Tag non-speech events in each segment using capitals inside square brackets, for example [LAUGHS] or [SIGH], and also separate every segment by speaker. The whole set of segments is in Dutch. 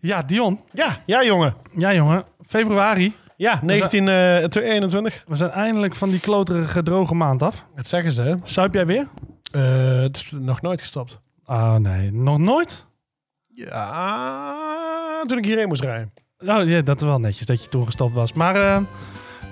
Speaker 1: Ja, Dion.
Speaker 2: Ja, ja jongen.
Speaker 1: Ja, jongen. Februari.
Speaker 2: Ja, eh, 1921.
Speaker 1: We zijn eindelijk van die kloterige droge maand af.
Speaker 2: Dat zeggen ze, hè?
Speaker 1: Suip jij weer?
Speaker 2: Eh, het is nog nooit gestopt.
Speaker 1: Oh nee, nog nooit?
Speaker 2: Ja, toen ik hierheen moest rijden.
Speaker 1: Oh ja, dat is wel netjes dat je toen gestopt was. Maar eh,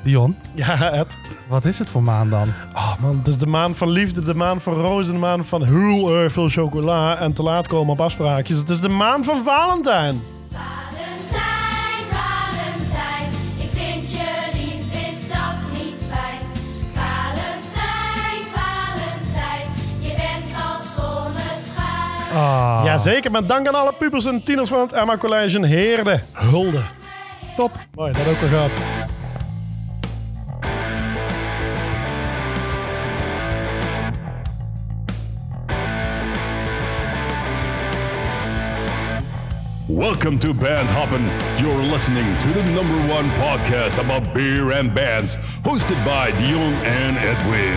Speaker 1: Dion,
Speaker 2: Ja, Ed.
Speaker 1: wat is het voor maand dan?
Speaker 2: Oh man, het is de maan van liefde, de maan van rozen, de maan van heel erg veel chocola en te laat komen op afspraakjes. Het is de maan van Valentijn.
Speaker 3: Valentijn, Valentijn, ik vind je lief, is dat niet fijn? Valentijn, Valentijn, je bent als zonneschijn.
Speaker 1: Ah,
Speaker 2: Jazeker, met dank aan alle pubers en tieners van het Emma College in Heerde. Hulde.
Speaker 1: top.
Speaker 2: Mooi, dat ook wel gehad.
Speaker 4: Welcome to Band Hoppin'. You're listening to the number one podcast about beer and bands, hosted by Dion and Edwin.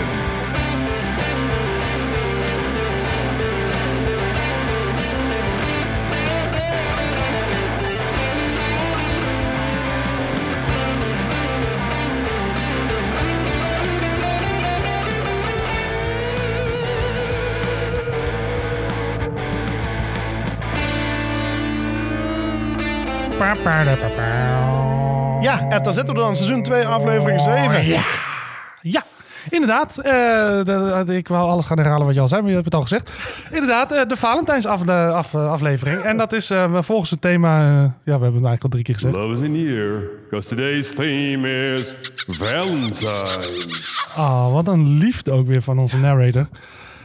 Speaker 1: Pa, pa, da, pa, pa.
Speaker 2: Ja, Ed, daar zitten we dan. Seizoen 2, aflevering 7. Ja.
Speaker 1: Ja, inderdaad. Eh, de- de- ik wil alles gaan herhalen wat je al zei, maar je hebt het al gezegd. Inderdaad, eh, de Valentijnsaflevering. en dat is eh, volgens het thema... eh, ja, we hebben het eigenlijk al drie keer gezegd.
Speaker 4: Love is in the air, because today's theme is Valentine.
Speaker 1: Ah, wat een liefde ook weer van onze narrator.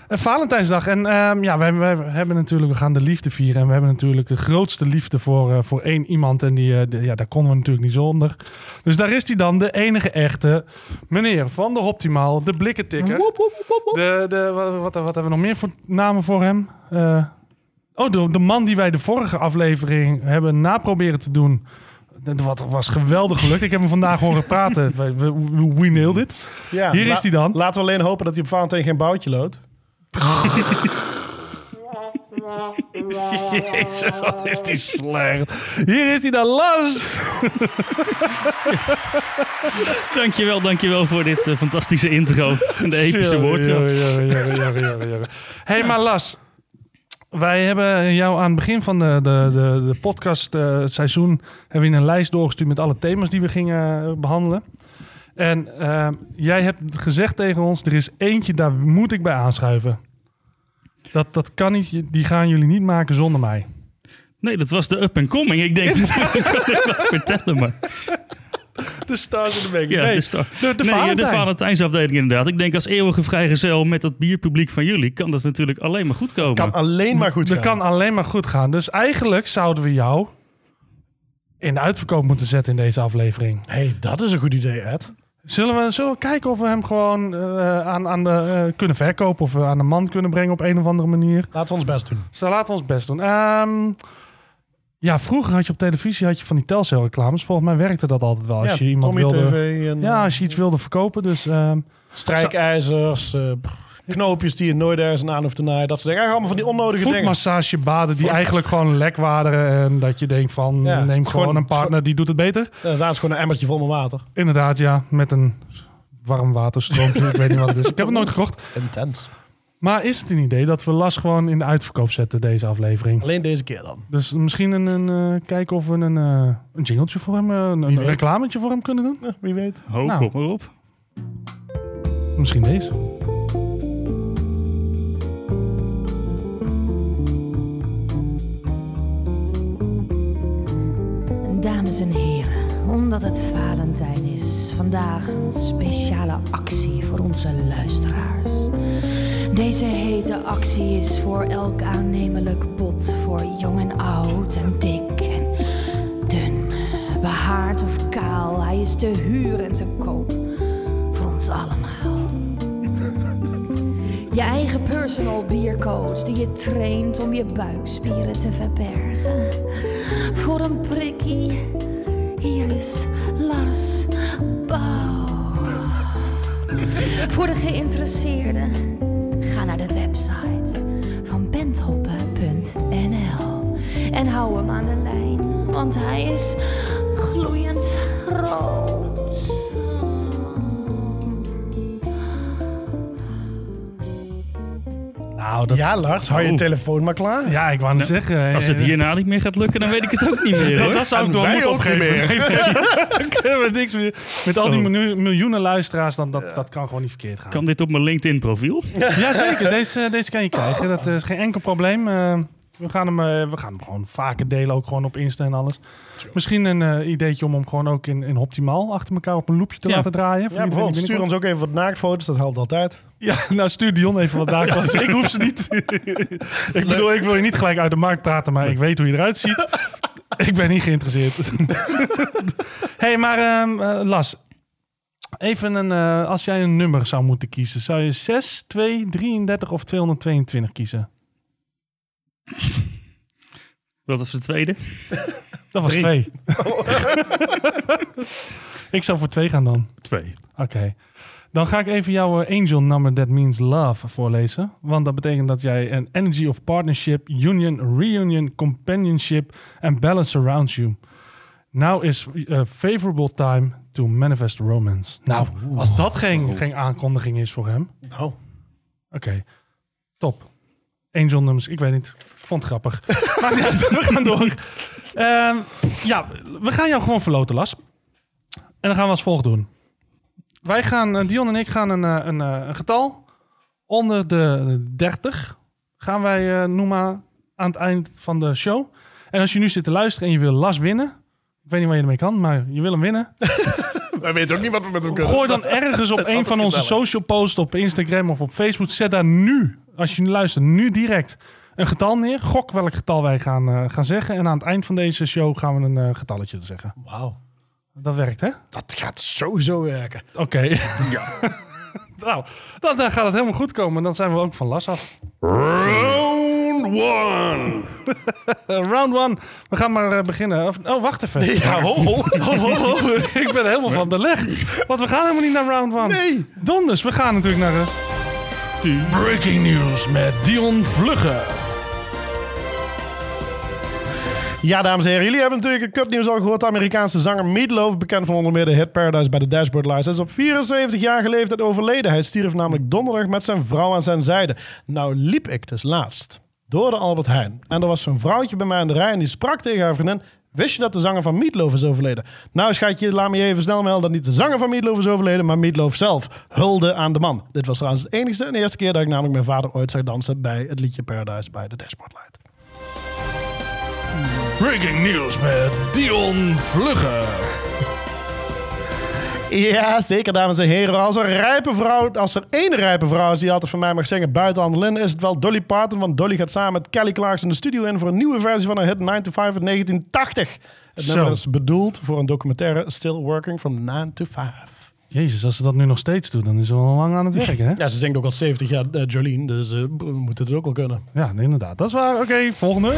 Speaker 1: En Valentijnsdag. En ehm, ja, wij, wij hebben natuurlijk, we gaan de liefde vieren. En we hebben natuurlijk de grootste liefde voor, eh, voor één iemand. En die, eh, de- ja, daar konden we natuurlijk niet zonder. Dus daar is hij dan, de enige echte meneer van de Optimaal, de blikkentikker. De, de, wat, wat, wat hebben we nog meer voor namen voor hem? Eh, oh, de, de man die wij de vorige aflevering hebben naproberen te doen. Dat wat- was geweldig gelukt. Ik heb hem vandaag horen
Speaker 2: [LAUGHS]
Speaker 1: praten. We, we, we nailed it. Hier is hij dan.
Speaker 2: Laten we alleen hopen dat hij op Valentijn geen boutje loopt.
Speaker 1: [LAUGHS] Jezus, wat is die slecht. Hier is die dan, Lars. [LAUGHS]
Speaker 5: [LAUGHS] Dankjewel, dankjewel voor dit eh, fantastische intro en de epische
Speaker 1: Sorry,
Speaker 5: woordgrap.
Speaker 1: sorry, sorry, sorry, sorry, sorry, sorry. hey, maar Las. Wij hebben jou aan het begin van de, de, de, de podcast eh, het seizoen... hebben we een lijst doorgestuurd met alle thema's die we gingen eh, behandelen. En eh, jij hebt gezegd tegen ons, er is eentje, daar moet ik bij aanschuiven. Dat, dat kan niet, die gaan jullie niet maken zonder mij.
Speaker 5: Nee, dat was de up and coming.
Speaker 1: [LAUGHS]
Speaker 5: Ik denk, moet ik dat wel vertellen, maar.
Speaker 1: De stars in de week.
Speaker 5: Ja,
Speaker 1: nee,
Speaker 5: dus toch.
Speaker 1: de, de
Speaker 5: Nee, ja, de
Speaker 1: Valentijn.
Speaker 5: Valentijnsafdeling inderdaad. Ik denk als eeuwige vrijgezel met dat bierpubliek van jullie kan dat natuurlijk alleen maar goed komen.
Speaker 2: Kan alleen maar goed
Speaker 1: Dat
Speaker 2: gaan.
Speaker 1: kan alleen maar goed gaan. Dus eigenlijk zouden we jou in de uitverkoop moeten zetten in deze aflevering.
Speaker 2: hey, dat is een goed idee, Ed.
Speaker 1: Zullen we, zullen we kijken of we hem gewoon eh, aan, aan de, eh, kunnen verkopen of we aan de man kunnen brengen op een of andere manier?
Speaker 2: Laten we ons best doen.
Speaker 1: Dus daar laten we ons best doen. Ehm, ja, vroeger had je op televisie had je van die telcelreclames. Volgens mij werkte dat altijd wel. Als
Speaker 2: ja,
Speaker 1: je iemand
Speaker 2: Tommy
Speaker 1: wilde,
Speaker 2: TV en
Speaker 1: ja,
Speaker 2: ja,
Speaker 1: als je iets wilde verkopen. Dus ehm,
Speaker 2: strijkijzers, eh, pff, knoopjes die je nooit ergens aan hoeft te naaien. Dat soort dingen. Eigenlijk allemaal van die onnodige dingen.
Speaker 1: voetmassagebaden die eigenlijk gewoon lek waren. En dat je denkt van
Speaker 2: Ja,
Speaker 1: neem
Speaker 2: gewoon-
Speaker 1: gewoon een partner die doet het beter.
Speaker 2: Eh, Daar is gewoon een emmertje vol met water.
Speaker 1: Inderdaad, ja. Met een warm
Speaker 2: [LAUGHS]
Speaker 1: waterstroompje. ik weet niet wat het is. Ik heb het nooit gekocht.
Speaker 2: Intens.
Speaker 1: Maar is het een idee dat we Las gewoon in de uitverkoop zetten, deze aflevering?
Speaker 2: Alleen deze keer dan.
Speaker 1: Dus misschien een, een, eh, kijken of we een, eh, een jingletje voor hem, eh, een, een
Speaker 2: weet.
Speaker 1: reclametje voor hem kunnen doen.
Speaker 2: Eh, Wie weet.
Speaker 5: Ho,
Speaker 1: Nou.
Speaker 5: kom maar op.
Speaker 1: Misschien deze.
Speaker 6: Dames en heren, omdat het Valentijn is, vandaag een speciale actie voor onze luisteraars. Deze hete actie is voor elk aannemelijk bod, voor jong en oud en dik en dun, behaard of kaal. Hij is te huur en te koop voor ons allemaal. Je eigen personal biercoach die je traint om je buikspieren te verbergen voor een prikkie. Hier is Lars Bouw. voor de geïnteresseerden, ga naar de website van benthoppen.nl en hou hem aan de lijn. want hij is gloeiend rood.
Speaker 1: Nou, dat...
Speaker 2: Ja, Lars, hou je
Speaker 5: Oh.
Speaker 2: telefoon maar klaar.
Speaker 1: Ja, ik wou niet zeggen.
Speaker 5: Nou,
Speaker 1: eh,
Speaker 5: Als het hierna niet meer gaat lukken, dan weet ik het ook niet meer
Speaker 1: [LAUGHS]
Speaker 5: hoor.
Speaker 1: Dat zou ik
Speaker 2: En
Speaker 1: door
Speaker 2: wij
Speaker 1: moeten
Speaker 2: ook niet
Speaker 1: opgeven. Dan [LAUGHS]
Speaker 2: [LAUGHS]
Speaker 1: kunnen we niks meer. Met al die miljoen- miljoenen luisteraars, dan dat, dat kan gewoon niet verkeerd gaan.
Speaker 5: Kan dit op mijn LinkedIn profiel?
Speaker 1: [LAUGHS] Jazeker, deze, deze kan je krijgen. Dat eh, is geen enkel probleem. Eh, we, gaan hem, eh, we gaan hem gewoon vaker delen, ook gewoon op Insta en alles. Misschien een eh, ideetje om hem gewoon ook in, in optimaal achter elkaar op een loopje te
Speaker 5: Ja.
Speaker 1: laten draaien. voor
Speaker 2: Ja,
Speaker 1: iedereen die
Speaker 2: bijvoorbeeld, stuur
Speaker 1: binnenkomt.
Speaker 2: ons ook even wat naaktfoto's, dat helpt altijd.
Speaker 1: Ja, nou stuur Dion even wat [LAUGHS] daar. want Ik hoef ze niet. ik bedoel, ik wil je niet gelijk uit de markt praten, maar ik weet hoe je eruit [LAUGHS] ziet. ik ben niet geïnteresseerd. [LAUGHS] hey, maar ehm, eh, Las. Even een, eh, als jij een nummer zou moeten kiezen, zou je 6, 2, 33 of 222 kiezen?
Speaker 5: Dat was de tweede.
Speaker 1: Dat was
Speaker 2: Drie.
Speaker 1: [LAUGHS] twee.
Speaker 3: Oh,
Speaker 1: ik zou voor twee gaan dan.
Speaker 5: Twee.
Speaker 1: Oké. Dan ga ik even jouw eh, angel number that means love voorlezen. Want dat betekent dat jij een energy of partnership, union, reunion, companionship en balance surrounds you. Now is a favorable time to manifest romance. Nou,
Speaker 2: Oh.
Speaker 1: als dat geen, geen aankondiging is voor hem.
Speaker 2: Nou,
Speaker 1: Oké, top. Angel nummers, ik weet niet. Ik vond het grappig. [LAUGHS] Maar we gaan door. Ehm, ja, we gaan jou gewoon verloten, Las. En dan gaan we als volgt doen. Wij gaan, eh, Dion en ik gaan een, eh, een, eh, een getal onder de 30 gaan wij eh, noemen aan het eind van de show. En als je nu zit te luisteren en je wil Las winnen, ik weet niet waar je ermee kan, maar je wil hem winnen.
Speaker 2: wij weten ook niet wat we met hem kunnen.
Speaker 1: Gooi dan
Speaker 2: [LAUGHS]
Speaker 1: ergens op een
Speaker 2: altijd
Speaker 1: van onze
Speaker 2: gezellig.
Speaker 1: social posts op Instagram of op Facebook. Zet daar nu, als je nu luistert, nu direct een getal neer. Gok welk getal wij gaan, eh, gaan zeggen. En aan het eind van deze show gaan we een eh, getalletje zeggen.
Speaker 2: Wauw,
Speaker 1: Dat werkt, hè?
Speaker 2: dat gaat sowieso werken.
Speaker 1: Oké. [LAUGHS] nou, dan, dan gaat het helemaal goed komen. Dan zijn we ook van las af.
Speaker 4: Round one.
Speaker 1: Eh, [LAUGHS] round one. We gaan maar eh, beginnen. Of- oh, wacht even.
Speaker 2: Ja, ho, ho.
Speaker 1: [LAUGHS] Ik ben helemaal van de leg. Want we gaan helemaal niet naar round one.
Speaker 2: Nee.
Speaker 1: Donders, we gaan natuurlijk naar... eh, Breaking News met Dion Vlugge.
Speaker 2: Ja, dames en heren, jullie hebben natuurlijk het kutnieuws al gehoord. De Amerikaanse zanger Meatloaf, bekend van onder meer de hit Paradise bij de Dashboard Lights, is op 74 jaar geleefd overleden. Hij stierf namelijk donderdag met zijn vrouw aan zijn zijde. Nou liep ik dus laatst door de Albert Heijn. En er was zo'n vrouwtje bij mij aan de rij en die sprak tegen haar vriendin... Wist je dat de zanger van Meatloaf is overleden? Nou, schatje, laat me je even snel melden dat niet de zanger van Meatloaf is overleden, maar Meatloaf zelf. Hulde aan de man. Dit was trouwens de enigste en eerste keer dat ik namelijk mijn vader ooit zag dansen bij het liedje Paradise bij de Dashboard Light.
Speaker 1: Breaking News met Dion Vlugge.
Speaker 2: Ja, zeker, dames en heren. Als er, rijpe vrouw, als er één rijpe vrouw is die altijd van mij mag zingen buiten Annelien, is het wel Dolly Parton. Want Dolly gaat samen met Kelly Clarkson de studio in voor een nieuwe versie van haar hit 9 to 5 uit 1980. Het
Speaker 1: Zo.
Speaker 2: nummer is bedoeld voor een documentaire Still Working from 9 to 5.
Speaker 1: Jezus, als ze dat nu nog steeds doet, dan is ze al lang aan het werken, hè?
Speaker 2: Ja, ze zingt ook al 70 jaar eh, Jolene, dus eh, we moeten het ook wel kunnen.
Speaker 1: Ja, nee,
Speaker 2: Nou,
Speaker 1: inderdaad. Dat is waar. Oké, volgende.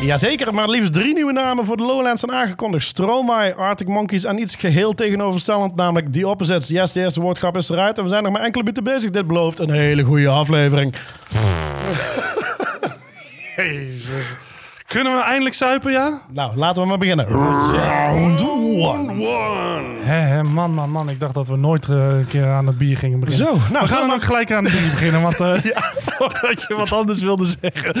Speaker 2: Jazeker, maar liefst drie nieuwe namen voor de Lowlands zijn aangekondigd. Stromae, Arctic Monkeys en iets geheel tegenoverstellend, namelijk The Opposites. Yes, de eerste woordgrap is eruit en we zijn nog maar enkele minuten bezig. Dit belooft een hele goede aflevering.
Speaker 1: Kunnen we eindelijk suipen, ja?
Speaker 2: Nou, [LAUGHS] laten we maar beginnen.
Speaker 4: Round one.
Speaker 1: Hé, hé, man, man, man. Ik dacht dat we nooit eh, een keer aan het bier gingen beginnen.
Speaker 2: Zo, nou,
Speaker 1: we
Speaker 2: zo
Speaker 1: gaan dan
Speaker 2: maar-
Speaker 1: ook gelijk aan het bier beginnen, want
Speaker 2: [LAUGHS]
Speaker 1: eh,
Speaker 2: Voordat je wat anders wilde zeggen.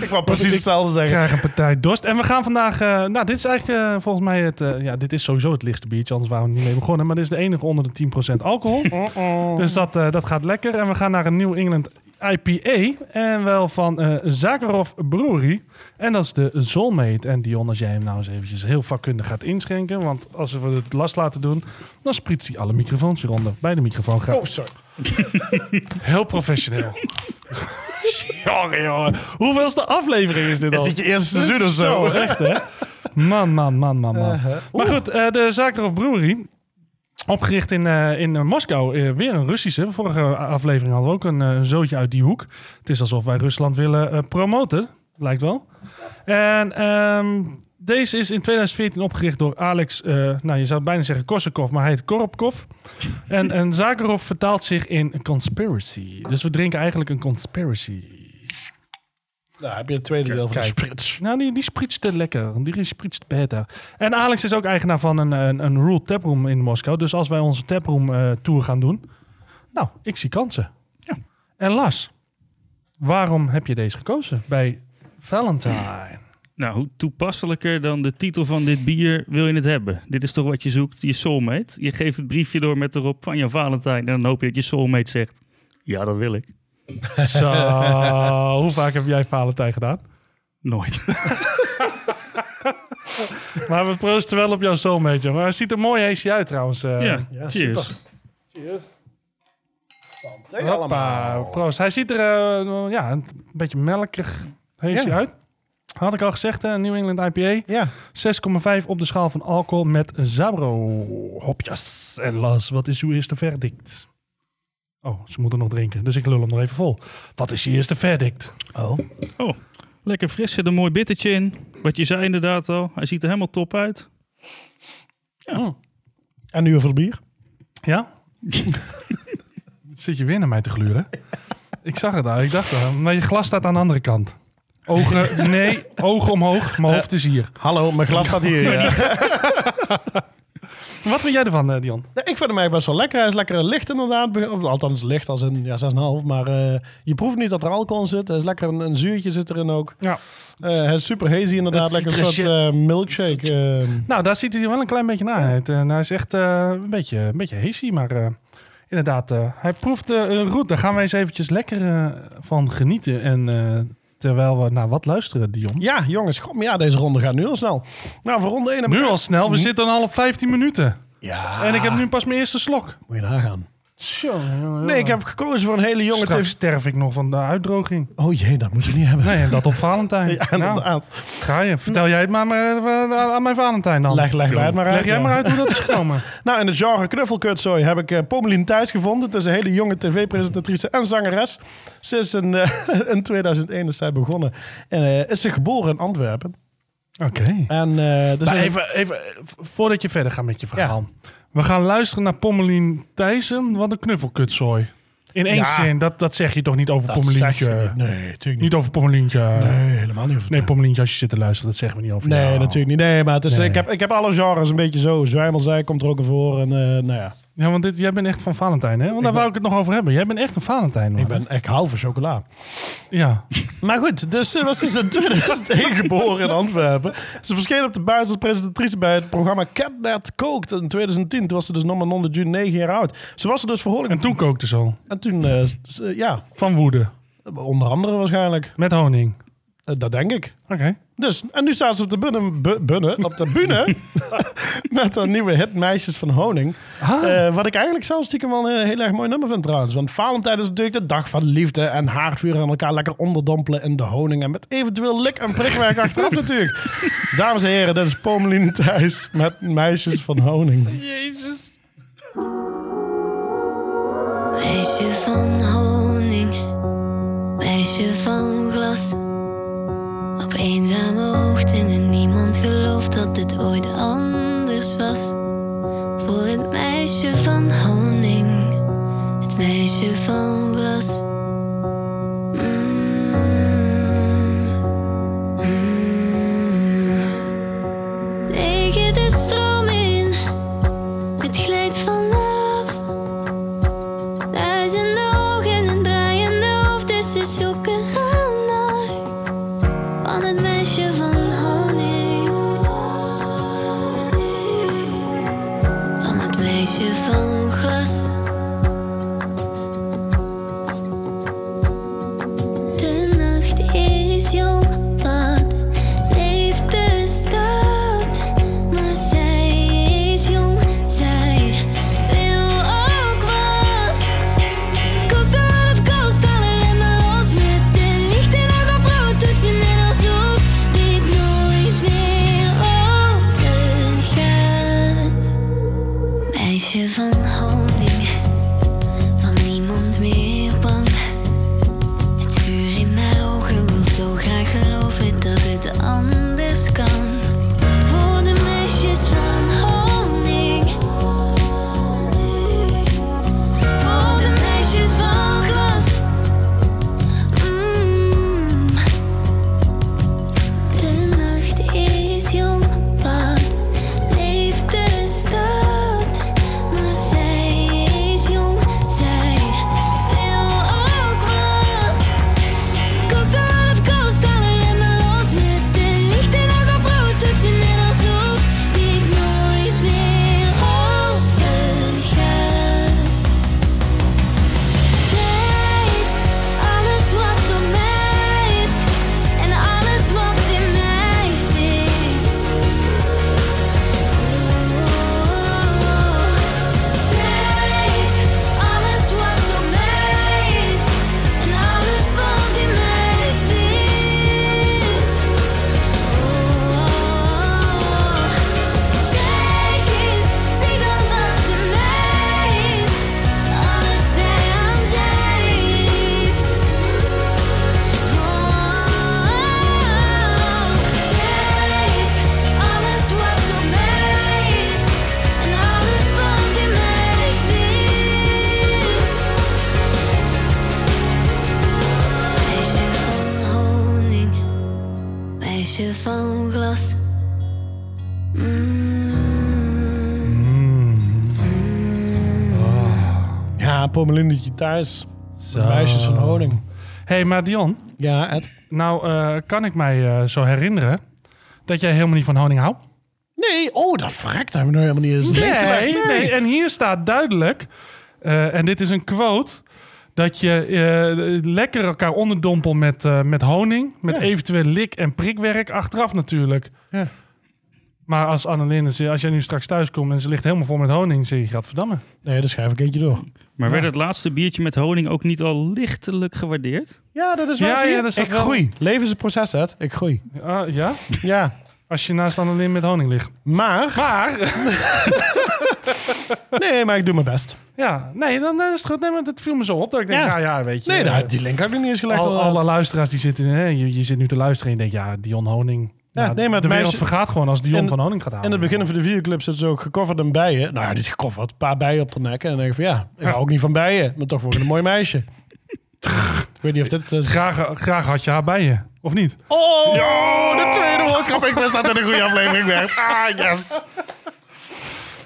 Speaker 2: ik wou precies hetzelfde
Speaker 1: ik
Speaker 2: zeggen.
Speaker 1: krijg een partij dorst. En we gaan vandaag... eh, nou, dit is eigenlijk eh, volgens mij het... eh, ja, dit is sowieso het lichtste biertje, anders waren we er niet mee begonnen. Maar dit is de enige onder de 10% alcohol. Dus dat, eh, dat gaat lekker. En we gaan naar een New England IPA. En wel van eh Zakharov Brewery. En dat is de Soulmate. En Dion, als jij hem nou eens eventjes heel vakkundig gaat inschenken. Want als we het last laten doen, dan spriet hij alle microfoons weer onder. Bij de microfoon gaat.
Speaker 2: Oh, sorry.
Speaker 1: Heel professioneel.
Speaker 2: [LAUGHS]
Speaker 1: Sorry, jongen. Hoeveelste aflevering is dit al?
Speaker 2: je eerste seizoen of zo?
Speaker 1: echt, hè? Man, man, man, man, man. Maar goed, eh, de Zakharov Brewery. Opgericht in, eh, in eh, Moskou. Eh, weer een Russische. Vorige aflevering hadden we ook een eh, zootje uit die hoek. Het is alsof wij Rusland willen eh, promoten. Lijkt wel. En ehm, Deze is in 2014 opgericht door Alex, eh, nou je zou bijna zeggen Korsakov, maar hij heet Korobkov. En, en Zakharov vertaalt zich in een conspiracy. Dus we drinken eigenlijk een conspiracy.
Speaker 2: Nou, heb je het tweede deel van de
Speaker 1: Kijk.
Speaker 2: sprits.
Speaker 1: Nou, die, die spritste lekker. Die spritst beter. En Alex is ook eigenaar van een, een, een Rule Taproom in Moskou. Dus als wij onze Taproom eh, tour gaan doen, nou, ik zie kansen.
Speaker 5: Ja.
Speaker 1: En Lars, waarom heb je deze gekozen bij
Speaker 5: [LAUGHS]
Speaker 1: Valentine?
Speaker 5: Nou, hoe toepasselijker dan de titel van dit bier wil je het hebben? Dit is toch wat je zoekt, je soulmate? Je geeft het briefje door met erop van je Valentijn. En dan hoop je dat je soulmate zegt, ja, dat wil ik.
Speaker 1: Zo, hoe vaak heb jij Valentijn gedaan?
Speaker 5: Nooit. [LAUGHS]
Speaker 1: Maar we proosten wel op jouw soulmate, jongen. Hij ziet er mooi heesje uit trouwens. eh.
Speaker 5: ja,
Speaker 2: ja,
Speaker 5: cheers.
Speaker 2: super.
Speaker 1: Hoppa, proost. Hij ziet er eh, ja, een beetje melkig heesje
Speaker 2: Ja.
Speaker 1: uit. Had ik al gezegd, hè, een New England IPA.
Speaker 2: Ja.
Speaker 1: 6,5 op de schaal van alcohol met Zabro. Hopjes. En Las, wat is uw eerste verdict? Oh, ze moeten nog drinken, dus ik lul hem nog even vol. Wat is je eerste verdict?
Speaker 2: Oh.
Speaker 5: Oh, lekker fris. Zit een mooi bittertje in. Wat je zei inderdaad al. Hij ziet er helemaal top uit.
Speaker 2: En nu over het bier.
Speaker 1: Oh. Ja? Zit je weer naar mij te gluren? Ik zag het al, ik dacht al. Maar je glas staat aan de andere kant. Ogen, nee, ogen omhoog, mijn hoofd is hier.
Speaker 2: Eh, Hallo, mijn glas staat hier. ja.
Speaker 1: [LAUGHS] Wat vind jij ervan, eh, Dion?
Speaker 2: Nee, ik vind hem eigenlijk best wel lekker. Hij is lekker licht inderdaad. Be- of Althans, licht als een ja, 6,5. Maar eh, je proeft niet dat er alcohol in zit. Er is lekker een, een zuurtje zit erin ook.
Speaker 1: Ja.
Speaker 2: Eh, hij is super hazy inderdaad.
Speaker 7: Het
Speaker 2: lekker een soort
Speaker 7: citrusje.
Speaker 2: eh, milkshake. eh.
Speaker 1: Nou, daar ziet hij er wel een klein beetje naar uit. En hij is echt eh, een beetje, een beetje hazy, maar eh, inderdaad, eh, hij proeft eh een roet. Daar gaan wij eens eventjes lekker eh, van genieten. En eh, terwijl we naar wat luisteren, Dion.
Speaker 2: ja, jongens. God, maar ja, deze ronde gaat nu al snel. Nou, Hm? voor ronde 1 heb
Speaker 1: Nu
Speaker 2: ik... Mm.
Speaker 1: al snel, we zitten al op 15 minuten.
Speaker 2: Ja,
Speaker 1: En ik heb nu pas mijn eerste slok.
Speaker 2: moet je nagaan. Nee,
Speaker 1: Nee,
Speaker 2: ik heb gekozen voor een hele jonge...
Speaker 1: Straks
Speaker 2: TV
Speaker 1: sterf ik nog van de uitdroging.
Speaker 2: Oh jee, dat moeten we niet hebben.
Speaker 1: Nee, en dat op Valentijn.
Speaker 2: [LAUGHS] Ja,
Speaker 1: nou,
Speaker 2: inderdaad.
Speaker 1: ga je. Vertel jij het maar, maar eh, aan mijn Valentijn dan.
Speaker 2: Leg, leg, leg het maar uit.
Speaker 1: Leg jij
Speaker 2: ja.
Speaker 1: maar
Speaker 2: [LAUGHS]
Speaker 1: uit hoe dat is gekomen.
Speaker 2: Nou, in het genre knuffelkutzooi heb ik eh Pommelien Thijs gevonden. Het is een hele jonge tv-presentatrice en zangeres. Ze is in, eh, [LAUGHS] in 2001 is zij begonnen. En eh, is ze geboren in Antwerpen.
Speaker 1: Oké.
Speaker 2: En, eh, dus
Speaker 1: Maar
Speaker 2: een-
Speaker 1: even, even, eh, v- voordat je verder gaat met je verhaal. We gaan luisteren naar Pommelien Thijssen. Wat een knuffelkutzooi. In één
Speaker 2: Ja.
Speaker 1: zin, dat, dat zeg je toch niet over
Speaker 2: dat zeg je
Speaker 1: Pommelientje?
Speaker 2: niet. Nee, natuurlijk niet.
Speaker 1: Niet over Pommelientje. Nee,
Speaker 2: Nee, helemaal niet. Over
Speaker 1: nee Pommelientje, als je zit te luisteren, dat zeggen we niet over
Speaker 2: Nee,
Speaker 1: jou.
Speaker 2: natuurlijk niet. Nee, maar het is, eh,
Speaker 1: Nee.
Speaker 2: Ik, heb, ik heb alle genres een beetje zo. Zwijmelzij komt er ook in voor. En, eh, nou ja,
Speaker 1: Ja, want dit, jij bent echt van Valentijn, hè? Want daar wou ik het nog over hebben. Jij bent echt een Valentijn, man.
Speaker 2: ik, ben, ik hou van chocola.
Speaker 1: Ja.
Speaker 2: Maar goed, dus ze was dus in 2001 geboren in Antwerpen. Ze verscheen op de buis als presentatrice bij het programma Cat That Cooked in 2010. Toen was ze dus nog maar non de June 9 jaar oud. Ze was er dus verhoorlijk.
Speaker 1: En toen kookte ze al.
Speaker 2: En toen, eh, ze- ja,
Speaker 1: Van woede.
Speaker 2: onder andere waarschijnlijk.
Speaker 1: Met honing.
Speaker 2: Eh, dat denk ik.
Speaker 1: Oké.
Speaker 2: Dus, en nu staat ze op de bunnen, bu- bunnen, op de bühne [LAUGHS] met haar nieuwe hit Meisjes van Honing.
Speaker 1: Ah.
Speaker 2: Eh, wat ik eigenlijk zelf stiekem wel een heel erg mooi nummer vind trouwens. Want Valentijn is natuurlijk de dag van liefde en haardvuur en elkaar lekker onderdompelen in de honing. En met eventueel lik en
Speaker 1: [LAUGHS]
Speaker 2: prikwerk achterop natuurlijk. Dames en heren, dit is Pommelien Thijs met Meisjes van Honing.
Speaker 8: Meisje van honing, meisje van glas. Op eenzame hoogten en niemand gelooft dat het ooit anders was. Voor het meisje van honing, het meisje van glas. Mm. Mm. Tegen de stroom in, het glijdt vanaf. Duizenden ogen en draaiende hoofden, ze zoeken haar naar. Van het meisje Mm. meisje van glas. Mm.
Speaker 2: Ja, Pomelindetje thuis. De Meisjes van honing.
Speaker 1: hey, maar Dion,
Speaker 2: Ja, Ed.
Speaker 1: nou eh, kan ik mij eh, zo herinneren dat jij helemaal niet van honing houdt?
Speaker 2: Nee, oh, dat verrekt hebben we nog helemaal niet eens.
Speaker 1: Nee, nee. en hier staat duidelijk, eh, en dit is een quote, dat je eh, lekker elkaar onderdompelt met, eh, met honing, met
Speaker 2: Ja.
Speaker 1: eventueel lik- en prikwerk, achteraf natuurlijk.
Speaker 2: Ja.
Speaker 1: Maar als Annelien, is- als jij nu straks thuis komt en ze ligt helemaal vol met honing, zeg je, gadverdamme.
Speaker 2: Nee, dan schrijf ik eentje door.
Speaker 5: Maar werd het laatste biertje met honing ook niet al lichtelijk gewaardeerd?
Speaker 2: Ja, dat is wel.
Speaker 1: Ja,
Speaker 2: zie je?
Speaker 1: ja, dat is
Speaker 2: ik
Speaker 1: wel-
Speaker 2: groei. Leven is een proces, Ed. Ik groei.
Speaker 1: Ah, ja?
Speaker 2: Ja.
Speaker 1: Als je naast Annelien met honing ligt.
Speaker 2: Maar,
Speaker 1: Maar,
Speaker 2: [LAUGHS] nee, maar ik doe mijn best.
Speaker 1: ja, nee, dan, dan is het goed. Nee, maar dat viel me zo op dat ik denk,
Speaker 2: Ja.
Speaker 1: ja, ja, weet je.
Speaker 2: Nee,
Speaker 1: eh,
Speaker 2: daar die link had ik nog niet eens gelegd.
Speaker 1: al,
Speaker 2: inderdaad.
Speaker 1: alle luisteraars die zitten, hè, je, je zit nu te luisteren en je denkt, ja, Dion Honing.
Speaker 2: Ja,
Speaker 1: Ja,
Speaker 2: nee, maar het
Speaker 1: de wereld
Speaker 2: meisje-
Speaker 1: vergaat gewoon als Dion
Speaker 2: En-
Speaker 1: van Honing gaat halen.
Speaker 2: In het begin van de videoclip zitten ze ook gecoverd in bijen. Nou ja, niet gecoverd. Een paar bijen op de nek. En dan denk ik van ja, ik hou ook niet van bijen. Maar toch word ik een mooi meisje. ik weet niet of dit... eh,
Speaker 1: Graag, graag had je haar bij je, of niet?
Speaker 2: Oh, de tweede woordgrap. [LAUGHS] Ik wist dat het een goede aflevering werd. Ah, yes.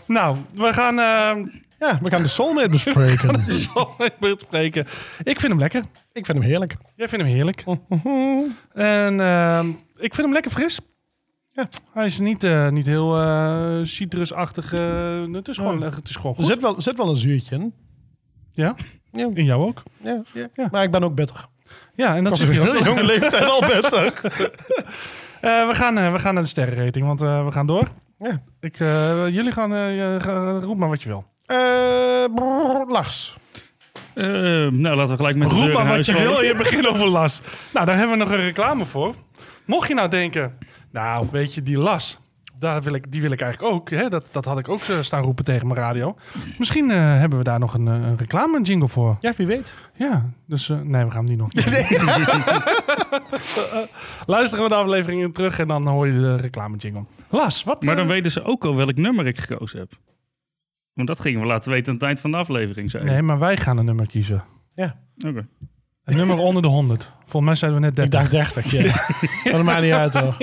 Speaker 1: Nou, we gaan eh,
Speaker 2: Ja, we gaan de soulmate
Speaker 1: [LAUGHS]
Speaker 2: bespreken.
Speaker 1: zo even spreken. Ik vind hem lekker.
Speaker 2: Ik vind hem heerlijk. Mm,
Speaker 1: Jij vindt hem heerlijk. En eh, ik vind hem lekker fris.
Speaker 2: Ja.
Speaker 1: Hij is niet, eh, niet heel eh, citrusachtig. eh, het, is gewoon, het is gewoon
Speaker 2: Er
Speaker 1: goed.
Speaker 2: zit wel, zit wel een zuurtje in.
Speaker 1: Ja?
Speaker 2: Ja.
Speaker 1: In jou ook?
Speaker 2: Ja.
Speaker 1: Ja.
Speaker 2: Maar ik ben ook bitter.
Speaker 1: Ja, en dat
Speaker 2: Op
Speaker 1: zit
Speaker 2: een
Speaker 1: hier ook.
Speaker 2: heel jonge leeftijd al bitter.
Speaker 1: [LAUGHS] Eh, we, gaan, eh, we gaan naar de sterrenrating, want eh, we gaan door.
Speaker 2: Ja.
Speaker 1: Ik, eh, jullie gaan, eh, eh, ga- roep maar wat je wil.
Speaker 2: Eh, brrr, Lars.
Speaker 5: Eh, nou, laten we gelijk met de
Speaker 1: Roep
Speaker 5: deur in
Speaker 1: maar wat
Speaker 5: huis
Speaker 1: je
Speaker 5: vallen.
Speaker 1: wil in het begin over last. Nou, daar hebben we nog een reclame voor. Mocht je nou denken, nou weet je, die las, daar wil ik, die wil ik eigenlijk ook. Hè? Dat, dat had ik ook eh, staan roepen tegen mijn radio. Misschien eh, hebben we daar nog een, eh, een reclame jingle voor.
Speaker 2: Ja, wie weet.
Speaker 1: Ja, dus eh, nee, we gaan hem die
Speaker 2: [LAUGHS]
Speaker 1: nog niet doen. Eh, Luisteren we de aflevering in terug en dan hoor je de reclame jingle. Las, wat?
Speaker 5: Maar
Speaker 1: eh,
Speaker 5: dan weten ze ook al welk nummer ik gekozen heb. Want dat gingen we laten weten aan het eind van de aflevering, zei je.
Speaker 1: Nee, maar wij gaan een nummer kiezen.
Speaker 5: Oké.
Speaker 1: Een nummer onder de 100. Volgens mij zeiden we net 30.
Speaker 2: Ik dacht 30, ja.
Speaker 1: [LAUGHS]
Speaker 2: Dat maakt niet uit hoor.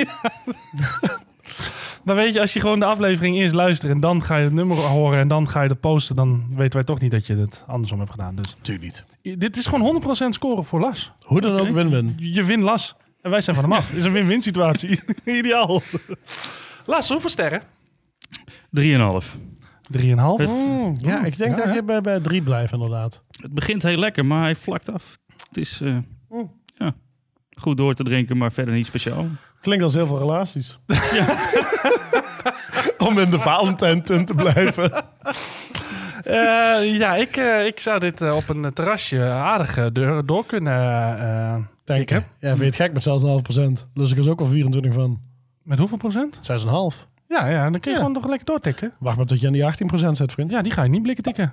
Speaker 1: Maar weet je, als je gewoon de aflevering eerst luistert en dan ga je het nummer horen en dan ga je de posten, dan weten wij toch niet dat je het andersom hebt gedaan. Dus
Speaker 2: Natuurlijk niet.
Speaker 1: dit is gewoon 100% scoren voor Las.
Speaker 2: Hoe dan ook, win-win.
Speaker 1: Je win Las en wij zijn van hem
Speaker 2: [LAUGHS]
Speaker 1: af. is een win-win situatie. [LAUGHS] Ideaal. Las, hoeveel sterren? 3,5.
Speaker 5: 3,5.
Speaker 2: Mm,
Speaker 5: Oh,
Speaker 2: Ja, ik denk
Speaker 1: Hmm, oh, Ja,
Speaker 2: dat
Speaker 1: ja.
Speaker 2: ik bij, bij drie blijf inderdaad.
Speaker 5: Het begint heel lekker, maar hij vlakt af. Het is eh,
Speaker 2: Oeh.
Speaker 5: ja, goed door te drinken, maar verder niet speciaal.
Speaker 2: Klinkt als heel veel
Speaker 1: [LAUGHS]
Speaker 2: relaties. Om in de Valentijn te blijven.
Speaker 1: Eh, ja, ik, eh, ik zou dit eh, op een eh, terrasje aardig eh, door, door kunnen eh, eh,
Speaker 2: Denk
Speaker 1: tikken.
Speaker 2: ik. Ja, vind je het gek met zelfs een half procent. Dus ik is ook al 24 van.
Speaker 1: Met hoeveel procent?
Speaker 2: 6,5.
Speaker 1: Ja, ja dan kun je
Speaker 2: Ja.
Speaker 1: gewoon toch lekker doortikken.
Speaker 2: Wacht maar tot je aan die 18 procent zit, vriend.
Speaker 1: Ja, die ga je niet blikken tikken.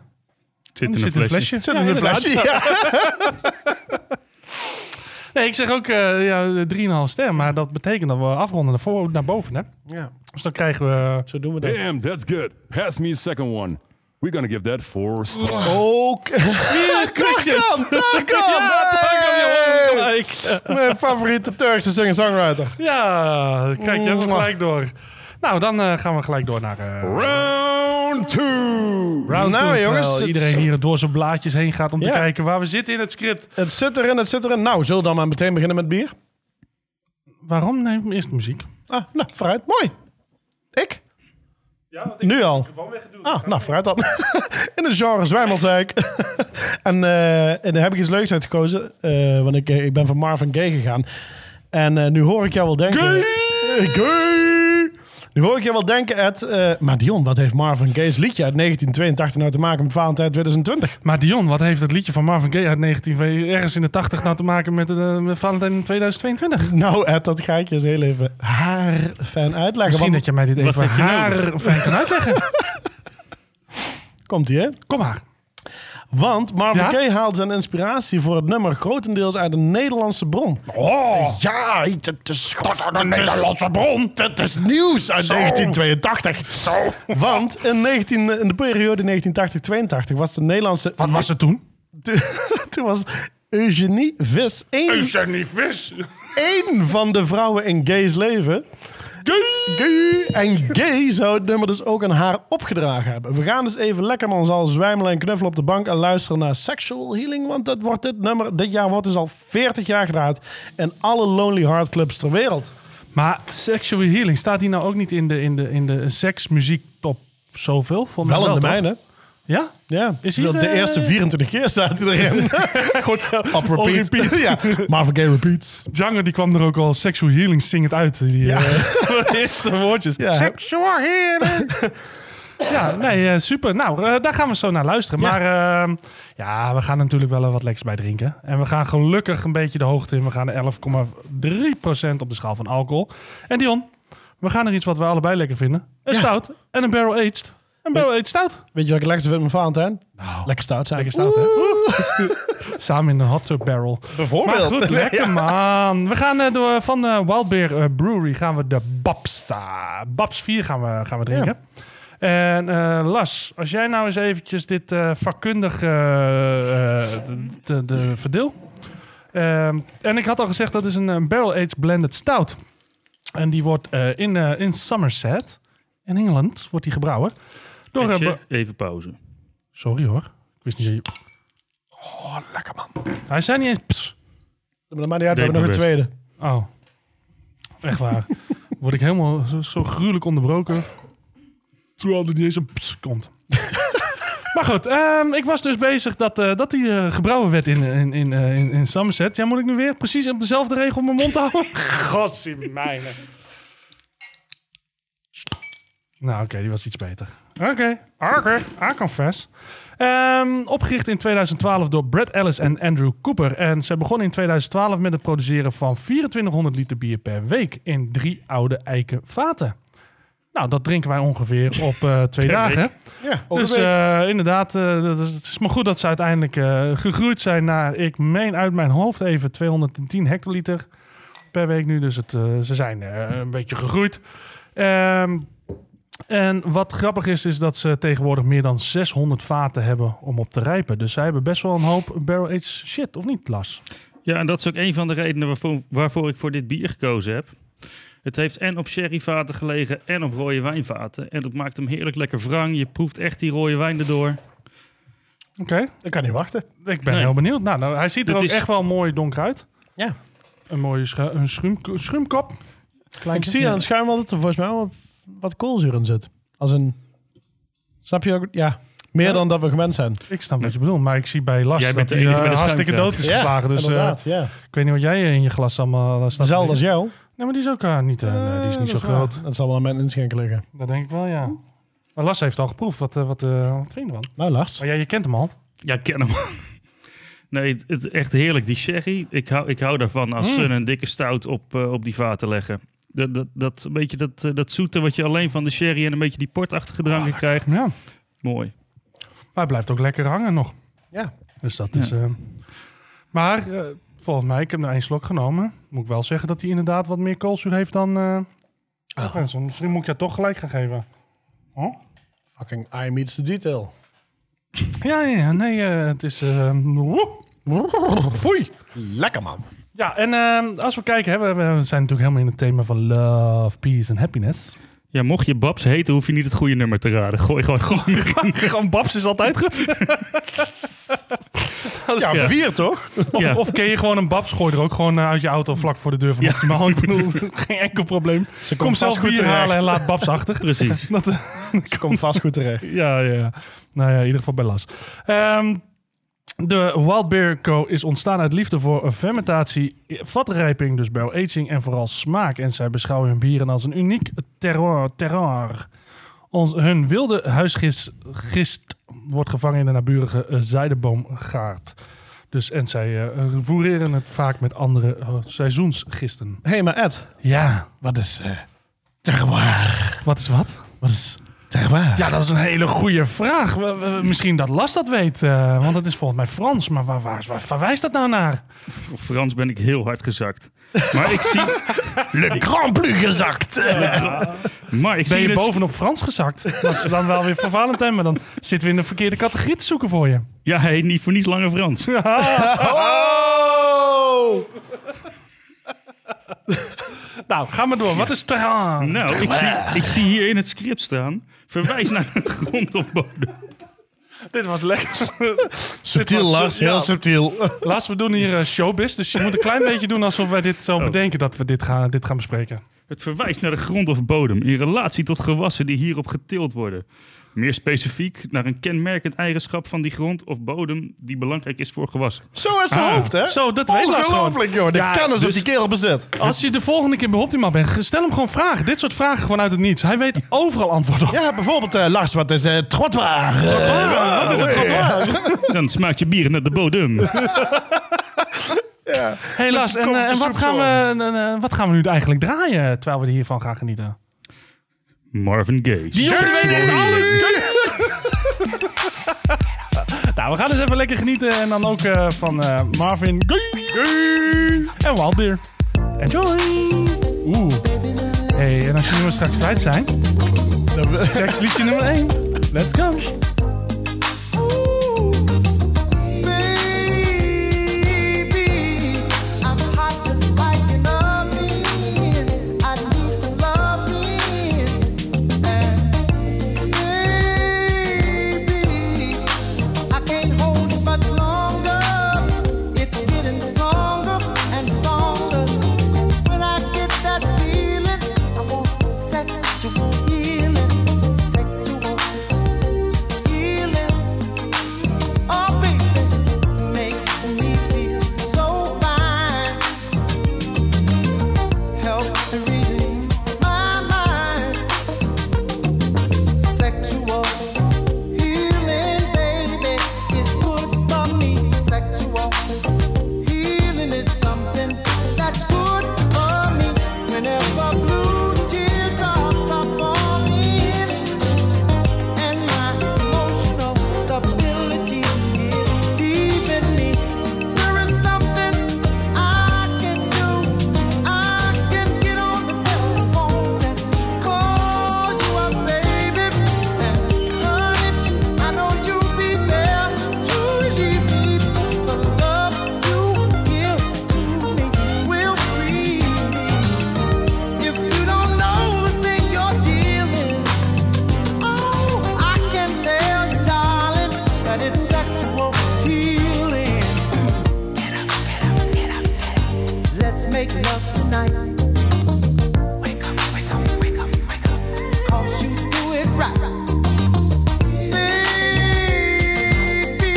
Speaker 5: Het zit
Speaker 1: Er
Speaker 5: in een
Speaker 1: zit een
Speaker 5: flesje.
Speaker 1: flesje. Ja, inderdaad.
Speaker 2: Ja.
Speaker 1: [LAUGHS] Nee, ik zeg ook eh ja, 3,5 ster, maar dat betekent dat we afronden naar, voor, naar boven, hè?
Speaker 2: Ja,
Speaker 1: Dus dan krijgen we...
Speaker 2: Zo doen we dat.
Speaker 4: Damn, that's good. Pass me a second one. We're gonna give that four stars.
Speaker 2: Ook.
Speaker 1: Vier kusjes! [LAUGHS] Ja, Tarkan, je hoort het gelijk.
Speaker 2: Mijn favoriete Turkse singer-songwriter.
Speaker 1: Ja, kijk, je hebt het
Speaker 2: Mwah.
Speaker 1: gelijk door. Nou, dan eh, gaan we gelijk door naar... eh,
Speaker 4: Round two.
Speaker 1: Round two,
Speaker 2: Nou,
Speaker 1: terwijl
Speaker 2: jongens, het-
Speaker 1: iedereen hier door zijn blaadjes heen gaat om te
Speaker 2: Ja.
Speaker 1: kijken waar we zitten in het script.
Speaker 2: Het zit erin, het zit erin. Nou, zullen we dan maar meteen beginnen met bier?
Speaker 1: Waarom neem ik eerst muziek?
Speaker 2: Ah, nou, vooruit. Mooi. Ik?
Speaker 1: Ja, want
Speaker 2: Nu al.
Speaker 1: gewoon weggedoen.
Speaker 2: Ah, nou, vooruit dan. [LAUGHS] in het genre zwijmelzeik. [LAUGHS] en, eh, en daar heb ik iets leuks uitgekozen. eh, want ik, eh, ik ben van Marvin Gaye gegaan. En eh, nu hoor ik jou wel denken... Gay! Nu hoor ik jou wel denken, Ed... eh, maar Dion, wat heeft Marvin Gaye's liedje uit 1982 nou te maken met Valentijn 2020?
Speaker 1: Maar Dion, wat heeft het liedje van Marvin Gaye uit 19 ergens in de 80 nou te maken met, eh, met Valentijn in 2022?
Speaker 2: Nou, Ed, dat ga ik je eens heel even haar fijn uitleggen.
Speaker 1: Misschien
Speaker 2: want-
Speaker 1: dat je mij dit even
Speaker 5: heb je
Speaker 1: haar
Speaker 5: nodig?
Speaker 1: fijn kan
Speaker 2: [LAUGHS]
Speaker 1: uitleggen.
Speaker 2: Komt ie, hè?
Speaker 1: Kom maar.
Speaker 2: Want Marvin
Speaker 1: Ja?
Speaker 2: Gaye haalt zijn inspiratie voor het nummer grotendeels uit een Nederlandse bron. Oh, ja, het is een Nederlandse bron. Het is nieuws uit 1982. Want in, 19, in de periode 1980-82 was de Nederlandse...
Speaker 1: Wat was het toen?
Speaker 2: [LAUGHS] Toen was Eugenie Vis. Eén,
Speaker 1: Jenny Vis.
Speaker 2: één van de vrouwen in Gay's leven. Gay. En Gay zou het nummer dus ook aan haar opgedragen hebben. We gaan dus even lekker met ons al zwijmelen en knuffelen op de bank en luisteren naar Sexual Healing. Want dat wordt dit nummer, dit jaar wordt dus al 40 jaar gedraaid in alle Lonely Heart Clubs ter wereld.
Speaker 1: Maar Sexual Healing, staat die nou ook niet in de, in de, in de seksmuziek top zoveel? Volgens mij
Speaker 2: Wel in de
Speaker 1: toch?
Speaker 2: mijne.
Speaker 1: Ja?
Speaker 2: Ja,
Speaker 1: Is
Speaker 2: is
Speaker 1: hier,
Speaker 2: de,
Speaker 1: eh,
Speaker 2: eerste 24 keer staat hij
Speaker 1: [LAUGHS]
Speaker 2: erin. Gewoon op repeat.
Speaker 1: repeat.
Speaker 2: ja, Marvin Gaye repeats.
Speaker 1: Django die kwam er ook al Sexual Healing zingend uit. Die, eh,
Speaker 2: [LAUGHS]
Speaker 1: voor [LAUGHS] de eerste woordjes.
Speaker 2: Ja.
Speaker 1: Sexual Healing. ja, nee, eh, super. Nou, eh, daar gaan we zo naar luisteren. Maar eh, ja, we gaan natuurlijk wel er wat lekkers bij drinken. En we gaan gelukkig een beetje de hoogte in. We gaan naar 11,3% op de schaal van alcohol. En Dion, we gaan er iets wat we allebei lekker vinden. Een stout en een barrel aged. Een barrel aged stout.
Speaker 2: Weet je wat ik lekkerste vind met Valentijn? Lekker stout zijn.
Speaker 1: Lekker stout, hè? [LAUGHS] Samen in een hot tub barrel. Maar
Speaker 2: Bijvoorbeeld.
Speaker 1: goed, lekker
Speaker 2: [LAUGHS] Ja.
Speaker 1: man. We gaan eh, door van eh Wildbeer eh, Brewery gaan we de Babsta. Babs 4 gaan we, gaan we drinken. En eh, Las, als jij nou eens eventjes dit eh, vakkundig eh, eh, de, de verdeel. Ehm, en ik had al gezegd, dat is een, eh, barrel aged blended stout. En die wordt eh, in, eh, in Somerset, in Engeland, wordt die gebrouwen. Door, eh,
Speaker 5: Etje,
Speaker 1: Bra-
Speaker 5: even pauze.
Speaker 1: Sorry hoor, ik wist niet dat je...
Speaker 2: Oh, lekker man.
Speaker 1: Hij zei niet eens... "Pss."
Speaker 2: Maar maar die uit, we
Speaker 5: Deed
Speaker 2: hebben nog een
Speaker 5: mijn
Speaker 2: tweede.
Speaker 1: Oh. Echt waar. Word ik helemaal zo, zo gruwelijk onderbroken. Terwijl er niet eens een ps komt. [LAUGHS] maar goed, ehm, ik was dus bezig dat, eh, dat die eh, gebrouwen werd in, in, in, eh, in, in Somerset. Ja, moet ik nu weer precies op dezelfde regel mijn mond houden? Gassie mijne. Nou, oké, die was iets beter. Oké, oké, I confess. Ehm, opgericht in 2012 door Brad Ellis en Andrew Cooper. En ze begonnen in 2012 met het produceren van 2400 liter bier per week in drie oude eiken vaten. Nou, dat drinken wij ongeveer op eh, twee
Speaker 5: Per
Speaker 1: dagen.
Speaker 5: week.
Speaker 2: Ja, ook
Speaker 1: Dus
Speaker 2: een week.
Speaker 1: eh, inderdaad, eh, dat is, het is maar goed dat ze uiteindelijk eh, gegroeid zijn naar, ik meen uit mijn hoofd even, 210 hectoliter per week nu. Dus het, eh, ze zijn eh, een beetje gegroeid. Ehm, en wat grappig is, is dat ze tegenwoordig meer dan 600 vaten hebben om op te rijpen. Dus zij hebben best wel een hoop barrel-aged shit, of niet, Las?
Speaker 5: Ja, en dat is ook een van de redenen waarvoor, waarvoor ik voor dit bier gekozen heb. Het heeft en op sherryvaten gelegen en op rode wijnvaten. En dat maakt hem heerlijk lekker wrang. Je proeft echt die rode wijn erdoor.
Speaker 1: Oké,
Speaker 2: Ik kan niet wachten.
Speaker 1: ik ben
Speaker 5: Nee.
Speaker 1: heel benieuwd. Nou, nou, hij ziet er ook
Speaker 5: Dit is-
Speaker 1: echt wel mooi donker uit.
Speaker 2: Ja.
Speaker 1: Een mooie schu- een schuim, schuimkop.
Speaker 2: Ik zie aan het schuim wel dat er volgens mij wel wat koolzuur in zit. Als een... Snap je ook? Ja. Meer dan dat we gewend zijn.
Speaker 1: Ik snap wat je bedoelt, maar ik zie bij Lars
Speaker 5: Jij bent
Speaker 1: dat hij
Speaker 5: de enige
Speaker 1: eh,
Speaker 5: met een
Speaker 1: harstikke dood
Speaker 5: schuimkraag.
Speaker 1: is geslagen. Dus eh,
Speaker 2: inderdaad. ja.
Speaker 1: ik weet niet wat jij in je glas allemaal eh, staat. te
Speaker 2: Dezelfde als
Speaker 1: drinken.
Speaker 2: jou.
Speaker 1: Nee, maar die is ook eh, niet, eh, nee, die is
Speaker 2: Eh,
Speaker 1: niet
Speaker 2: dat
Speaker 1: zo
Speaker 2: waar.
Speaker 1: groot.
Speaker 2: Dat zal wel aan mijn inschenken liggen.
Speaker 1: Dat denk ik wel, ja. Maar Lars heeft al geproefd. Wat, eh, wat, eh, wat vind je ervan?
Speaker 2: Nou, Lars.
Speaker 1: Maar ja, je kent hem al.
Speaker 5: Ja, ik ken hem. [LAUGHS] Nee, het, het- echt heerlijk, die sherry. Ik hou, ik hou daarvan als
Speaker 1: Hmm.
Speaker 5: ze een dikke stout op, eh, op die vaten leggen. Dat, dat, dat, een beetje dat, eh, dat zoete wat je alleen van de sherry en een beetje die portachtige dranken krijgt.
Speaker 1: Ah, Ja. Maar
Speaker 5: Mooi.
Speaker 1: hij blijft ook lekker hangen nog.
Speaker 2: Ja.
Speaker 1: Dus dat is... eh, maar eh, volgens mij, ik heb er één slok genomen. Moet ik wel zeggen dat hij inderdaad wat meer koolzuur heeft dan... eh,
Speaker 2: Oh.
Speaker 1: Lorenzo. Misschien moet ik je toch gelijk gaan geven. Oh?
Speaker 2: Fucking I meets the detail.
Speaker 1: Ja, ja, ja, nee, eh, het is... eh, woe.
Speaker 2: Foei. Lekker man.
Speaker 1: Ja, en ehm, als we kijken, hè, we, we zijn natuurlijk helemaal in het thema van love, peace en happiness.
Speaker 5: Ja, mocht je Babs heten, hoef je niet het goede nummer te raden. Gooi gewoon gewoon.
Speaker 1: Gewoon [LAUGHS] babs is altijd goed. [LAUGHS] Dat is-
Speaker 2: Ja,
Speaker 5: Ja.
Speaker 2: vier toch?
Speaker 1: Of,
Speaker 5: Ja.
Speaker 1: of ken je gewoon een babs, gooi er ook gewoon eh, uit je auto vlak voor de deur van optimaal. [LAUGHS] Ik bedoel, geen enkel probleem.
Speaker 2: Ze
Speaker 1: Kom zelf
Speaker 2: goed
Speaker 1: bier
Speaker 2: terecht.
Speaker 1: halen en laat babs
Speaker 2: [LAUGHS]
Speaker 1: achter.
Speaker 5: Precies.
Speaker 1: [LAUGHS] Dat, eh,
Speaker 2: Ze komt vast goed terecht.
Speaker 1: ja, ja, ja. Nou ja, in ieder geval bij Las. Ehm, de Wild Beer Co. is ontstaan uit liefde voor fermentatie, vatrijping, dus barrel aging en vooral smaak. En zij beschouwen hun bieren als een uniek terroir. terroir. Ons, hun wilde huisgist gist wordt gevangen in de naburige eh, zijdeboomgaard. Dus, en zij eh voereren het vaak met andere eh, seizoensgisten.
Speaker 2: Hé, hey, maar Ed.
Speaker 1: Ja,
Speaker 2: Wat is eh terroir?
Speaker 1: wat is wat?
Speaker 2: Wat is terroir?
Speaker 1: Ja, dat is een hele goede vraag. We- we- misschien dat Las dat weet, eh, want het is volgens mij Frans. Maar waar, waar, waar verwijst dat nou naar?
Speaker 5: Voor Frans ben ik heel hard gezakt. Maar ik
Speaker 1: [LAUGHS]
Speaker 5: zie,
Speaker 2: Le Grand Plus gezakt.
Speaker 5: maar
Speaker 1: Ben
Speaker 5: ik zie dus-
Speaker 1: je
Speaker 5: dit-
Speaker 1: bovenop Frans gezakt? Dat is dan wel weer voor Valentijn, maar dan zitten we in de verkeerde categorie te zoeken voor je. [LAUGHS] Oh!
Speaker 5: Ja, hij heet niet voor niets Lange Frans.
Speaker 2: Oh!
Speaker 1: Nou, ga maar door. Wat is terrain?
Speaker 5: Nou, ik zie, ik zie hier in het script staan. Verwijs naar de grondopbodem.
Speaker 1: Dit was lekker. [LAUGHS]
Speaker 2: Subtiel,
Speaker 1: was-
Speaker 2: Lars.
Speaker 1: ja.
Speaker 2: Heel subtiel.
Speaker 1: [LAUGHS] Lars, we doen hier eh, showbiz, dus je moet een
Speaker 2: [LAUGHS]
Speaker 1: klein beetje doen alsof wij dit
Speaker 2: Oh.
Speaker 1: zo bedenken dat we dit gaan, dit gaan bespreken.
Speaker 5: Het verwijst naar de grond of bodem in relatie tot gewassen die hierop geteeld worden. Meer specifiek naar een kenmerkend eigenschap van die grond of bodem die belangrijk is voor gewassen. Ah,
Speaker 2: Zo uit zijn hoofd, hè?
Speaker 1: Ah. Zo, dat weet Lars gewoon.
Speaker 2: Ongelooflijk, joh. De
Speaker 1: Ja,
Speaker 2: kennis op
Speaker 1: dus-
Speaker 2: die kerel bezit.
Speaker 1: Als je de volgende keer bij Optimaal bent, ge- stel hem gewoon vragen. Dit soort vragen gewoon uit het niets. Hij weet overal antwoord op.
Speaker 2: Ja, bijvoorbeeld, eh, Lars, wat is eh trottoir? Eh,
Speaker 5: Ah,
Speaker 1: Wat is het trottoir?
Speaker 5: [LAUGHS] Dan smaakt je bier naar de bodem.
Speaker 1: Hey Lars, en,
Speaker 2: Komt
Speaker 1: eh,
Speaker 2: de
Speaker 1: en wat,
Speaker 2: soep
Speaker 1: gaan
Speaker 2: voor
Speaker 1: we, eh, eh, wat gaan we nu eigenlijk draaien terwijl we hiervan gaan genieten?
Speaker 5: Marvin Gaye.
Speaker 1: Nou, we gaan dus even lekker genieten. En dan ook eh, van eh, Marvin Gaye en Wild Beer. Enjoy! Oeh. Hey, en als je nummer straks kwijt zijn, seksliedje nummer 1. Let's go!
Speaker 7: Sexual healing, sexual healing. Oh, baby, makes me feel so fine. Helps to relieve my mind. Sexual healing, baby, is good for me. Sexual healing is something that's good for me. Whenever blue teardrops are falling, and my emotional stability is leaving me. There is something I can do. I can get on the telephone and call you up, baby. And honey, I know you'll be there to relieve me. The love you give to me will free me. If you don't know the thing you're dealing. Oh, I can tell you, darling, that it's sexual healing. Let's make love tonight. Wake up, wake up, wake up, wake up. 'Cause you do it right. Baby,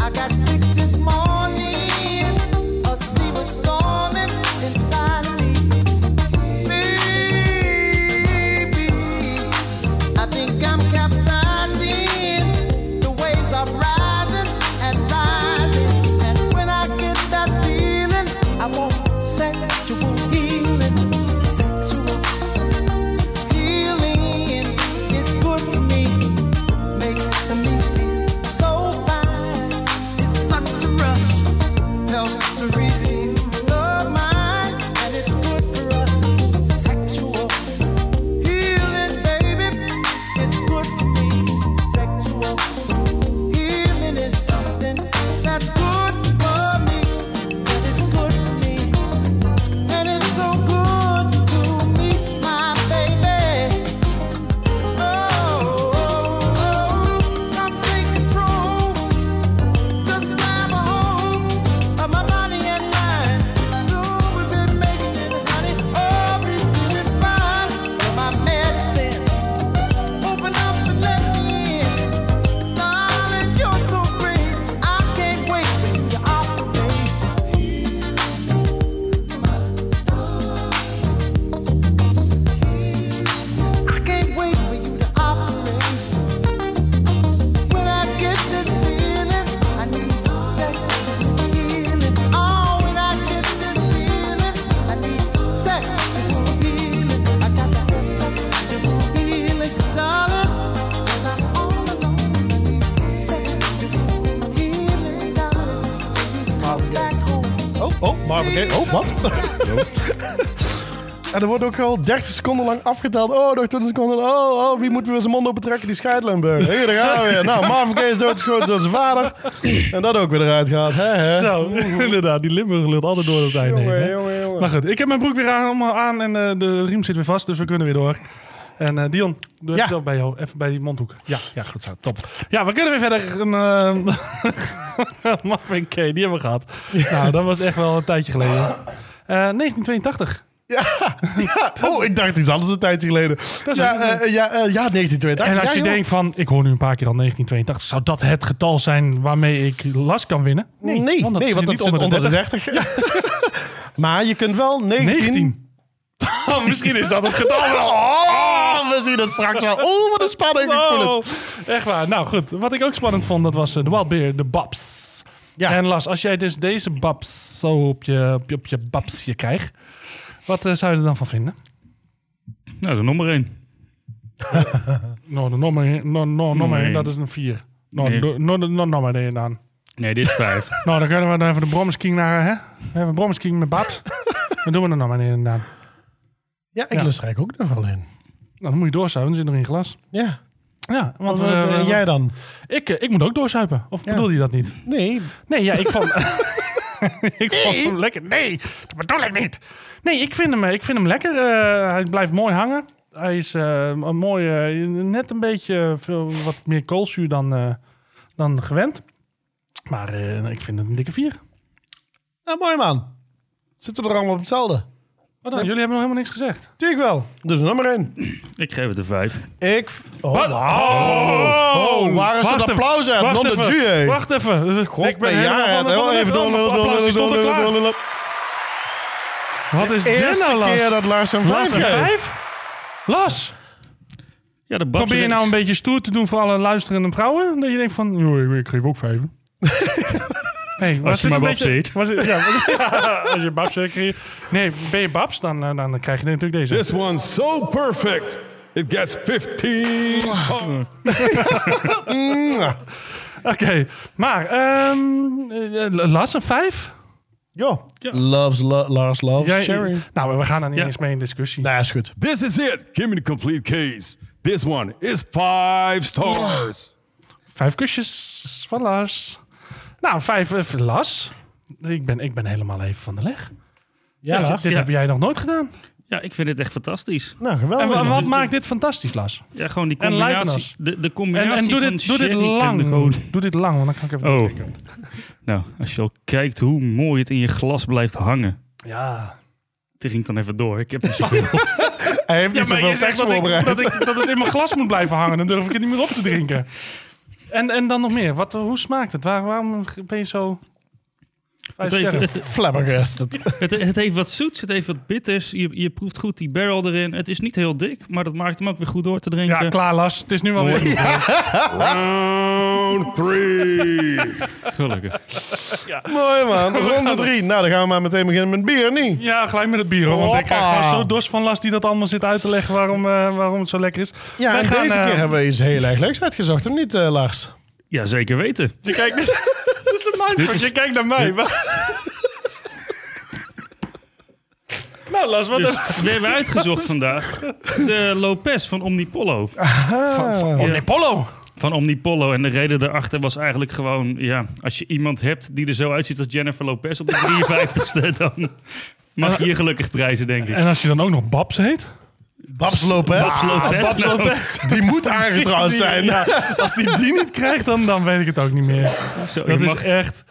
Speaker 7: I got sick this morning. A sea was storming inside of me. Baby, I think I'm capsizing. The waves are rising and rising. And when I get that feeling, I want sexual healing. Sexual healing is good for me. Makes me feel so fine. It's such a rush. Helps to relieve the mind, and it's good for us. Sexual healing, baby. It's good for me. Sexual healing is something that's good for me. It is good for me, and it's so good to me, my baby. Oh, oh, oh, come take control. Just grab a hold of my body and mind. Soon we'll be making it, honey. Oh, we're feeling fine. You're my medicine. Open up and let me in, darling. You're so great. I can't wait when you operate. I can't wait for you to operate. When I get this feeling, I need sexual healing. Oh, when I get this feeling, I need sexual healing. I got that sexual healing, darling. 'Cause I'm all alone. I need sexual healing, darling. Till you come back home.
Speaker 2: Oh, oh, Marvin Gaye. Oh, wat? En er wordt ook al 30 seconden lang afgeteld. Oh, nog 20 seconden. Oh, oh, wie moet weer zijn mond open trekken? Die scheidlemburg. Hier, daar gaan we weer. Nou, Marvin Gaye is doodgeschoten door zijn vader. En dat ook weer eruit gaat. Hè, hè.
Speaker 1: Zo, [LAUGHS] inderdaad. Die Limburg lult altijd door op het einde. heen,
Speaker 2: Jongen,
Speaker 1: hè?
Speaker 2: jongen, jongen.
Speaker 1: Maar goed, ik heb mijn broek weer aan, aan en eh, de riem zit weer vast, dus we kunnen weer door. En eh, Dion, doe
Speaker 2: Ja.
Speaker 1: even zelf bij jou, even bij die mondhoek.
Speaker 2: Ja, ja, goed zo. Top.
Speaker 1: Ja, we kunnen weer verder. Een, eh, [LAUGHS] Marvin K, die hebben we gehad. Nou, dat was echt wel een tijdje geleden. Eh, 1982.
Speaker 2: Oh, ik dacht iets anders een tijdje geleden. Ja, eh, ja, eh, ja, 1982.
Speaker 1: En als
Speaker 2: Ja,
Speaker 1: je
Speaker 2: joh.
Speaker 1: denkt van, ik hoor nu een paar keer al 1982, zou dat het getal zijn waarmee ik last kan winnen?
Speaker 2: Nee, nee, want dat,
Speaker 1: zit
Speaker 2: zit onder, de 30.
Speaker 1: [LAUGHS]
Speaker 2: maar je kunt wel 19...
Speaker 1: 19. Oh, misschien is dat het getal wel.
Speaker 2: Oh, we zien het straks wel. Oh, wat een spanning. Ik voel het.
Speaker 1: Oh, Echt waar. Nou goed, wat ik ook spannend vond, dat was eh, de Wild Beer, de Babs.
Speaker 2: Ja.
Speaker 1: En Las, als jij dus deze Babs zo op je, op je, op je Babsje krijgt, wat eh, zou je er dan van vinden?
Speaker 5: Nou, de nummer
Speaker 1: [LAUGHS]
Speaker 5: één.
Speaker 1: No, no, no, no, no, no, no,
Speaker 5: Nee.
Speaker 1: nou, dat is een Nou, 4. No,
Speaker 5: Nee.
Speaker 1: no, no, no, no, maar nee, dan.
Speaker 5: Nee, dit is vijf.
Speaker 1: [LAUGHS] Nou, dan kunnen we dan even de brommerskiing naar, eh, hè? Even brommerskiing met
Speaker 5: [LAUGHS]
Speaker 1: Babs. dan doen we er nog maar nee, dan.
Speaker 2: Ja, ik
Speaker 1: Ja.
Speaker 2: lust er eigenlijk ook nog wel in.
Speaker 1: Nou, dan moet je doorzuipen, dan zit er in glas.
Speaker 2: Ja.
Speaker 1: Ja, want
Speaker 2: Wat eh,
Speaker 1: eh,
Speaker 2: jij dan?
Speaker 1: ik, eh, ik moet ook doorzuipen. Of bedoelde je dat niet?
Speaker 2: Nee.
Speaker 1: Nee, ja, ik
Speaker 2: [LAUGHS]
Speaker 1: vond... ik vond hem lekker. Nee, dat bedoel ik niet. Nee, ik vind hem, ik vind hem lekker. Eh, hij blijft mooi hangen. Hij is eh, een mooie, net een beetje veel, wat meer koolzuur dan, eh, dan gewend. Maar eh, ik vind het een dikke vier.
Speaker 2: Nou, mooi man. Zitten we er allemaal op hetzelfde?
Speaker 1: Wat dan? Jullie hebben nog helemaal niks gezegd.
Speaker 2: Tuurlijk wel. Dus nummer 1.
Speaker 5: Ik geef het een vijf.
Speaker 2: Ik... Oh,
Speaker 1: Wat?
Speaker 2: oh, oh, waar is
Speaker 1: Wacht
Speaker 2: het
Speaker 1: even,
Speaker 2: applaus uit? E. Non de
Speaker 1: even,
Speaker 2: Dieu.
Speaker 1: wacht even.
Speaker 2: God,
Speaker 1: ik ben
Speaker 2: nee,
Speaker 1: helemaal
Speaker 2: ja,
Speaker 1: van de-
Speaker 2: heel
Speaker 1: van de-
Speaker 2: even door,
Speaker 1: van de-
Speaker 2: door, door,
Speaker 1: applaus, die
Speaker 2: door,
Speaker 1: stond
Speaker 2: door,
Speaker 1: er klaar.
Speaker 2: door, door, door.
Speaker 1: Wat is dit
Speaker 2: Eerste
Speaker 1: nou, Lars?
Speaker 2: keer dat Lars een
Speaker 1: Lars
Speaker 2: vijf
Speaker 1: een
Speaker 2: geeft.
Speaker 1: vijf? Lars,
Speaker 5: Ja, de babs
Speaker 1: probeer je nou een beetje stoer te doen voor alle luisterende vrouwen? Dat je denkt van, joh, ik- ik geef ook vijf.
Speaker 2: [LAUGHS]
Speaker 1: Hey, was
Speaker 5: je
Speaker 1: dit
Speaker 5: maar
Speaker 1: een
Speaker 5: Babs
Speaker 1: beetje-
Speaker 5: eet.
Speaker 1: Was het, [LAUGHS] ja, als je babs kreeg. Nee, ben je babs, dan, eh, dan krijg je natuurlijk deze.
Speaker 4: This one's so perfect. It gets 15 stars.
Speaker 1: [LAUGHS] Oké, maar ehm, eh, Lars een vijf?
Speaker 2: Ja. Loves, lo- Lars loves
Speaker 1: Jij-
Speaker 2: Sherry.
Speaker 1: Nou, we gaan daar niet
Speaker 5: Ja.
Speaker 1: eens mee in discussie.
Speaker 2: Nou, is goed.
Speaker 4: [LAUGHS] This is it. Give me the complete case. This one is five stars.
Speaker 1: Vijf kusjes van Lars. Nou, vijf eh, voor Lars. Ik ben, ik ben helemaal even van de leg.
Speaker 2: Ja,
Speaker 1: Dit dit
Speaker 5: Ja.
Speaker 1: heb jij nog nooit gedaan.
Speaker 5: Ja, ik vind het echt fantastisch.
Speaker 2: Nou,
Speaker 1: En
Speaker 2: geweldig.
Speaker 1: wa- wat maakt dit fantastisch, Lars?
Speaker 5: Ja, gewoon die
Speaker 1: En
Speaker 5: combinatie.
Speaker 1: Leitenas.
Speaker 5: De, de
Speaker 1: En,
Speaker 5: combinatie
Speaker 1: en doe,
Speaker 5: van
Speaker 1: dit, doe dit
Speaker 5: sherry en de
Speaker 1: lang.
Speaker 5: rode.
Speaker 1: Doe dit lang, want dan kan ik even
Speaker 5: Oh.
Speaker 1: doorkijken.
Speaker 5: [LAUGHS] Nou, als je al kijkt hoe mooi het in je glas blijft hangen.
Speaker 1: Ja.
Speaker 5: Het ging dan even door. Ik heb niet
Speaker 1: [LAUGHS]
Speaker 5: zoveel.
Speaker 2: Hij heeft
Speaker 1: Ja,
Speaker 2: niet
Speaker 1: maar
Speaker 2: zoveel
Speaker 1: je
Speaker 2: seks
Speaker 1: zegt dat, ik,
Speaker 2: voorbereid.
Speaker 1: dat, ik, dat het in mijn glas moet blijven hangen. Dan durf ik het niet meer op te drinken. En, en dan nog meer. Wat, hoe smaakt het? Waar, waarom ben je zo... Vijf
Speaker 5: Het
Speaker 1: sterren.
Speaker 5: heeft,
Speaker 2: Flabbergasted.
Speaker 5: het, het heeft wat zoets, het heeft wat bitters. Je, je proeft goed die barrel erin. Het is niet heel dik, maar dat maakt hem ook weer goed door te drinken.
Speaker 1: Ja, klaar Lars. Het is nu wel weer...
Speaker 4: Round three.
Speaker 5: Gelukkig.
Speaker 2: Mooi man. Ronde drie. Nou, dan gaan we maar meteen beginnen met bier, niet?
Speaker 1: Ja, gelijk met het bier hoor. Want ik
Speaker 2: Hoppa.
Speaker 1: krijg gewoon zo dorst van Lars die dat allemaal zit uit te leggen waarom, eh, waarom het zo lekker is.
Speaker 2: Ja,
Speaker 1: Wij
Speaker 2: en
Speaker 1: gaan,
Speaker 2: deze
Speaker 1: eh,
Speaker 2: keer hebben we iets heel erg leuks uitgezocht, of niet, eh, Lars?
Speaker 5: Ja, zeker weten.
Speaker 1: Je kijkt... [LAUGHS] Dit is een mindfuck. Je kijkt naar mij. [LAUGHS] nou Lars, wat
Speaker 5: Dus
Speaker 1: een...
Speaker 5: we hebben uitgezocht vandaag de Lopez van Omnipollo.
Speaker 1: Omnipollo.
Speaker 5: Van Omnipollo. En de reden daarachter was eigenlijk gewoon... Ja, als je iemand hebt die er zo uitziet als Jennifer Lopez op
Speaker 2: [LAUGHS]
Speaker 5: de 53ste... dan mag je je gelukkig prijzen, denk ik.
Speaker 1: En als je dan ook nog Babs heet?
Speaker 2: Babs Lopez. Ah,
Speaker 5: Babs Lopez.
Speaker 2: Babs
Speaker 1: [LAUGHS]
Speaker 5: nou. [LAUGHS]
Speaker 2: Lopez. Die moet [LAUGHS] aangetrouwd zijn.
Speaker 1: Ja, [LAUGHS] als die die niet krijgt, dan, dan weet ik het ook niet meer.
Speaker 5: Zo,
Speaker 1: Dat
Speaker 5: je
Speaker 1: is
Speaker 5: mag-
Speaker 1: echt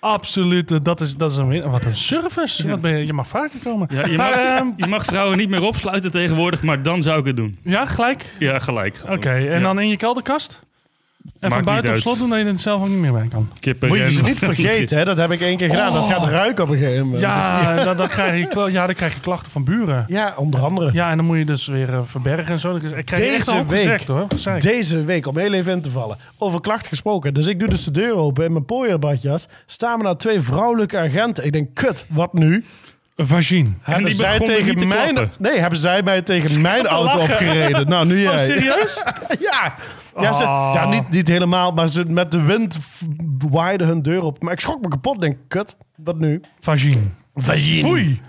Speaker 1: absoluut. Dat is, dat is een win. Wat een service. Wat ben je, je mag vaker komen.
Speaker 5: Ja, je,
Speaker 1: Maar,
Speaker 5: mag,
Speaker 1: ehm,
Speaker 5: eh, je mag vrouwen niet meer opsluiten tegenwoordig, maar dan zou ik het doen.
Speaker 1: ja gelijk.
Speaker 5: Ja, gelijk.
Speaker 1: Oké, en dan in je kelderkast? En van
Speaker 5: niet
Speaker 1: buiten op
Speaker 5: uit.
Speaker 1: slot doen dat je er zelf ook niet meer bij kan.
Speaker 5: Kippen.
Speaker 2: Moet je ze niet vergeten, hè? Dat heb ik één keer gedaan. Dat gaat ruiken op een gegeven moment.
Speaker 1: Oh. Ja, dan, dan krijg je, kla- ja, dan krijg je klachten van buren.
Speaker 2: Ja, onder andere.
Speaker 1: Ja, en dan moet je dus weer eh, verbergen en zo. Ik krijg je echt
Speaker 2: Deze
Speaker 1: al
Speaker 2: week.
Speaker 1: gezegd hoor. Gezeik.
Speaker 2: Deze week, om heel even in te vallen, over klacht gesproken. Dus ik doe dus de deur open in mijn pooierbadjas. Staan we naar nou twee vrouwelijke agenten. Ik denk, kut, wat nu?
Speaker 1: Een vagine.
Speaker 2: Hebben
Speaker 5: die
Speaker 2: zij
Speaker 5: begonnen niet
Speaker 2: tegen
Speaker 5: te
Speaker 2: mijn,
Speaker 5: klappen.
Speaker 2: nee, hebben zij mij tegen mijn auto
Speaker 1: lachen.
Speaker 2: opgereden? Nou, nu jij.
Speaker 1: Oh, serieus?
Speaker 2: [LAUGHS] Ja, ja, ze-
Speaker 1: Ah.
Speaker 2: ja niet, niet helemaal, maar ze, met de wind f- waaiden hun deur op. Maar ik schrok me kapot, denk ik, kut, wat nu?
Speaker 1: Vagine.
Speaker 2: Vagine.
Speaker 1: Foei.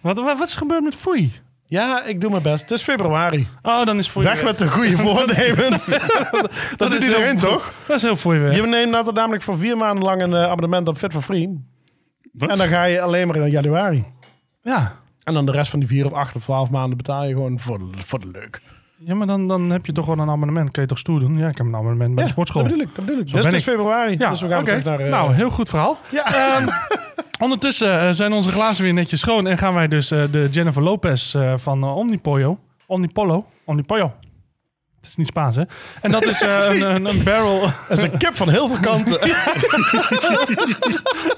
Speaker 1: Wat, wat, wat is er gebeurd met foei?
Speaker 2: Ja, ik doe mijn best. Het is februari.
Speaker 1: Oh, dan is foei
Speaker 2: Weg
Speaker 1: weer.
Speaker 2: met de
Speaker 1: [LAUGHS]
Speaker 2: goede voornemens. dat doet
Speaker 1: is
Speaker 2: iedereen,
Speaker 1: heel-
Speaker 2: toch?
Speaker 1: Dat is heel foei weer.
Speaker 2: Je neemt dat namelijk voor vier maanden lang een eh, abonnement op Fit for Free. En dan ga je alleen maar in januari.
Speaker 1: Ja.
Speaker 2: En dan de rest van die vier of acht of twaalf maanden betaal je gewoon voor de, voor de leuk.
Speaker 1: Ja, maar dan, dan heb je toch wel een abonnement. Kun je toch stoer doen? Ja, ik heb een abonnement bij de sportschool.
Speaker 2: Dat bedoel ik, dat bedoel ik.
Speaker 1: Zo
Speaker 2: Dus het
Speaker 1: ben
Speaker 2: is februari,
Speaker 1: Ja,
Speaker 2: dus we gaan
Speaker 1: oké.
Speaker 2: terug naar... eh,
Speaker 1: Nou, heel goed verhaal. [LAUGHS]
Speaker 2: [LAUGHS]
Speaker 1: Ehm, ondertussen eh, zijn onze glazen weer netjes schoon. En gaan wij dus eh, de Jennifer Lopez eh, van eh, Omnipollo. Omnipollo. Omnipollo. Het is niet Spaans, hè? En dat is eh, een, een, een barrel,
Speaker 2: dat is een kip van heel veel
Speaker 1: [LAUGHS]
Speaker 2: kanten.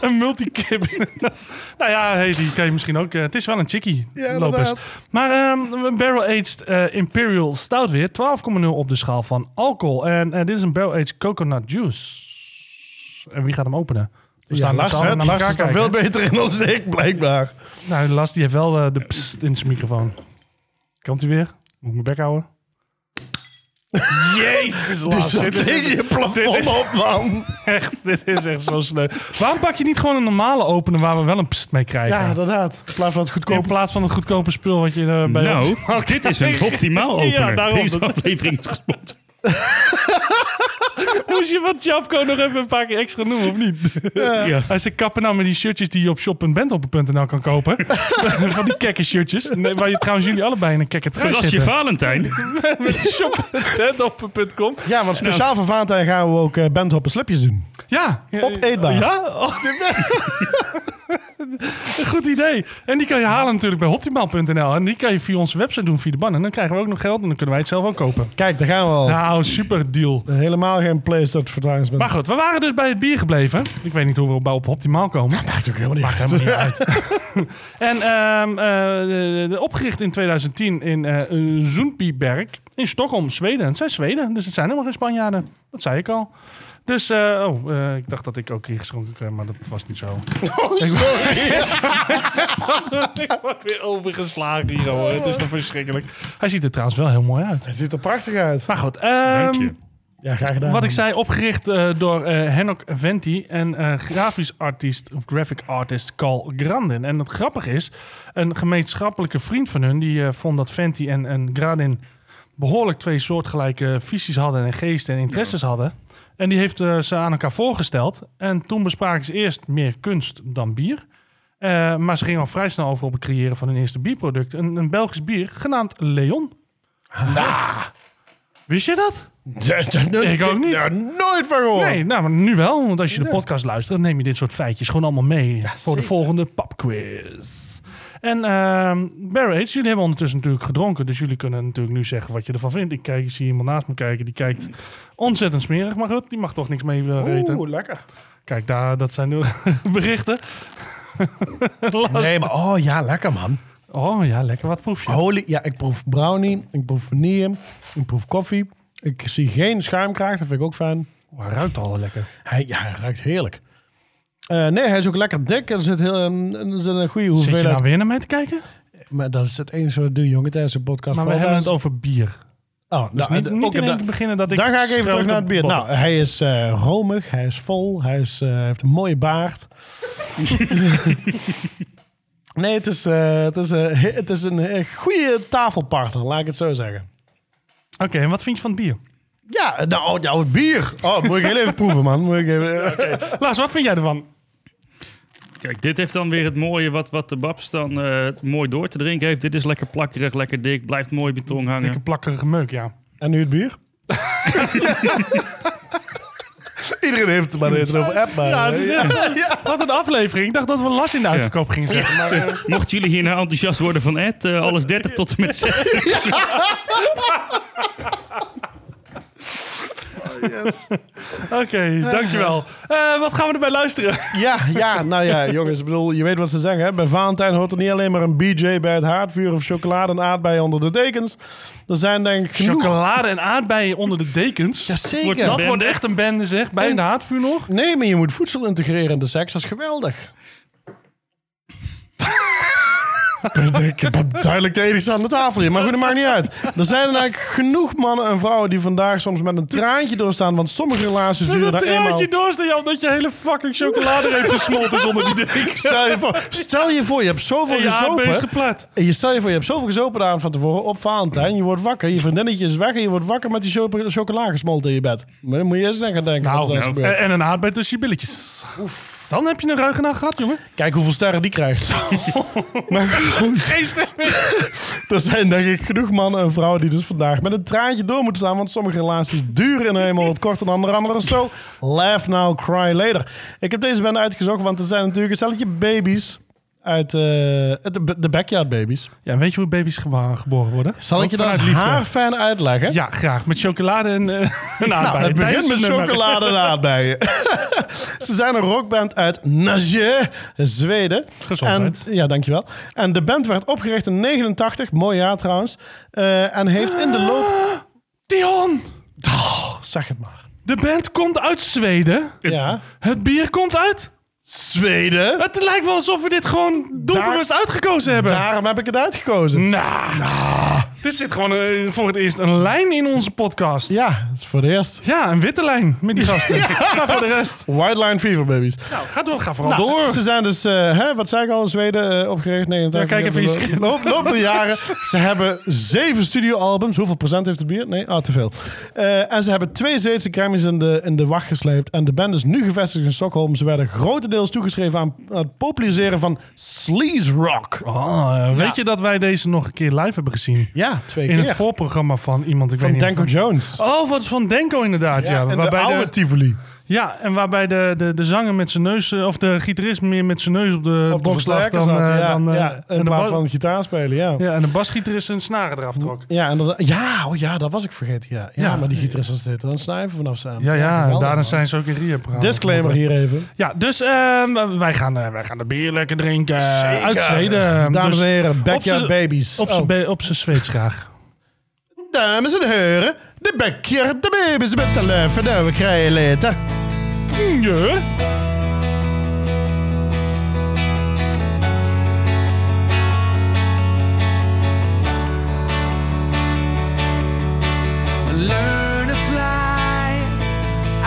Speaker 1: een multikip. nou ja, hey, die kan je misschien ook... eh, het is wel een chickie,
Speaker 2: Ja,
Speaker 1: Lopez.
Speaker 2: inderdaad.
Speaker 1: Maar ehm, een barrel-aged eh, Imperial Stout weer. 12,0 op de schaal van alcohol. En eh, dit is een barrel-aged coconut juice. En wie gaat hem openen? We
Speaker 2: Ja,
Speaker 1: staan- we
Speaker 2: Lars,
Speaker 1: staan
Speaker 2: hè?
Speaker 1: naar
Speaker 2: Lars
Speaker 1: elkaar
Speaker 2: is daar
Speaker 1: kijken,
Speaker 2: veel
Speaker 1: hè?
Speaker 2: beter in dan ik, blijkbaar.
Speaker 1: Nou, Lars die heeft wel eh, de pst in zijn microfoon. Komt hij weer? Moet ik mijn bek houden? Jezus, Lars.
Speaker 2: Zat
Speaker 1: Dit is,
Speaker 2: tegen je
Speaker 1: dit
Speaker 2: plafond
Speaker 1: is-
Speaker 2: op, man.
Speaker 1: [LAUGHS] echt, dit is echt zo sneu. Waarom pak je niet gewoon een normale opener waar we wel een pst mee krijgen?
Speaker 2: Ja, inderdaad. In plaats van het
Speaker 1: in
Speaker 2: goedkoop.
Speaker 1: plaats van het
Speaker 2: [LAUGHS]
Speaker 1: goedkope spul wat je eh, bij
Speaker 5: nou, dit is een optimaal opener.
Speaker 1: [LAUGHS] Ja, daarom.
Speaker 5: Deze aflevering is gesponsord.
Speaker 1: Moest je wat Jafko nog even een paar keer extra noemen, of niet?
Speaker 5: [LAUGHS] Ja.
Speaker 1: Eh, Hij zei kappen nou met die shirtjes die je op shop.bentoppen.nl kan
Speaker 5: [LAUGHS]
Speaker 1: kopen. [LAUGHS] van die kekke shirtjes. Nee, waar je trouwens jullie allebei in een kekke trui
Speaker 5: Verras je
Speaker 1: zitten. [LAUGHS]
Speaker 5: Valentijn.
Speaker 1: Shop.bentoppen.com.
Speaker 2: Ja, want speciaal voor Valentijn gaan we ook eh bandhoppen slipjes doen.
Speaker 1: Nou. Ja.
Speaker 2: Op eetbaar.
Speaker 1: Ja? Oh.
Speaker 2: [LAUGHS]
Speaker 1: [LAUGHS] Goed idee. En die kan je halen natuurlijk bij optimaal.nl. En die kan je via onze website doen, via de ban. En dan krijgen we ook nog geld en dan kunnen wij het zelf ook kopen.
Speaker 2: Kijk, daar gaan we al.
Speaker 1: Nou, super deal.
Speaker 2: Helemaal geen place advertisement.
Speaker 1: Maar goed, we waren dus bij het bier gebleven. Ik weet niet hoe we op optimaal komen.
Speaker 2: maakt ook helemaal niet
Speaker 1: Maakt
Speaker 2: [LAUGHS]
Speaker 1: helemaal niet uit. [LAUGHS] en ehm, eh, de- de- opgericht in 2010 in eh Zoenpieberg in Stockholm, Zweden. Het zijn Zweden, dus het zijn helemaal geen Spanjaarden. Dat zei ik al. Dus, eh, oh, eh, ik dacht dat ik ook hier geschonken kreeg, maar dat was niet zo. [LAUGHS] ik word weer overgeslagen hier, hoor. Het is toch verschrikkelijk. Hij ziet er trouwens wel heel mooi uit.
Speaker 2: Het ziet er prachtig uit.
Speaker 1: Maar goed,
Speaker 5: Dank
Speaker 1: ehm
Speaker 5: je.
Speaker 2: Ja, graag gedaan.
Speaker 1: wat ik zei, opgericht eh, door eh Henok Venti en eh, grafisch artiest of graphic artist Carl Grandin. En het grappige is, een gemeenschappelijke vriend van hun, die eh, vond dat Venti en, en Grandin behoorlijk twee soortgelijke visies hadden en geesten en interesses hadden. En die heeft eh, ze aan elkaar voorgesteld. En toen bespraken ze eerst meer kunst dan bier. Eh, maar ze gingen al vrij snel over op het creëren van hun eerste bierproduct. Een, een Belgisch bier genaamd Leon.
Speaker 2: Nou.
Speaker 1: [LAUGHS] Wist je dat? Ik ook niet.
Speaker 2: Daar nooit van gehoord.
Speaker 1: Nee, nou, maar nu wel. Want als je de podcast luistert, dan neem je dit soort feitjes gewoon allemaal mee voor de volgende papquiz. En ehm Barrel Age, jullie hebben ondertussen natuurlijk gedronken. Dus jullie kunnen natuurlijk nu zeggen wat je ervan vindt. Ik, kijk, ik zie iemand naast me kijken, die kijkt ontzettend smerig. Maar goed, die mag toch niks mee eh, eten.
Speaker 2: Oeh, lekker.
Speaker 1: Kijk, daar, dat zijn de [LAUGHS] berichten.
Speaker 2: [LAUGHS]
Speaker 1: Last.
Speaker 2: Nee, maar oh ja, lekker man.
Speaker 1: Oh ja, lekker. Wat proef je?
Speaker 2: Holy, ja, ik proef brownie, ik proef vanille, ik proef koffie. Ik zie geen schuimkraag, dat vind ik ook fijn.
Speaker 1: Oh, hij ruikt al lekker.
Speaker 2: Hij, ja, hij ruikt heerlijk. Eh, nee, hij is ook lekker dik. Er zit, heel, een- er zit een goede
Speaker 1: Zit je
Speaker 2: hoeveelheid.
Speaker 1: nou weer naar mij te kijken?
Speaker 2: Maar dat is het enige wat we doen, jongen, tijdens de podcast.
Speaker 1: Maar we
Speaker 2: Vooral
Speaker 1: hebben het
Speaker 2: tijdens-
Speaker 1: over bier.
Speaker 2: Oh, nou,
Speaker 1: Niet,
Speaker 2: eh,
Speaker 1: niet
Speaker 2: ook
Speaker 1: in één
Speaker 2: da-
Speaker 1: keer beginnen dat ik...
Speaker 2: Dan ga ik even
Speaker 1: schreeuw
Speaker 2: terug naar
Speaker 1: op
Speaker 2: het bier.
Speaker 1: de
Speaker 2: Nou,
Speaker 1: bot.
Speaker 2: hij is eh, romig, hij is vol, hij is, eh, heeft een mooie [LAUGHS] baard. nee, het is, eh, het is, eh, he- het is een eh, goede tafelpartner, laat ik het zo zeggen.
Speaker 1: Oké, en wat vind je van het bier?
Speaker 2: Ja, nou, jouw bier. Oh, moet ik heel even proeven, man. Moet ik [LAUGHS] even, eh,
Speaker 1: Lars, wat vind jij ervan?
Speaker 5: Kijk, dit heeft dan weer het mooie wat, wat de babs dan eh, mooi door te drinken heeft. Dit is lekker plakkerig, lekker dik, blijft mooi bij tong hangen.
Speaker 1: Dikke plakkerige meuk, ja.
Speaker 2: En nu het bier? Iedereen heeft het maar het over app. Maar, eh,
Speaker 1: Ja, het is echt
Speaker 2: [LAUGHS]
Speaker 1: zo. Wat een aflevering. Ik dacht dat we Lars in de uitverkoop gingen zetten. Maar, eh,
Speaker 5: [LAUGHS] Mochten jullie hier nou enthousiast worden van Ed, eh, alles 30 tot en met 60.
Speaker 1: [LAUGHS] Oké, dankjewel. Eh, wat gaan we erbij luisteren?
Speaker 2: ja, ja, nou ja, [LAUGHS] jongens, ik bedoel, je weet wat ze zeggen. Hè? Bij Valentijn hoort er niet alleen maar een BJ bij het haardvuur of chocolade en aardbeien onder de dekens. Er zijn denk ik genoeg.
Speaker 1: Chocolade en aardbeien onder de dekens.
Speaker 2: Jazeker.
Speaker 5: Wordt
Speaker 1: dat
Speaker 5: Bende.
Speaker 1: wordt echt een bende, zeg. Bij
Speaker 2: En-
Speaker 1: de haatvuur nog.
Speaker 2: Nee, maar je moet voedsel integreren in de seks. Dat is
Speaker 1: [LAUGHS]
Speaker 2: geweldig. ik heb duidelijk de enigste aan de tafel hier. Maar goed, dat maakt niet uit. Er zijn er eigenlijk genoeg mannen en vrouwen die vandaag soms met een traantje doorstaan. Want sommige relaties duren
Speaker 1: Dat
Speaker 2: daar eenmaal...
Speaker 1: traantje doorstaan, Jan, dat je hele fucking chocoladereep gesmolten is onder die dekens.
Speaker 2: [LAUGHS] Stel je, voor, stel je voor, je hebt zoveel
Speaker 1: En je aardbei is
Speaker 2: gezopen.
Speaker 1: geplat.
Speaker 2: En je stel je voor, je hebt zoveel gezopen aan van tevoren op Valentijn. Je wordt wakker, je vriendinnetje is weg en je wordt wakker met die choco- chocola gesmolten in je bed. Maar dan moet je eens aan gaan denken wat er dan
Speaker 5: nou.
Speaker 2: gebeurt.
Speaker 1: En, en een aardbei tussen je billetjes. Oef. Dan heb je een ruige nacht gehad, jongen.
Speaker 2: Kijk hoeveel sterren die
Speaker 1: [LAUGHS]
Speaker 2: krijgt. maar goed.
Speaker 1: Geen stem meer.
Speaker 2: Er zijn denk ik genoeg mannen en vrouwen die dus vandaag met een traantje door moeten staan. Want sommige relaties duren nou eenmaal wat korter dan de andere. Zo, laugh now, cry later. Ik heb deze band uitgezocht, want er zijn natuurlijk een stelletje baby's. Uit eh, de, de backyard baby's.
Speaker 1: Ja, weet je hoe baby's gewa- geboren worden?
Speaker 2: Zal ik je dat
Speaker 1: Vanuit
Speaker 2: als haarfan uitleggen?
Speaker 1: Ja, graag. Met chocolade en eh [LAUGHS] een aardbeien.
Speaker 2: [LAUGHS] Nou, het
Speaker 1: Tijdens
Speaker 2: begint met
Speaker 1: het nummer.
Speaker 2: chocolade en
Speaker 1: [LAUGHS]
Speaker 2: aardbeien. Ze zijn een rockband uit Nage, Zweden.
Speaker 1: Gezondheid.
Speaker 2: En, ja, dankjewel. En de band werd opgericht in 89, mooi jaar trouwens. eh, en heeft in de loop...
Speaker 1: [GASPS]
Speaker 2: Oh,
Speaker 1: Dion,
Speaker 2: Zeg het maar.
Speaker 1: de band komt uit Zweden.
Speaker 2: Ja.
Speaker 1: Het bier komt uit.
Speaker 2: Zweden.
Speaker 1: Het lijkt wel alsof we dit gewoon doelbewust uitgekozen hebben.
Speaker 2: Daarom heb ik het uitgekozen.
Speaker 1: Nou, er zit gewoon eh, voor het eerst een lijn in onze podcast. Ja,
Speaker 2: Ja, dat is voor de eerst.
Speaker 1: een witte lijn met die
Speaker 2: [LAUGHS]
Speaker 1: gasten. Maar voor de rest,
Speaker 2: White Line Fever Babies.
Speaker 1: nou, ga, door, ga vooral
Speaker 2: Nou,
Speaker 1: door.
Speaker 2: Ze zijn dus, eh, hè, wat zei ik al, in Zweden eh, opgericht. 89,
Speaker 1: Ja, kijk even in je script.
Speaker 2: Loop, loop de jaren. Ze hebben zeven studioalbums. Hoeveel procent heeft het bier? Nee, ah, te veel. Eh, en ze hebben twee Zweedse Grammys in de, in de wacht gesleept. En de band is nu gevestigd in Stockholm. Ze werden grotendeels toegeschreven aan, aan het populariseren van sleaze rock.
Speaker 1: Oh, weet je dat wij deze nog een keer live hebben gezien?
Speaker 2: Nou, Ja, twee
Speaker 1: In
Speaker 2: keer.
Speaker 1: het voorprogramma van iemand, ik
Speaker 2: van
Speaker 1: weet niet.
Speaker 2: Danko
Speaker 1: of-
Speaker 2: Jones.
Speaker 1: Oh, wat van Denko inderdaad, ja.
Speaker 2: en de
Speaker 1: Waarbij
Speaker 2: oude Tivoli.
Speaker 1: ja, en waarbij de, de, de zanger met zijn neus, eh, of de gitarist meer met zijn neus op de
Speaker 2: Op de
Speaker 1: box lag
Speaker 2: versterker
Speaker 1: dan,
Speaker 2: zat.
Speaker 1: eh,
Speaker 2: ja,
Speaker 1: dan, eh,
Speaker 2: ja, in
Speaker 1: en, de
Speaker 2: plaats
Speaker 1: ba-
Speaker 2: van gitaar spelen, ja.
Speaker 1: ja, en de basgitarist zijn snaren eraf trok.
Speaker 2: Ja, en dat, ja, oh ja, dat was ik vergeten. Ja, ja,
Speaker 1: Ja.
Speaker 2: maar die gitarist was dit. Dan snijven vanaf zijn.
Speaker 1: Ja, ja,
Speaker 2: geweldig,
Speaker 1: daarin
Speaker 2: man.
Speaker 1: zijn ze ook in Rio.
Speaker 2: Disclaimer hier even.
Speaker 1: Ja, dus ehm, wij, gaan, eh, wij gaan de bier lekker drinken. eh, Uit Zweden.
Speaker 2: Dames en
Speaker 1: Dus
Speaker 2: heren,
Speaker 1: op
Speaker 2: Backyard
Speaker 1: z'n-
Speaker 2: Babies.
Speaker 1: Op
Speaker 2: Oh.
Speaker 1: zijn be- op zijn Zweeds graag.
Speaker 2: Dames en heren, de Backyard Babies met de leven dat we krijgen later.
Speaker 1: Mm, Ja.
Speaker 9: learn to fly.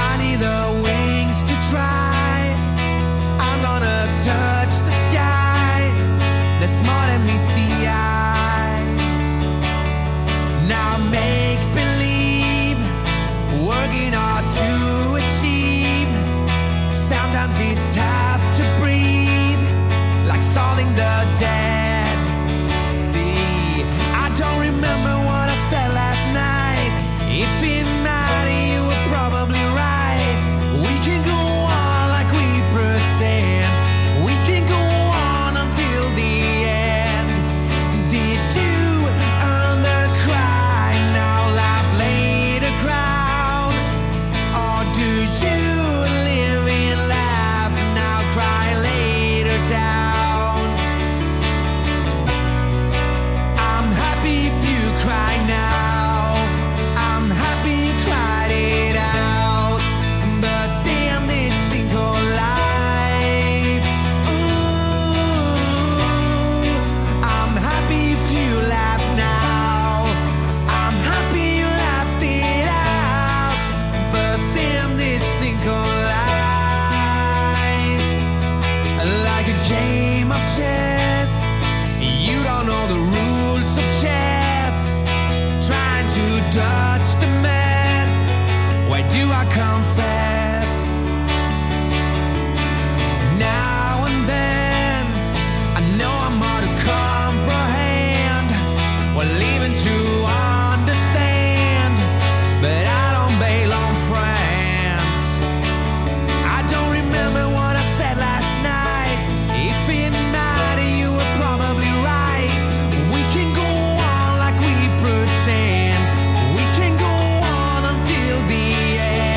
Speaker 9: I need the wings to try. I'm gonna touch the sky. That's more than meets the eye. Now make believe, working hard to achieve. Sometimes it's tough to breathe, like solving the dead see. I don't remember what I said last night. If it mattered, you were probably right. We can go on like we pretend. We can go on until the end. Did you earn the cry? Now laugh later crown. Or do you live in laugh? Now cry later down. I'm happy if you cry now. I'm happy you cried it out. But damn this thing called life. Ooh, I'm happy if you laugh now. I'm happy you laughed it out. But damn this thing called life like a game of chess. You don't know the rules of chess. Trying to dodge the mess. Why do I confess? Now and then, I know I'm hard to comprehend. We're leaving to understand, but I don't bail on friends. I don't remember what I said last night. If it mattered, you were probably right. We can go on like we pretend. We can go on until the end.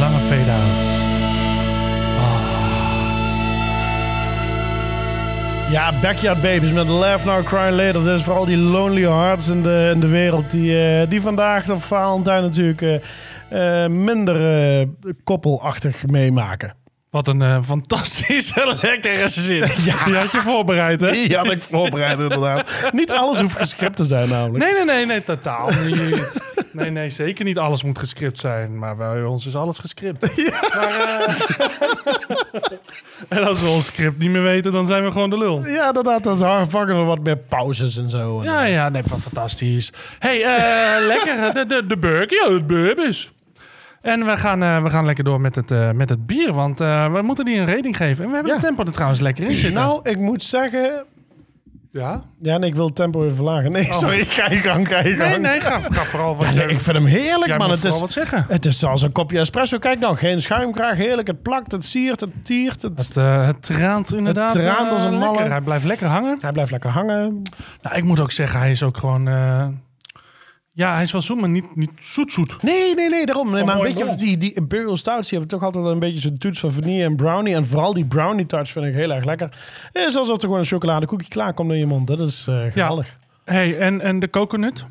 Speaker 1: lange fade-outs.
Speaker 2: Ja, Backyard Babies met Laugh Now, Cry Later. Dit is voor al die lonely hearts in de, in de wereld die, eh, die vandaag de Valentijn natuurlijk eh, eh, minder eh, koppelachtig meemaken.
Speaker 1: Wat een eh, [LAUGHS] fantastische lekkere zin. Die had je voorbereid, hè?
Speaker 2: Die had ik voorbereid inderdaad. Niet alles hoeft gescript te
Speaker 1: [LAUGHS]
Speaker 2: zijn namelijk.
Speaker 1: Nee, nee, nee, nee, totaal niet. Nee, nee, zeker niet alles moet gescript zijn. Maar bij ons is alles
Speaker 2: [LAUGHS]
Speaker 1: gescript. Maar, eh, [LAUGHS] en als we ons script niet meer weten, dan zijn we gewoon de lul.
Speaker 2: Ja, inderdaad. Dan zou- vangen we wat meer pauzes en zo.
Speaker 1: Ja, ja, nee, van fantastisch. hey, eh, [LAUGHS] lekker. De, de, de burger, ja, het burgers. En we gaan, eh, we gaan lekker door met het, eh, met het bier, want eh, we moeten die een rating geven. En we hebben
Speaker 2: Ja.
Speaker 1: de tempo er trouwens lekker in zitten.
Speaker 2: Nou, ik moet zeggen...
Speaker 1: ja. Oh.
Speaker 2: Ja, en ik wil het tempo even verlagen. Nee, sorry. Ga je gang, ga je gang.
Speaker 1: Nee, nee, ga, ga vooral wat. eh,
Speaker 2: Nee, ik vind hem heerlijk,
Speaker 1: jij
Speaker 2: man.
Speaker 1: moet
Speaker 2: Het
Speaker 1: vooral
Speaker 2: is,
Speaker 1: wat zeggen.
Speaker 2: het is zoals een kopje espresso. Kijk nou, geen schuimkraag. Heerlijk. Het plakt, het siert, het tiert. Het...
Speaker 1: Het, eh, het traant inderdaad.
Speaker 2: Het traant als
Speaker 1: eh,
Speaker 2: een malle.
Speaker 1: lekker. Hij blijft lekker hangen.
Speaker 2: Hij blijft lekker hangen.
Speaker 1: Nou, ik moet ook zeggen, hij is ook gewoon... eh, ja, hij is wel zoet, maar niet, niet zoet-zoet.
Speaker 2: Nee, nee, nee, daarom. Nee, maar
Speaker 1: mooi
Speaker 2: weet je,
Speaker 1: blond.
Speaker 2: die, die Imperial Stouts die hebben toch altijd wel een beetje zo'n toets van vanille en brownie. En vooral die brownie touch vind ik heel erg lekker. Het is alsof er gewoon een chocoladekoekje klaarkomt in je mond. Dat is eh geweldig.
Speaker 1: hey, en, en de coconut?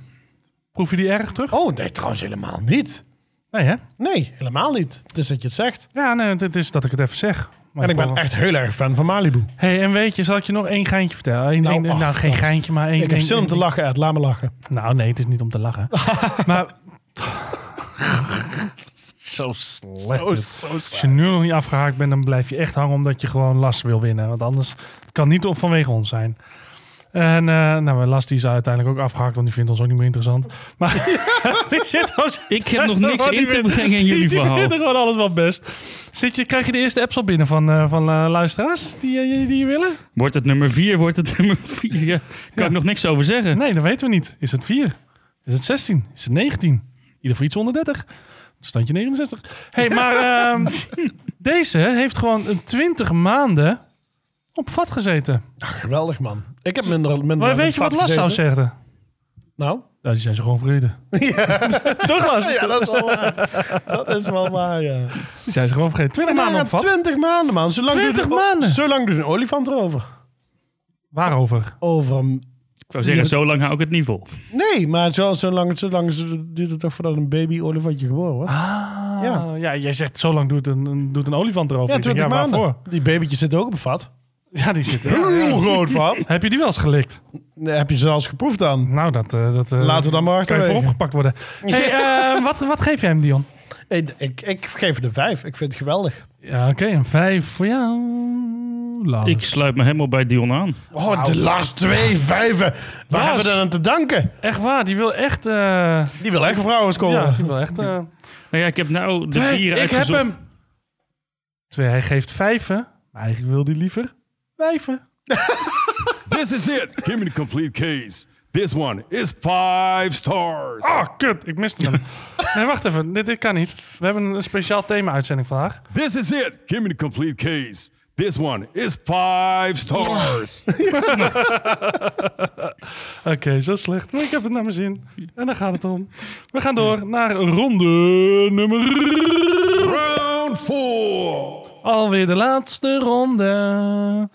Speaker 1: Proef je die erg terug?
Speaker 2: Oh, nee, trouwens helemaal niet.
Speaker 1: Nee, hè?
Speaker 2: Nee, helemaal niet. Het is dat je het zegt.
Speaker 1: Ja, nee, het is dat ik het even zeg. Maar
Speaker 2: En ik ben
Speaker 1: probeer-
Speaker 2: echt heel erg fan van Malibu.
Speaker 1: hey, en weet je, zal ik je nog één geintje vertellen? Eén-
Speaker 2: Nou,
Speaker 1: één-
Speaker 2: oh,
Speaker 1: nou, geen
Speaker 2: vertel.
Speaker 1: geintje, maar één...
Speaker 2: Ik heb
Speaker 1: één-
Speaker 2: zin om te
Speaker 1: één-
Speaker 2: lachen, Ed. Laat me lachen.
Speaker 1: Nou, nee, het is niet om te lachen. maar
Speaker 2: Zo slecht. Oh, zo [LAUGHS]
Speaker 1: als je nu nog niet afgehaakt bent, dan blijf je echt hangen omdat je gewoon last wil winnen. Want anders het kan niet op vanwege ons zijn. En eh nou, Las die is uiteindelijk ook afgehaakt, want die vindt ons ook niet meer interessant. Maar die zit als
Speaker 5: [LAUGHS] Ik heb nog
Speaker 2: [LAUGHS]
Speaker 5: niks
Speaker 1: [LAUGHS] Oh, die
Speaker 5: in te
Speaker 1: vindt-
Speaker 5: brengen in
Speaker 1: [LAUGHS]
Speaker 5: jullie
Speaker 1: die
Speaker 5: verhaal.
Speaker 1: vinden gewoon alles wel best. Zit je, krijg je de eerste apps al binnen van, eh, van eh, luisteraars die, eh, die je willen?
Speaker 5: Wordt het nummer 4, wordt het [LAUGHS] nummer 4. Ja, kan ik nog niks over zeggen.
Speaker 1: Nee, dat weten we niet. Is het 4? Is het 16? Is het 19? In Ieder voor iets onder 30. Standje 69. hey, maar ehm, deze heeft gewoon een 20 maanden op vat gezeten.
Speaker 2: geweldig, man. Ik heb minder... minder
Speaker 1: Maar weet je wat Las zou
Speaker 2: gezeten.
Speaker 1: zeggen?
Speaker 2: [LAUGHS] Nou?
Speaker 1: Nou, die zijn ze gewoon vergeten. [LAUGHS] Toch Las?
Speaker 2: Ja, dat is wel waar. [LAUGHS] dat is wel waar, ja.
Speaker 1: Die zijn ze gewoon vergeten. 20 maanden op vat.
Speaker 2: 20 maanden, man. Zo lang
Speaker 1: 20
Speaker 2: doet,
Speaker 1: maanden?
Speaker 2: Zo lang doet een olifant erover.
Speaker 1: Waarover?
Speaker 2: Over een...
Speaker 5: Ik wou zeggen, zo lang hou ik het niet vol.
Speaker 2: Nee, maar zo, zo, lang, zo lang duurt het toch voordat een baby-olifantje geboren wordt.
Speaker 1: Ah, ja.
Speaker 2: Ja.
Speaker 1: jij zegt zo lang doet een, een- doet een olifant erover.
Speaker 2: ja,
Speaker 1: Ik denk,
Speaker 2: 20 maanden.
Speaker 1: Waarvoor?
Speaker 2: Die babytjes zitten ook op een vat.
Speaker 1: [LAUGHS] Ja, die zitten.
Speaker 2: Heel groot vat.
Speaker 1: Heb je die wel eens gelikt?
Speaker 2: Nee, heb je ze zelfs geproefd dan?
Speaker 1: Nou, dat, eh, dat eh,
Speaker 2: Laten we dan maar
Speaker 1: kan je voor
Speaker 2: achterwege.
Speaker 1: opgepakt worden.
Speaker 2: [LAUGHS]
Speaker 1: Hey, eh, wat, wat geef jij hem, Dion?
Speaker 2: Ik, ik, ik geef het een vijf. Ik vind het geweldig.
Speaker 1: Ja, oké, een vijf voor jou. Lars.
Speaker 5: Ik sluit me helemaal bij Dion aan.
Speaker 2: Oh, de last twee vijven. Waar
Speaker 1: Lars.
Speaker 2: hebben we dan aan te danken?
Speaker 1: Echt waar, die wil echt... eh,
Speaker 2: Die wil echt vrouwen scoren.
Speaker 1: ja, die wil echt... eh,
Speaker 5: Nou ja, ik heb nou de
Speaker 1: twee,
Speaker 5: vier
Speaker 1: ik heb
Speaker 5: uitgezocht.
Speaker 1: hem. Twee, hij geeft vijven. Maar eigenlijk wil die liever vijven.
Speaker 4: This is it. Give me the complete case. This one is five stars.
Speaker 1: Oh, kut, ik miste hem. nee, wacht even, dit, dit kan niet. We hebben een speciaal thema-uitzending vandaag.
Speaker 4: This is it. Give me the complete case. This one is five stars.
Speaker 1: Oké, zo slecht. Maar ik heb het naar mijn zin. En daar gaat het om. We gaan door naar ronde nummer...
Speaker 4: Round four.
Speaker 1: Alweer de laatste ronde.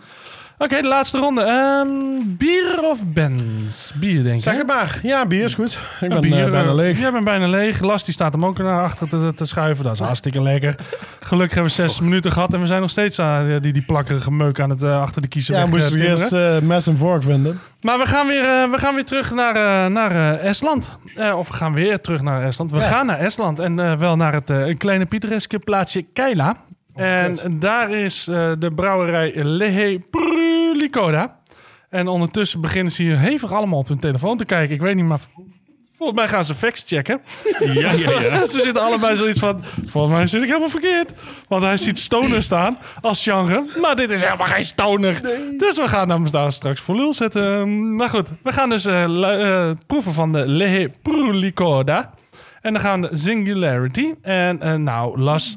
Speaker 1: Oké, de laatste ronde. Ehm, bier of Benz? Bier, denk ik.
Speaker 2: Zeg
Speaker 1: hè?
Speaker 2: het maar. Ja, bier is goed. Ik ben
Speaker 1: bier,
Speaker 2: eh, bijna
Speaker 1: eh,
Speaker 2: leeg.
Speaker 1: Jij bent bijna leeg. Las die staat hem ook naar achter te, te schuiven. Dat is hartstikke lekker. Gelukkig hebben we zes minuten gehad en we zijn nog steeds aan eh, die, die plakkerige meuk aan het eh, achter de kiezer
Speaker 2: Ja,
Speaker 1: weg,
Speaker 2: moest
Speaker 1: eh,
Speaker 2: ik
Speaker 1: timmeren.
Speaker 2: eerst eh, mes en vork vinden.
Speaker 1: Maar we gaan weer, eh, we gaan weer terug naar, eh, naar eh, Estland. Eh, of we gaan weer terug naar Estland. We gaan naar Estland en eh, wel naar het eh, een kleine pittoreske plaatsje Keila. en daar is eh, de brouwerij Lehe Prulikoda. En ondertussen beginnen ze hier hevig allemaal op hun telefoon te kijken. Ik weet niet, maar vol- volgens mij gaan ze facts checken.
Speaker 5: [LAUGHS] Ja,
Speaker 1: [LAUGHS]
Speaker 5: ja, ja.
Speaker 1: ze zitten allebei zoiets van, volgens mij zit ik helemaal verkeerd. Want hij ziet stoner staan als genre, maar dit is helemaal geen stoner. Dus we gaan hem daar straks voor lul zetten. Maar goed, we gaan dus eh, lu- eh, proeven van de Lehe Prulicoda. En dan gaan we Singularity. En eh, nou, Las,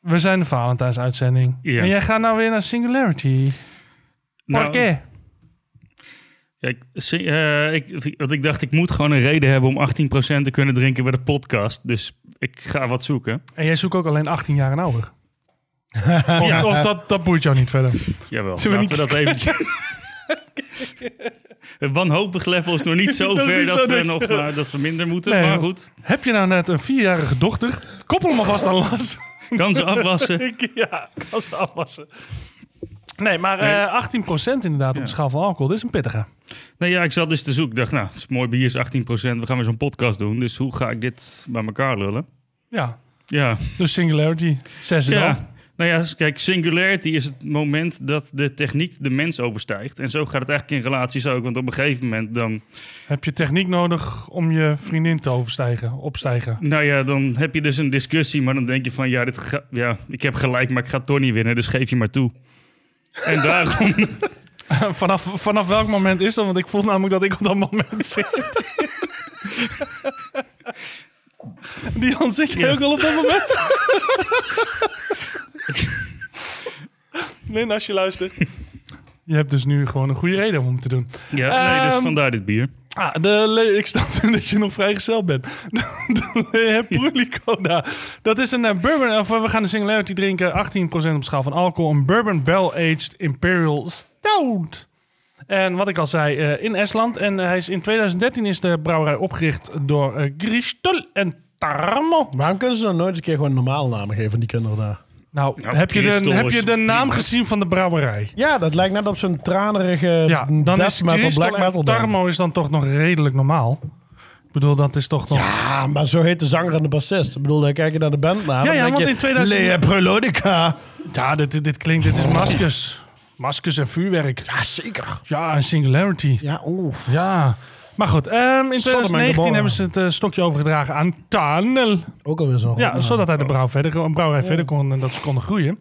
Speaker 1: we zijn de Valentijnsuitzending.
Speaker 5: Ja.
Speaker 1: En jij gaat nou weer naar Singularity.
Speaker 5: Nou,
Speaker 1: Por qué?
Speaker 5: Ja, ik, zie- eh, ik, want ik dacht, ik moet gewoon een reden hebben om 18% te kunnen drinken bij de podcast. Dus ik ga wat zoeken.
Speaker 1: En jij zoekt ook alleen 18 jaar en ouder. of of dat, dat boeit jou niet verder.
Speaker 5: Jawel,
Speaker 1: Zullen we
Speaker 5: laten we dat even...
Speaker 1: [LAUGHS]
Speaker 5: Het wanhopig level is nog niet zo
Speaker 1: [LAUGHS] Dat
Speaker 5: ver
Speaker 1: is
Speaker 5: dat,
Speaker 1: zo
Speaker 5: we
Speaker 1: dat-
Speaker 5: nog maar, dat we minder moeten.
Speaker 1: Nee,
Speaker 5: maar
Speaker 1: joh.
Speaker 5: goed,
Speaker 1: Heb je nou net een vierjarige dochter? Koppel hem alvast aan Las.
Speaker 5: [LAUGHS] kan ze afwassen.
Speaker 1: [LAUGHS] Ik- ja, ik kan ze afwassen. Nee, maar
Speaker 5: Nee.
Speaker 1: eh 18% inderdaad op de schaal van alcohol. Dat is een pittige.
Speaker 5: Nee, ja, ik zat dus te zoeken. Ik dacht, nou, het is mooi bier, is 18%. We gaan weer zo'n podcast doen. Dus hoe ga ik dit bij elkaar lullen?
Speaker 1: Ja,
Speaker 5: Ja,
Speaker 1: dus singularity. 6 is al.
Speaker 5: ja. Nou ja, s- kijk, singularity is het moment dat de techniek de mens overstijgt. En zo gaat het eigenlijk in relaties ook. Want op een gegeven moment dan...
Speaker 1: Heb je techniek nodig om je vriendin te overstijgen, opstijgen?
Speaker 5: Nou ja, dan heb je dus een discussie, maar dan denk je van ja, dit ga- ja ik heb gelijk, maar ik ga toch niet winnen, dus geef je maar toe.
Speaker 1: [LAUGHS]
Speaker 5: En daarom, [LAUGHS]
Speaker 1: vanaf, vanaf welk moment is dat? Want ik voel namelijk dat ik op dat moment [LAUGHS] zit. Dion, zit je
Speaker 5: Ja.
Speaker 1: ook al op dat moment? Lin, als je luistert. Je hebt dus nu gewoon een goede reden om het te doen.
Speaker 5: ja, nee, dus
Speaker 1: Ehm.
Speaker 5: vandaar dit bier.
Speaker 1: Ah, de le- ik snap nu [LAUGHS] dat je nog vrijgezel bent. [LAUGHS] De Le Brulicoda. Dat is een eh, bourbon... Of eh, we gaan de singularity drinken. 18% op schaal van alcohol. Een bourbon barrel-aged imperial stout. En wat ik al zei, eh, in Estland. En hij is in 2013 is de brouwerij opgericht door eh Gristol en Tarmo.
Speaker 2: Waarom kunnen ze dan nooit eens een keer gewoon normaal namen geven aan die kinderen daar?
Speaker 1: Nou,
Speaker 5: Nou,
Speaker 1: heb, je de,
Speaker 5: Gristol
Speaker 1: heb
Speaker 5: is
Speaker 1: je de naam
Speaker 5: prima.
Speaker 1: gezien van de brouwerij?
Speaker 2: Ja, dat lijkt net op zo'n tranerige
Speaker 1: Ja, dan
Speaker 2: eh, death
Speaker 1: is
Speaker 2: metal,
Speaker 1: Gristol
Speaker 2: black metal
Speaker 1: en
Speaker 2: band.
Speaker 1: Tarmo is dan toch nog redelijk normaal. Ik bedoel, dat is toch nog...
Speaker 2: Ah, maar zo heet de zanger en de bassist. Ik bedoel, dan kijk je naar de bandnaam.
Speaker 1: Ja, ja,
Speaker 2: dan denk
Speaker 1: want
Speaker 2: je,
Speaker 1: in 2000
Speaker 2: Lea Prelodica.
Speaker 1: Ja, dit, dit, dit klinkt, dit is maskers. Maskers en vuurwerk.
Speaker 2: Ja, zeker.
Speaker 1: Ja, en singularity.
Speaker 2: Ja, oeh.
Speaker 1: Ja. Maar goed, ehm, in
Speaker 2: Sodom en
Speaker 1: 2019
Speaker 2: Gomorra.
Speaker 1: hebben ze het eh, stokje overgedragen aan Tanel.
Speaker 2: Ook alweer zo'n
Speaker 1: Ja,
Speaker 2: rotnaam.
Speaker 1: zodat hij de brouw verder, een brouwerij verder kon en dat ze konden groeien.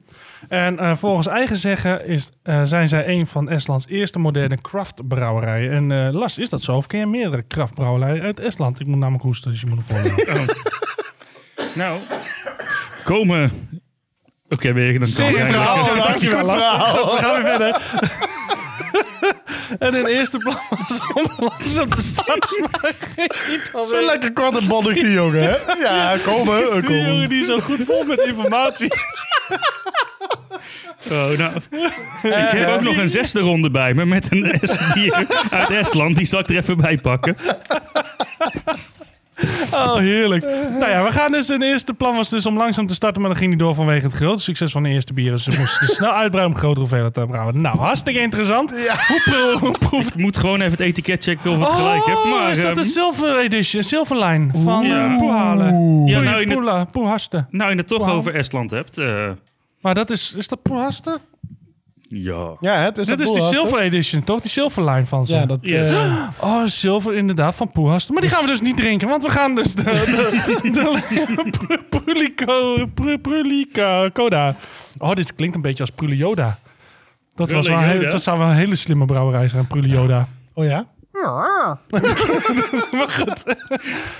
Speaker 1: En eh, volgens eigen zeggen is, eh, zijn zij een van Estlands eerste moderne craftbrouwerijen. En eh, Lars, is dat zo? Of ken je meerdere craftbrouwerijen uit Estland? Ik moet namelijk hoesten, dus je moet hem volgen.
Speaker 5: Nou, komen. Oké, ben je dan
Speaker 1: Zeker.
Speaker 5: kan ik-
Speaker 1: Vrouw.
Speaker 2: Verhaal,
Speaker 1: Dankjewel,
Speaker 2: Lars, goed
Speaker 1: Lars.
Speaker 2: verhaal.
Speaker 1: We gaan weer verder. [LAUGHS] en in eerste plan was om langzaam te starten.
Speaker 2: Zo lekker kort en bondig die jongen, hè?
Speaker 1: [LAUGHS]
Speaker 2: Ja, komen, eh,
Speaker 1: Die
Speaker 2: komen.
Speaker 1: jongen die is zo goed vol met informatie.
Speaker 5: Oh, nou.
Speaker 1: Eh,
Speaker 5: Ik heb ook nog een zesde ronde bij me met een S
Speaker 1: [LAUGHS]
Speaker 5: bier uit Estland. Die zal ik er even bij pakken.
Speaker 1: Oh, heerlijk. Nou ja, we gaan dus. Een eerste plan was dus om langzaam te starten, maar dan ging hij door vanwege het grote succes van de eerste bieren. Dus ze moesten dus snel uitbreiden om grotere hoeveelheden te brouwen. Nou, hartstikke interessant. Hoe, pro- hoe proeft
Speaker 5: Ik moet gewoon even het etiket checken of ik gelijk heb. Maar,
Speaker 1: Oh, is dat
Speaker 5: ehm,
Speaker 1: de Silver Edition, Silver Line van
Speaker 5: Oeh.
Speaker 1: eh, Poehalen?
Speaker 5: ja, nou,
Speaker 1: Ja,
Speaker 5: je het,
Speaker 1: Poela, Poehaste.
Speaker 5: nou, je het toch over Estland hebt. eh,
Speaker 1: Maar dat is, is dat Poehaste?
Speaker 5: ja.
Speaker 2: Ja, het is
Speaker 1: Dit
Speaker 2: dat
Speaker 1: is die
Speaker 2: boel, hè?
Speaker 1: Silver Edition, toch? Die Silver Line van ze.
Speaker 2: Ja, dat...
Speaker 5: Yes.
Speaker 2: eh,
Speaker 1: Oh, zilver inderdaad, van Poehast. Maar die gaan we dus niet drinken, want we gaan dus de, de,
Speaker 2: [LAUGHS]
Speaker 1: de, Pru- Prulico, Pru- Prulica Coda. Oh, dit klinkt een beetje als Prulioda. Dat, was wel een hele-
Speaker 5: Prulioda?
Speaker 1: dat zou wel een hele slimme brouwerij zijn, Prulioda.
Speaker 2: Oh
Speaker 1: [LAUGHS]
Speaker 2: ja?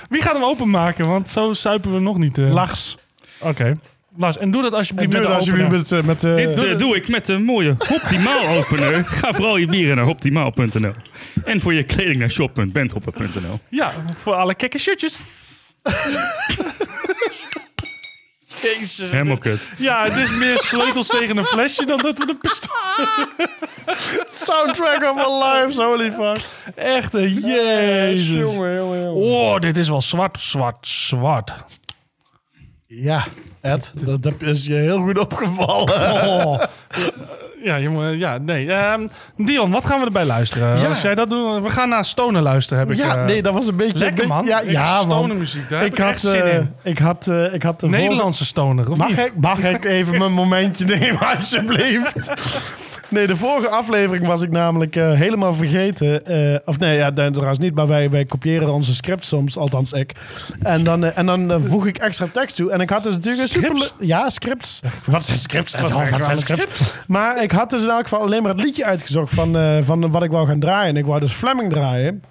Speaker 1: Wie gaat hem openmaken? Want zo suipen we nog niet. eh.
Speaker 2: Lars.
Speaker 1: Oké. Lars, en doe dat alsjeblieft
Speaker 2: Doe
Speaker 1: met
Speaker 2: dat
Speaker 1: de
Speaker 2: alsjeblieft
Speaker 1: opener.
Speaker 2: met... eh, met eh,
Speaker 5: Dit eh, doe ik met een mooie Optimaal
Speaker 1: [LAUGHS]
Speaker 5: opener. Ga vooral je bieren naar optimaal.nl. En voor je kleding naar shop.bandhopper.nl.
Speaker 1: Ja, voor alle kekke shirtjes. Dus-
Speaker 5: Helemaal kut.
Speaker 1: Ja, het is meer sleutels tegen een flesje dan dat we een pistool...
Speaker 2: [LAUGHS] Soundtrack of our lives, holy fuck.
Speaker 1: Echt, eh, jezus.
Speaker 2: Jongen, jongen, jongen.
Speaker 1: Oh, dit is wel zwart, zwart, zwart.
Speaker 2: Ja, Ed, dat, dat is je heel goed opgevallen.
Speaker 1: Oh. Ja, je moet- ja, nee. Ehm, Dion, wat gaan we erbij luisteren?
Speaker 2: Ja.
Speaker 1: Als jij dat doet, we gaan naar Stoner luisteren, heb ik.
Speaker 2: Ja,
Speaker 1: eh,
Speaker 2: nee, dat was een beetje...
Speaker 1: lekker man.
Speaker 2: Ja,
Speaker 1: Ik-
Speaker 2: ja
Speaker 1: stoner
Speaker 2: man.
Speaker 1: muziek, daar heb ik, echt
Speaker 2: eh,
Speaker 1: zin in.
Speaker 2: ik had, eh, ik had de vorige-
Speaker 1: Nederlandse stoner, of niet?
Speaker 2: Mag ik, mag ik even mijn momentje nemen, alsjeblieft? Nee, de vorige aflevering was ik namelijk eh, helemaal vergeten. eh, of nee, ja, dat trouwens niet, maar wij, wij kopiëren onze script soms, althans ik. En dan, eh, en dan eh, voeg ik extra tekst toe. En ik had dus natuurlijk een
Speaker 1: Scripts?
Speaker 2: superle- Ja, scripts. Wat zijn scripts? Ed? Wat,
Speaker 1: werken
Speaker 2: zijn
Speaker 1: we aan
Speaker 2: scripts? Maar ik had dus in elk geval alleen maar het liedje uitgezocht van, eh, van wat ik wou gaan draaien. En ik wou dus Fleming draaien.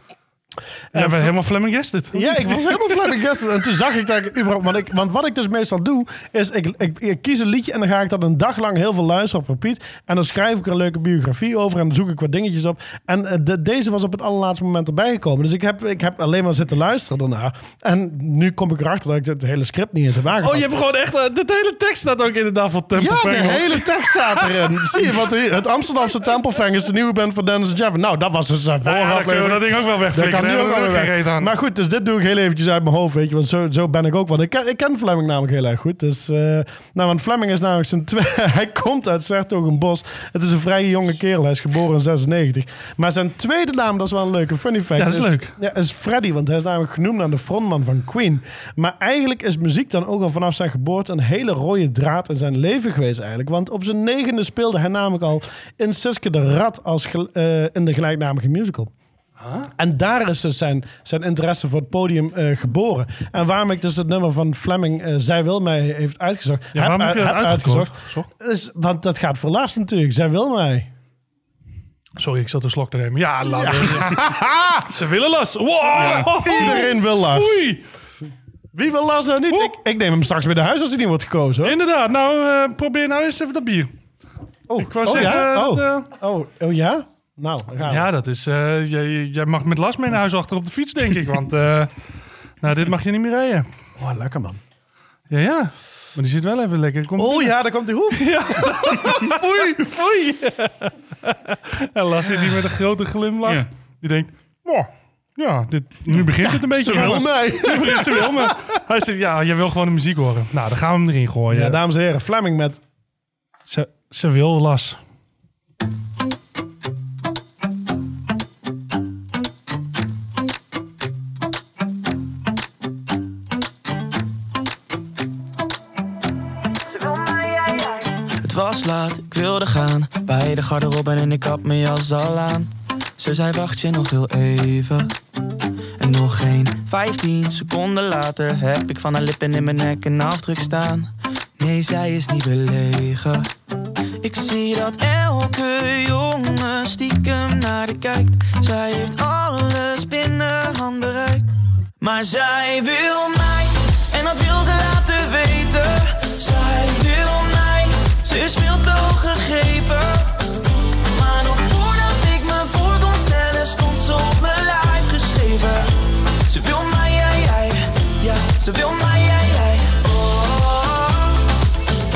Speaker 1: We hebben helemaal flabbergasted.
Speaker 2: Ja, ik was helemaal flabbergasted. En toen zag ik dat ik überhaupt... Want, ik, want wat ik dus meestal doe, is ik, ik, ik kies een liedje en dan ga ik dat een dag lang heel veel luisteren op repeat. En dan schrijf ik er een leuke biografie over en dan zoek ik wat dingetjes op. En eh, de- deze was op het allerlaatste moment erbij gekomen. Dus ik heb, ik heb alleen maar zitten luisteren daarna. En nu kom ik erachter dat ik het hele script niet eens heb aangepast.
Speaker 1: Oh, je hebt gewoon echt... eh, dit hele tekst staat ook inderdaad van Temple
Speaker 2: Ja, de
Speaker 1: Fangirl.
Speaker 2: hele tekst staat
Speaker 1: [LAUGHS]
Speaker 2: erin. Zie je, wat hier- het Amsterdamse Tempelfang is de nieuwe band van Dennis Jefferson. Nou, dat was dus zijn
Speaker 1: Nou
Speaker 2: vorige
Speaker 1: ja, dan kunnen we
Speaker 2: aflevering.
Speaker 1: dat ding ook wel
Speaker 2: Dat
Speaker 1: wegflikken.
Speaker 2: kan nu
Speaker 1: Daar
Speaker 2: ook
Speaker 1: hebben we
Speaker 2: wel
Speaker 1: geen
Speaker 2: weer
Speaker 1: reet
Speaker 2: weg.
Speaker 1: aan.
Speaker 2: Maar goed, dus dit doe ik heel eventjes uit mijn hoofd, weet je. Want zo, zo ben ik ook. Want ik ken, ik ken Fleming namelijk heel erg goed. Dus, eh, nou, want Fleming is namelijk zijn twee... [LAUGHS] Hij komt uit Sertogenbos. Het is een vrij jonge kerel. Hij is geboren in 96. Maar zijn tweede naam, dat is wel een leuke funny fact.
Speaker 1: Ja, dat is leuk.
Speaker 2: Ja, is Freddy. Want hij is namelijk genoemd aan de frontman van Queen. Maar eigenlijk is muziek dan ook al vanaf zijn geboorte... een hele rode draad in zijn leven geweest eigenlijk. Want op zijn negende speelde hij namelijk al in Suske de Rat... Als, gel- eh, in de gelijknamige musical. En daar is dus zijn, zijn interesse voor het podium eh, geboren. En waarom ik dus het nummer van Fleming, eh, Zij Wil Mij, heeft uitgezocht.
Speaker 1: Ja, waarom heb je dat uitgekocht?
Speaker 2: Is, want dat gaat voor Lars natuurlijk. Zij Wil Mij.
Speaker 1: Sorry, ik zat een slok te nemen. Ja, laat
Speaker 2: [LAUGHS]
Speaker 1: maar. Ze willen last. Wow.
Speaker 2: Iedereen wil Lars.
Speaker 1: Oei.
Speaker 2: Wie wil Lars nou niet?
Speaker 1: Oeh.
Speaker 2: Ik, ik neem hem straks weer naar huis als hij niet wordt gekozen. Hoor.
Speaker 1: Inderdaad. Nou, eh, probeer nou eens even dat bier.
Speaker 2: Oh,
Speaker 1: Ik wou
Speaker 2: oh,
Speaker 1: zeggen...
Speaker 2: ja?
Speaker 1: dat,
Speaker 2: Oh.
Speaker 1: eh,
Speaker 2: oh, oh ja? Nou, dan gaan we.
Speaker 1: Ja, dat is. eh, jij, jij mag met last mee naar huis achter op de fiets, denk ik. Want eh, nou, dit mag je niet meer rijden.
Speaker 2: Oh, lekker man.
Speaker 1: Ja, ja. Maar die zit wel even lekker. Kom
Speaker 2: Oh ja, daar komt die hoef. [LAUGHS]
Speaker 1: Oei, oei. [LAUGHS] en Lars zit hier met een grote glimlach.
Speaker 5: Ja.
Speaker 1: Die denkt, "Wow, ja, dit, nu begint het een beetje.
Speaker 2: Ze wil
Speaker 1: Ja,
Speaker 2: mij.
Speaker 1: [LAUGHS] nu begint ze wel, maar hij zegt, ja, jij wil gewoon de muziek horen. Nou, dan gaan we hem erin gooien.
Speaker 2: Ja, dames en heren, Fleming met...
Speaker 1: ze, ze wil Las.
Speaker 10: Het was laat, ik wilde gaan. Bij de garderobe en ik had mijn jas al aan. Ze zei wacht je nog heel even. En nog geen 15 seconden later heb ik van haar lippen in mijn nek een afdruk staan. Nee, zij is niet belegen. Ik zie dat elke jongen stiekem naar de kijkt. Zij heeft alles binnen handbereik. Maar zij wil mij, en dat wil ze laten weten. Zij wil mij, ze is veel te hoog gegrepen. Maar nog voordat ik me voor kon stellen, stond ze op mijn lijf geschreven. Ze wil mij, jij, jij, ja, ze wil mij, jij, jij. Oh,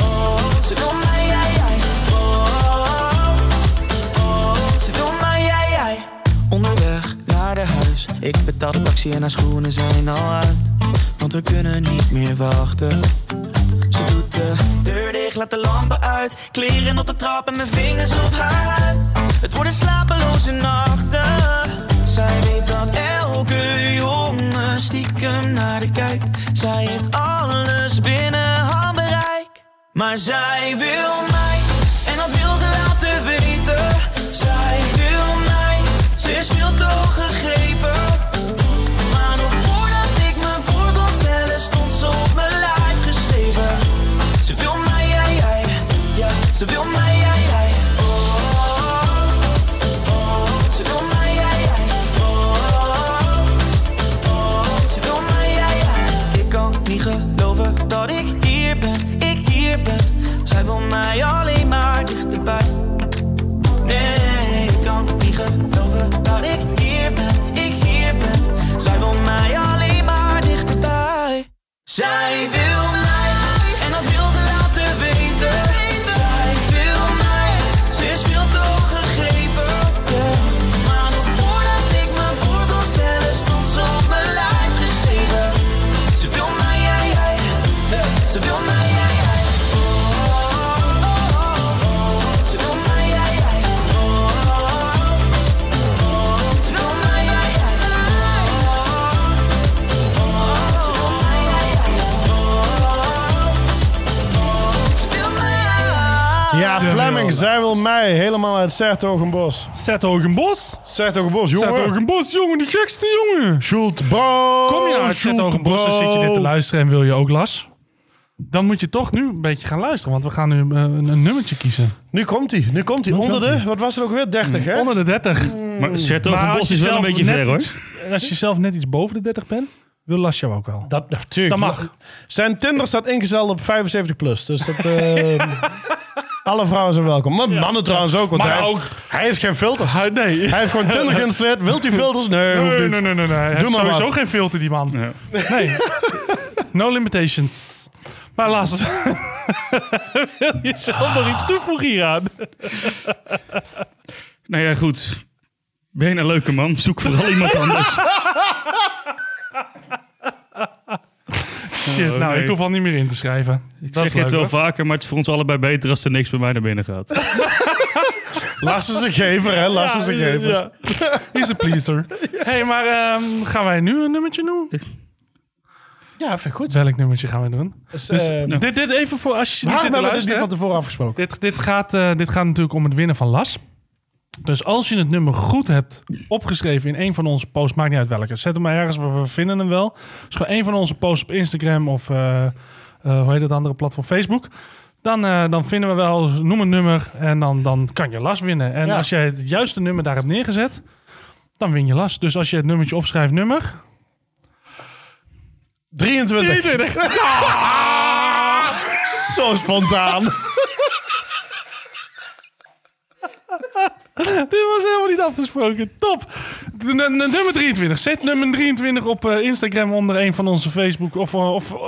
Speaker 10: oh, oh. ze wil mij, jij, jij. Oh, oh, oh. ze wil mij, jij, jij. Onderweg naar de huis. Ik betaal de taxi en haar schoenen zijn al uit. Want we kunnen niet meer wachten. Ze doet de deur dicht, laat de lampen uit. Kleren op de trap en mijn vingers op haar huid. Het worden slapeloze nachten. Zij weet dat elke jongen stiekem naar de kijkt. Zij heeft alles binnen handbereik. Maar zij wil mij, en dat wil ze laten weten. Zij wil mij, ze is veel te hoog gegrepen. Maar nog voordat ik me voor kon stellen, stond ze op mijn lijf geschreven. Ze wil mij, jij, jij, ja, ze wil mij, jij, jij. Oh, oh, oh, ze wil mij, jij, jij. Oh, oh, oh, ze wil mij, jij, jij. Ik kan niet geloven dat ik hier ben, ik hier ben. Zij wil mij alleen maar dichterbij. Nee, ik kan niet geloven dat ik hier ben, ik hier ben. Zij wil mij alleen maar dichterbij. Zij wil mij, en dat wil ze laten weten. Zij wil mij, ze is veel te hoog gegrepen. Yeah. Maar nog voordat ik me voor kon stellen, stond ze op mijn lijf geschreven. Ze wil mij, jij, jij. Eh, Ze wil mij, jij, jij. Oh, oh, oh, oh, oh. Ze wil mij, jij, jij. Oh, oh, oh, oh. Ze wil mij, jij, jij. Oh, oh, oh. Ze wil mij, jij, jij. Oh, oh, oh. Ze wil mij, jij, jij.
Speaker 2: Ja, Fleming, Zij Wil Mij. Helemaal uit Sertogenbos.
Speaker 1: Zet Hogenbos.
Speaker 2: Sertogenbos,
Speaker 1: Zet
Speaker 2: jongen.
Speaker 1: Hogenbos, jongen, de gekste jongen.
Speaker 2: Schult, bro.
Speaker 1: Kom je nou uit Zet Hogenbos en zit je dit te luisteren en wil je ook Las? Dan moet je toch nu een beetje gaan luisteren, want we gaan nu eh, een, een nummertje kiezen.
Speaker 2: Nu komt hij, nu komt hij. Onder
Speaker 1: komt
Speaker 2: de, wat was het ook weer? 30, hè? Hmm.
Speaker 1: Onder de 30.
Speaker 5: Maar Sertogenbos
Speaker 1: als je
Speaker 5: is wel een
Speaker 1: zelf
Speaker 5: beetje
Speaker 1: net
Speaker 5: ver hoor.
Speaker 1: iets- Als je zelf net iets boven de 30 bent, wil Lasja ook wel.
Speaker 2: Dat, natuurlijk.
Speaker 1: Dat mag.
Speaker 2: Zijn Tinder staat ingezeld op 75 plus. Dus dat, eh, alle vrouwen zijn welkom. Maar mannen trouwens ook. Want
Speaker 1: Maar
Speaker 2: hij,
Speaker 1: ook.
Speaker 2: Heeft, hij heeft geen filters. [LAUGHS] Hij,
Speaker 1: nee.
Speaker 2: heeft gewoon Tinder geïnstalleerd. Wilt u filters? Nee, hoeft
Speaker 1: Nee,
Speaker 2: niet.
Speaker 1: nee, nee, nee. nee. Hij heeft
Speaker 2: maar
Speaker 1: sowieso
Speaker 2: wat.
Speaker 1: geen filter, die man.
Speaker 5: Ja.
Speaker 2: [LAUGHS]
Speaker 1: Nee. no limitations. Maar Lars,
Speaker 5: [LAUGHS]
Speaker 1: wil je zelf nog iets toevoegen hieraan?
Speaker 5: Nou ja, goed. Ben je een leuke man? Zoek vooral iemand anders.
Speaker 1: [LAUGHS] Shit, nou,
Speaker 5: Oh, nee.
Speaker 1: ik hoef al niet meer in te schrijven.
Speaker 5: Ik zeg het wel vaker, maar het is voor ons allebei beter als er niks bij mij naar binnen
Speaker 1: [LAUGHS]
Speaker 5: gaat.
Speaker 2: Laat ze ze geven, hè. Laat ze ze geven.
Speaker 1: Ja. He's a
Speaker 2: [LAUGHS]
Speaker 1: pleaser. hey, maar ehm, gaan wij nu een nummertje doen?
Speaker 2: [LAUGHS] Ja, vind ik goed.
Speaker 1: Welk nummertje gaan we doen?
Speaker 2: Dus,
Speaker 1: Dus,
Speaker 2: eh,
Speaker 1: dit, dit even voor als je niet
Speaker 2: waarom
Speaker 1: zit te
Speaker 2: hebben we dus niet
Speaker 1: luisteren.
Speaker 2: van tevoren afgesproken?
Speaker 1: Dit, dit, gaat, eh, dit gaat natuurlijk om het winnen van Las. Dus als je het nummer goed hebt opgeschreven in een van onze posts, maakt niet uit welke. Zet hem maar ergens, we, we vinden hem wel. Dus gewoon een van onze posts op Instagram of eh, eh, hoe heet dat andere platform, Facebook. Dan, eh, dan vinden we wel, noem een nummer en dan, dan kan je Las winnen. En
Speaker 2: Ja.
Speaker 1: als jij het juiste nummer daar hebt neergezet, dan win je Las. Dus als je het nummertje opschrijft, nummer...
Speaker 2: 23.
Speaker 1: 23.
Speaker 2: [LAUGHS] Zo spontaan.
Speaker 1: [LAUGHS] Dit was helemaal niet afgesproken. Top. De, de- de nummer 23. Zet nummer 23 op eh, Instagram onder een van onze Facebook. Of, eh, of eh,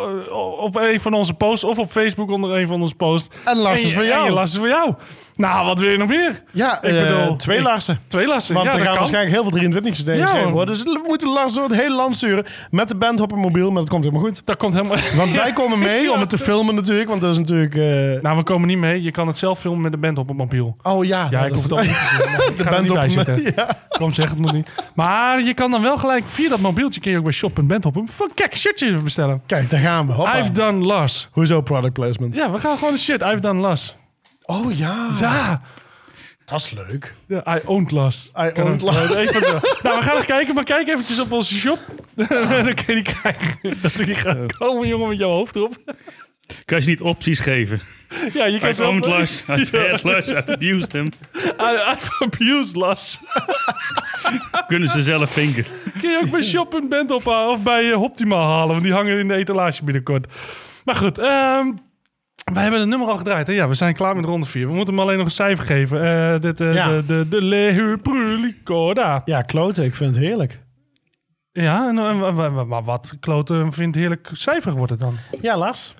Speaker 1: op een van onze posts. Of op Facebook onder een van onze posts.
Speaker 2: En Lars is
Speaker 1: je-
Speaker 2: van
Speaker 1: En je
Speaker 2: jou.
Speaker 1: last is voor jou. Nou, wat wil je nog meer?
Speaker 2: Ja,
Speaker 1: Ik
Speaker 2: eh,
Speaker 1: bedoel,
Speaker 2: twee
Speaker 1: ik-
Speaker 2: Larsen.
Speaker 1: Twee lasten.
Speaker 2: Want
Speaker 1: ja,
Speaker 2: er
Speaker 1: dat
Speaker 2: gaan
Speaker 1: kan.
Speaker 2: waarschijnlijk heel veel 23's
Speaker 1: Ja,
Speaker 2: ja, geschreven
Speaker 1: man.
Speaker 2: worden. Dus we moeten Lars door het hele land sturen. Met de band op een mobiel, maar dat komt helemaal goed.
Speaker 1: Dat komt helemaal...
Speaker 2: Want
Speaker 1: [LAUGHS]
Speaker 2: wij komen mee om het te filmen natuurlijk. Want dat is natuurlijk... eh,
Speaker 1: Nou, we komen niet mee. Je kan het zelf filmen met de band op het mobiel.
Speaker 2: oh ja.
Speaker 1: Ja,
Speaker 2: dat
Speaker 1: ik
Speaker 2: is-
Speaker 1: hoef het ook niet te zien.
Speaker 2: [LAUGHS]
Speaker 1: Ik ga er
Speaker 2: band
Speaker 1: niet
Speaker 2: op
Speaker 1: bij
Speaker 2: een-
Speaker 1: zitten.
Speaker 2: [LAUGHS]
Speaker 1: Kom zeg, het moet niet. Maar je kan dan wel gelijk via dat mobieltje... kun je ook bij shop.bandhop van kijk shirtje bestellen.
Speaker 2: Kijk, daar gaan we. Hoppa.
Speaker 1: I've done Lars.
Speaker 2: Hoezo product placement?
Speaker 1: Ja, we gaan gewoon de shit. I've done Lars.
Speaker 2: Oh ja.
Speaker 1: Ja.
Speaker 2: Dat is leuk.
Speaker 1: Ja, I owned Las.
Speaker 2: I owned Lars.
Speaker 1: nou, we gaan eens kijken, maar kijk eventjes op onze shop. [LAUGHS] Dan kun je die krijgen. Dat die gaat komen, jongen, met jouw hoofd erop.
Speaker 5: Kan je niet opties geven?
Speaker 1: Ja, je kan
Speaker 5: I've
Speaker 1: zo.
Speaker 5: owned Lars, I've had Lars, I've abused him.
Speaker 1: I- I've abused Las.
Speaker 5: Kunnen ze zelf vinken.
Speaker 1: Kun je ook bij Shop en Band ophalen of bij eh, Optima halen, want die hangen in de etalage binnenkort. Maar goed, ehm wij hebben het nummer al gedraaid. Hè? Ja, we zijn klaar met ronde 4. We moeten hem alleen nog een cijfer geven. Eh, dit, eh,
Speaker 2: Ja.
Speaker 1: De, de, de Lehu Prulicoda.
Speaker 2: Ja, kloten. Ik vind het heerlijk.
Speaker 1: Ja, en, en- en- en- maar wat kloten vindt heerlijk cijfer wordt het dan?
Speaker 2: Ja, Lars.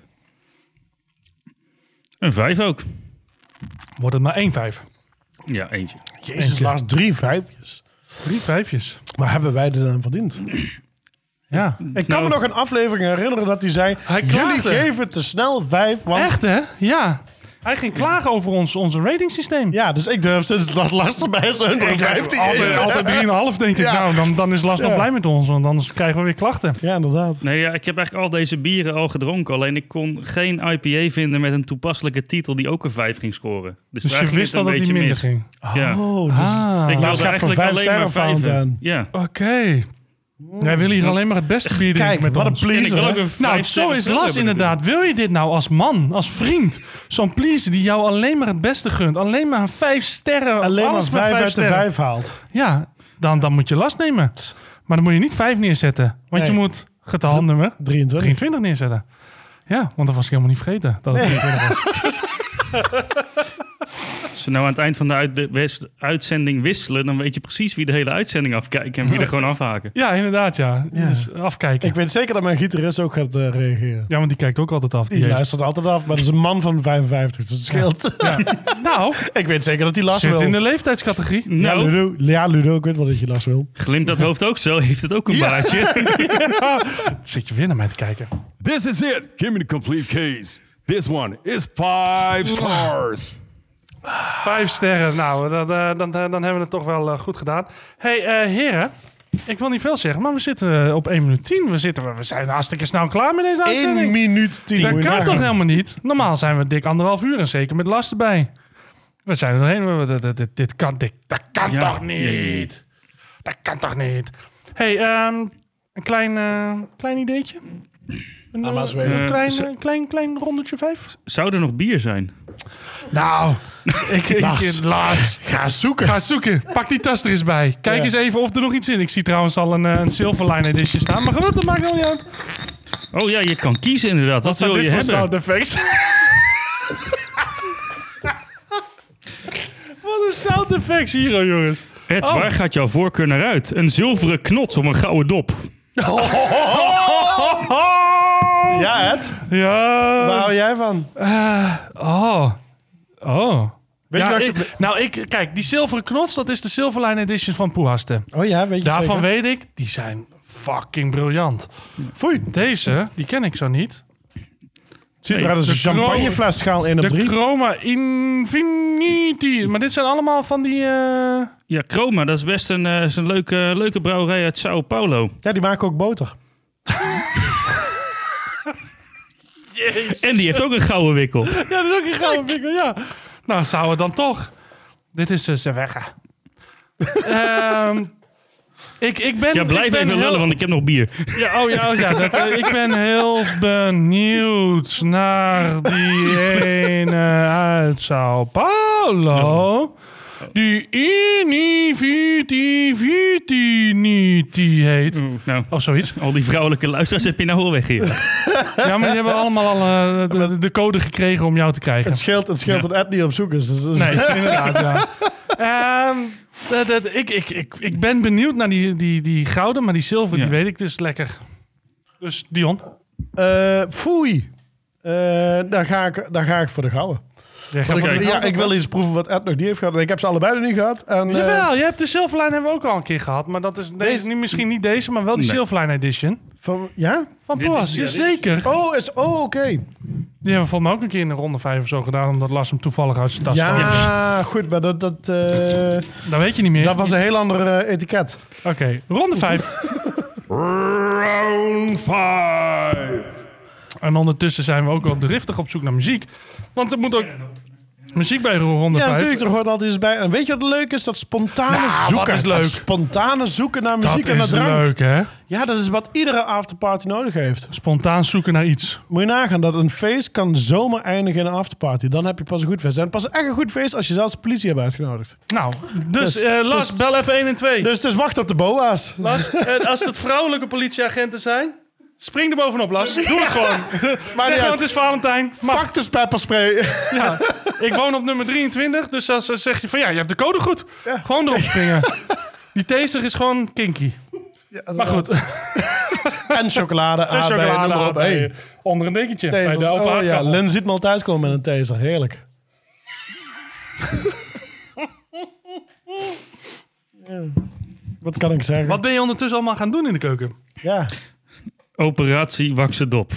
Speaker 5: Een vijf ook.
Speaker 1: Wordt het maar 1-5.
Speaker 5: Ja, eentje.
Speaker 2: Jezus, Lars. Drie vijfjes.
Speaker 1: Drie vijfjes.
Speaker 2: Maar hebben wij er dan verdiend?
Speaker 1: Ja.
Speaker 2: Ik kan
Speaker 5: Nou.
Speaker 2: me nog een aflevering herinneren dat hij zei...
Speaker 1: Hij
Speaker 2: jullie
Speaker 1: klaagde.
Speaker 2: geven te snel vijf, want...
Speaker 1: Echt hè? Ja. Hij ging klagen over ons, onze ratingsysteem.
Speaker 2: Ja, dus ik durf sinds dat Lars erbij is een nummer 15
Speaker 1: altijd,
Speaker 2: geven.
Speaker 1: altijd 3,5 denk ik.
Speaker 2: Ja.
Speaker 1: Nou, dan, dan is Lars nog
Speaker 2: Ja.
Speaker 1: blij met ons, want anders krijgen we weer klachten.
Speaker 2: Ja, inderdaad.
Speaker 5: Nee, ja, ik heb eigenlijk al deze bieren al gedronken. Alleen ik kon geen IPA vinden met een toepasselijke titel die ook een 5 ging scoren. Dus,
Speaker 1: Dus
Speaker 5: daar
Speaker 1: je
Speaker 5: ging
Speaker 1: wist
Speaker 5: het
Speaker 1: al
Speaker 5: een
Speaker 1: dat hij
Speaker 5: beetje
Speaker 1: minder
Speaker 5: mis.
Speaker 1: ging.
Speaker 5: Ja.
Speaker 2: Oh, dus...
Speaker 1: Ah,
Speaker 5: Nou, Ik
Speaker 1: oké.
Speaker 5: wilde
Speaker 2: gaat voor
Speaker 5: eigenlijk
Speaker 2: vijf
Speaker 5: alleen maar
Speaker 2: sterren
Speaker 5: vijven.
Speaker 2: Fountain.
Speaker 5: Ja.
Speaker 1: Jij wil hier alleen maar het beste bier drinken
Speaker 2: Kijk,
Speaker 1: met
Speaker 2: wat een
Speaker 1: ons.
Speaker 5: En ik wil
Speaker 2: pleaser.
Speaker 5: ook
Speaker 2: hè?
Speaker 5: een
Speaker 1: Nou,
Speaker 5: vijf
Speaker 1: zo
Speaker 5: sterren
Speaker 1: is
Speaker 5: film
Speaker 1: Las
Speaker 5: hebben natuurlijk.
Speaker 1: inderdaad. Wil je dit nou als man, als vriend? Zo'n pleaser die jou alleen maar het beste gunt. Alleen maar vijf sterren.
Speaker 2: Alleen maar
Speaker 1: alles
Speaker 2: vijf uit de
Speaker 1: sterren.
Speaker 2: vijf haalt.
Speaker 1: Ja, dan, dan moet je last nemen. Maar dan moet je niet 5 neerzetten. Want je
Speaker 2: Nee.
Speaker 1: moet getal nummer
Speaker 2: 23.
Speaker 1: 23 neerzetten. Ja, want dat was ik helemaal niet vergeten. Dat het 23 was.
Speaker 5: Als we nou aan het eind van de, uit- de west- uitzending wisselen, dan weet je precies wie de hele uitzending afkijkt en wie er gewoon afhaken.
Speaker 1: Ja, inderdaad, ja. Dus afkijken.
Speaker 2: Ik weet zeker dat mijn gitarist ook gaat eh, reageren.
Speaker 1: Ja, want die kijkt ook altijd af.
Speaker 2: Die
Speaker 1: heeft-
Speaker 2: luistert altijd af, maar dat is een man van 55, dus het scheelt. [LAUGHS]
Speaker 1: Nou,
Speaker 2: ik weet zeker dat hij last
Speaker 1: zit
Speaker 2: wil.
Speaker 1: in de leeftijdscategorie.
Speaker 2: Ja,
Speaker 5: Nou,
Speaker 2: Ludo, ja, Ludo, ik weet wel dat je
Speaker 1: [LAUGHS]
Speaker 2: last wil.
Speaker 5: glimt dat hoofd ook zo? Heeft het ook een baardje?
Speaker 4: [LAUGHS]
Speaker 1: Zit je weer naar mij te kijken.
Speaker 4: This is it. Give me the complete case. This one is five stars.
Speaker 1: Vijf sterren. Nou, dan, eh, dan, dan hebben we het toch wel eh, goed gedaan. hey, eh, heren. Ik wil niet veel zeggen, maar we zitten eh, op 1 minuut 10. We, zitten, we zijn hartstikke snel klaar met deze
Speaker 2: 1
Speaker 1: uitzending.
Speaker 2: minuut 10.
Speaker 1: Dat kan toch helemaal niet? Normaal zijn we dik anderhalf uur en zeker met last erbij. We zijn er doorheen. We- Dit, dit, dit kan, dit, dat kan
Speaker 5: Ja.
Speaker 1: toch niet? Dat kan toch niet? hey, ehm, een klein, eh, klein ideetje. Een,
Speaker 2: Ah, maar
Speaker 1: eh,
Speaker 2: ze weten.
Speaker 1: een
Speaker 5: Eh,
Speaker 1: klein,
Speaker 5: ze-
Speaker 1: eh, klein, klein rondetje vijf?
Speaker 5: Zou er nog bier zijn?
Speaker 1: Nou, ik, ik,
Speaker 2: Lars.
Speaker 1: Lars,
Speaker 2: Ga zoeken.
Speaker 1: Ga zoeken. Pak die tas er eens bij. Kijk
Speaker 2: Ja.
Speaker 1: eens even of er nog iets in. Ik zie trouwens al een, eh, een Silverline edition staan. Maar goed, dat maakt wel niet uit.
Speaker 5: Oh ja, je kan kiezen inderdaad. Wat, wil
Speaker 1: dit
Speaker 5: je
Speaker 1: voor
Speaker 5: hebben?
Speaker 1: sound effects? Wat een sound effects hier, jongens.
Speaker 5: Ed,
Speaker 1: Oh.
Speaker 5: waar gaat jouw voorkeur naar uit? Een zilveren knots of een gouden dop?
Speaker 2: Ja, het. Waar
Speaker 1: Ja.
Speaker 2: hou jij van?
Speaker 1: Oh. Oh.
Speaker 2: Weet
Speaker 1: Ja,
Speaker 2: je wat
Speaker 1: ik-
Speaker 2: ik...
Speaker 1: nou, ik, kijk, die zilveren knots, dat is de Silverline Edition van Poehaste.
Speaker 2: Oh ja, weet je
Speaker 1: Daarvan
Speaker 2: zeker?
Speaker 1: weet ik, die zijn fucking briljant.
Speaker 2: Foei.
Speaker 1: Deze, die ken ik zo niet.
Speaker 2: Ziet
Speaker 5: Nee,
Speaker 2: eruit als
Speaker 1: de
Speaker 2: een champagnefles schaal 1 op
Speaker 1: De
Speaker 2: 3.
Speaker 1: Chroma Infinity. Maar dit zijn allemaal van die... eh,
Speaker 5: Ja, Chroma, dat is best een, eh, is een leuke, leuke brouwerij uit Sao Paulo.
Speaker 2: Ja, die maken ook boter.
Speaker 5: En die heeft ook een gouden wikkel.
Speaker 1: [LAUGHS] Ja, dat is ook een gouden pikkel, ja. Nou, zou het dan toch. Dit is eh,
Speaker 2: [LAUGHS]
Speaker 1: Zewega. Ehm ik, ik ben...
Speaker 5: Ja, blijf
Speaker 1: ik ben
Speaker 5: even
Speaker 1: heel-
Speaker 5: lullen, want ik heb nog bier.
Speaker 1: Ja, oh ja, oh, ja dat, eh, ik ben heel benieuwd naar die ene uit Sao Paulo. Die Iniviti heet.
Speaker 5: Oeh, Nou,
Speaker 1: Of zoiets.
Speaker 5: al die vrouwelijke luisteraars heb je nou al weggejaagd.
Speaker 1: Ja, maar die hebben allemaal al eh, de, de code gekregen om jou te krijgen.
Speaker 2: Het scheelt, het scheelt dat Ed niet op zoek is. Dus, dus-
Speaker 1: Nee, inderdaad, ja. Ehm, dat, dat, ik, ik, ik, ik ben benieuwd naar die, die, die gouden, maar die zilver,
Speaker 5: Ja.
Speaker 1: die weet ik, dus lekker. Dus Dion,
Speaker 2: [LAUGHS] Eh, foei. Eh daar, ga ik, daar ga ik voor de gouden.
Speaker 1: jij gaat
Speaker 2: Want
Speaker 1: voor
Speaker 2: ik,
Speaker 1: de
Speaker 2: ja,
Speaker 1: gouden.
Speaker 2: ik wil iets proeven wat Ed nog niet heeft gehad. En ik heb ze allebei nog niet gehad. En, eh,
Speaker 1: Jawel, je hebt de Silverline hebben we ook al een keer gehad, maar dat is
Speaker 2: Deze-
Speaker 1: deze, niet, misschien niet deze, maar wel die
Speaker 5: Nee.
Speaker 1: Silverline Edition.
Speaker 2: van, ja?
Speaker 1: Van
Speaker 5: Dit is-
Speaker 1: Poas,
Speaker 5: ja, dit is-
Speaker 1: zeker.
Speaker 2: Oh, is, oh oké.
Speaker 1: Die hebben we volgens mij ook een keer in de ronde 5 of zo gedaan, omdat Lars hem toevallig uit zijn tas
Speaker 2: Ja,
Speaker 1: stak.
Speaker 2: goed. Maar dat, dat, eh,
Speaker 1: Dat weet je niet meer.
Speaker 2: dat was een heel ander eh, etiket.
Speaker 1: Oké, ronde 5.
Speaker 4: Round 5.
Speaker 1: en ondertussen zijn we ook al driftig op zoek naar muziek. Want er moet ook muziek bij ronde
Speaker 2: Ja,
Speaker 1: 5.
Speaker 2: natuurlijk. Er hoort altijd iets bij. En weet je wat leuk is? Dat spontane
Speaker 1: Nou,
Speaker 2: zoeken.
Speaker 1: wat is leuk.
Speaker 2: Dat spontane zoeken naar
Speaker 1: dat
Speaker 2: muziek en naar
Speaker 1: is
Speaker 2: drank.
Speaker 1: leuk, hè?
Speaker 2: Ja, dat is wat iedere afterparty nodig heeft.
Speaker 1: Spontaan zoeken naar iets.
Speaker 2: Moet je nagaan dat een feest kan zomaar eindigen in een afterparty. Dan heb je pas een goed feest. En pas echt een goed feest als je zelfs de politie hebt uitgenodigd.
Speaker 1: Nou, dus,
Speaker 2: Dus-
Speaker 1: eh Lars,
Speaker 2: dus-
Speaker 1: bel even 1 en 2.
Speaker 2: Dus het is wacht op de boa's.
Speaker 1: Lars, eh, als het vrouwelijke politieagenten zijn, spring er bovenop,
Speaker 2: [LAUGHS]
Speaker 1: Lars. Doe het gewoon.
Speaker 2: Maar
Speaker 1: zeg
Speaker 2: niet
Speaker 1: gewoon,
Speaker 2: uit.
Speaker 1: het is Valentijn. Mag.
Speaker 2: Fuck de pepperspray. [LAUGHS]
Speaker 1: Ja. Ik woon op nummer 23, dus als eh, zeg je van ja, je hebt de code goed. Gewoon erop springen. Die taser is gewoon kinky. maar goed, en
Speaker 2: [LAUGHS] En chocolade, aardbeien,
Speaker 1: chocolade
Speaker 2: noem maar op.
Speaker 1: aardbeien.
Speaker 2: Hey,
Speaker 1: onder een dekentje. Bij
Speaker 2: tasers.
Speaker 1: de open
Speaker 2: Oh, ja.
Speaker 1: haardkamer.
Speaker 2: Lin ziet me al thuiskomen met een taser. Heerlijk. Ja. Wat kan ik zeggen?
Speaker 1: Wat ben je ondertussen allemaal gaan doen in de keuken?
Speaker 2: Ja.
Speaker 5: [LAUGHS] Operatie Waksendop.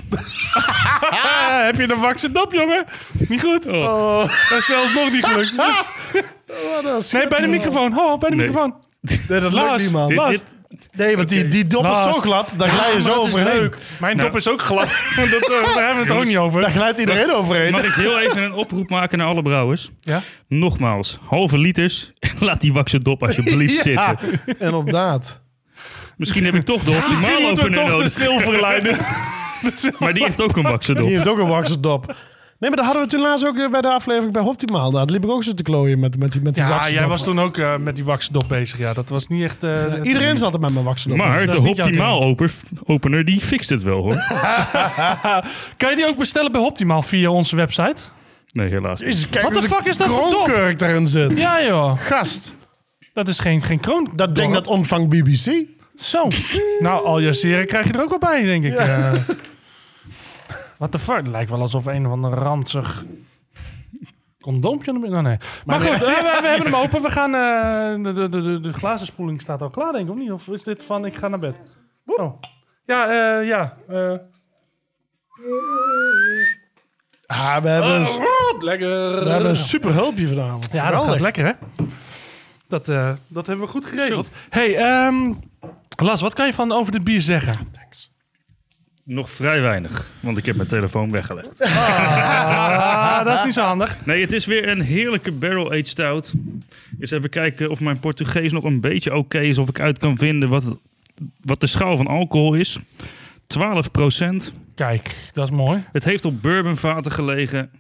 Speaker 1: Ah, [LAUGHS] heb je een wakse dop, jongen? Niet goed.
Speaker 2: Oh.
Speaker 1: Dat is zelfs nog niet
Speaker 2: [LAUGHS]
Speaker 1: gelukt. Nee, bij de microfoon. Ho, bij de
Speaker 5: Nee.
Speaker 1: microfoon.
Speaker 2: Nee, dat lukt
Speaker 1: Lars,
Speaker 2: niet, man.
Speaker 5: Dit-
Speaker 1: Lars.
Speaker 5: dit-
Speaker 2: Nee, want die, die dop is
Speaker 1: Lars.
Speaker 2: zo glad, daar glij je
Speaker 1: Maar
Speaker 2: zo
Speaker 1: dat is
Speaker 2: overheen.
Speaker 1: leuk. Mijn
Speaker 5: Nou.
Speaker 1: dop is ook [LAUGHS] glad. dat, eh, daar hebben we het ook niet
Speaker 2: Daar
Speaker 1: over.
Speaker 2: glijdt iedereen overheen.
Speaker 5: Mag ik heel even een oproep maken naar alle brouwers?
Speaker 1: Ja?
Speaker 5: Nogmaals, halve liters. [LAUGHS] En laat die Waksendop alsjeblieft
Speaker 2: [LAUGHS] Ja,
Speaker 5: zitten.
Speaker 2: inderdaad.
Speaker 5: Misschien heb ik toch de
Speaker 1: Misschien
Speaker 5: optimale
Speaker 1: moeten we
Speaker 5: opener
Speaker 1: toch de
Speaker 5: nodig. [LAUGHS]
Speaker 1: zilverlijnen.
Speaker 5: Maar die heeft ook een Waksendop.
Speaker 2: Die heeft ook een wakserdop. Nee, maar daar hadden we toen laatst ook eh, bij de aflevering bij Optimaal. Daar liep ik ook zo te klooien met, met die, met die
Speaker 1: [LAUGHS] Ja,
Speaker 2: wakserdop.
Speaker 1: jij was toen ook eh, met die waksdop bezig. Ja, dat was niet echt... eh, dat-
Speaker 2: Iedereen zat er met mijn wakserdop.
Speaker 5: Maar
Speaker 1: dat
Speaker 5: de
Speaker 1: is niet jouw
Speaker 5: optimaal oper- opener, die fixt het wel hoor.
Speaker 1: [LAUGHS] Kan je die ook bestellen bij Optimaal via onze website?
Speaker 5: Nee, helaas. niet.
Speaker 2: Jezus, kijk
Speaker 1: What
Speaker 2: hoe
Speaker 1: the
Speaker 2: de
Speaker 1: fuck is dat voor
Speaker 2: kroonkurk daarin zit.
Speaker 1: Ja joh,
Speaker 2: Gast.
Speaker 1: dat is geen, geen kroon.
Speaker 2: Dat ding dat ontvangt BBC.
Speaker 1: Zo. Nou, Al Jazeera krijg je er ook wel bij, denk ik. eh. What the fuck? Het lijkt wel alsof een van de ranzig condoompje er binnen... Nou, nee. Maar goed, eh, we, we hebben hem open. We gaan... eh, de, de, de, de glazenspoeling staat al klaar, denk ik, of niet? Of is dit van ik ga naar bed? Oh. Ja, eh, ja. eh.
Speaker 2: Ah, we hebben, een-
Speaker 1: lekker.
Speaker 2: we hebben een super hulpje vanavond.
Speaker 1: Ja, dat gaat
Speaker 2: Geweldig.
Speaker 1: lekker, hè? Dat, eh, dat hebben we goed geregeld. hey, ehm, Las, wat kan je van over dit bier zeggen?
Speaker 5: Nog vrij weinig, want ik heb mijn telefoon weggelegd.
Speaker 1: Ah, dat is niet zo handig.
Speaker 5: Nee, het is weer een heerlijke barrel-aged stout. Eens even kijken of mijn Portugees nog een beetje oké is. Of ik uit kan vinden wat, het- wat de schaal van alcohol is. 12 procent.
Speaker 1: Kijk, dat is mooi.
Speaker 5: Het heeft op bourbonvaten gelegen.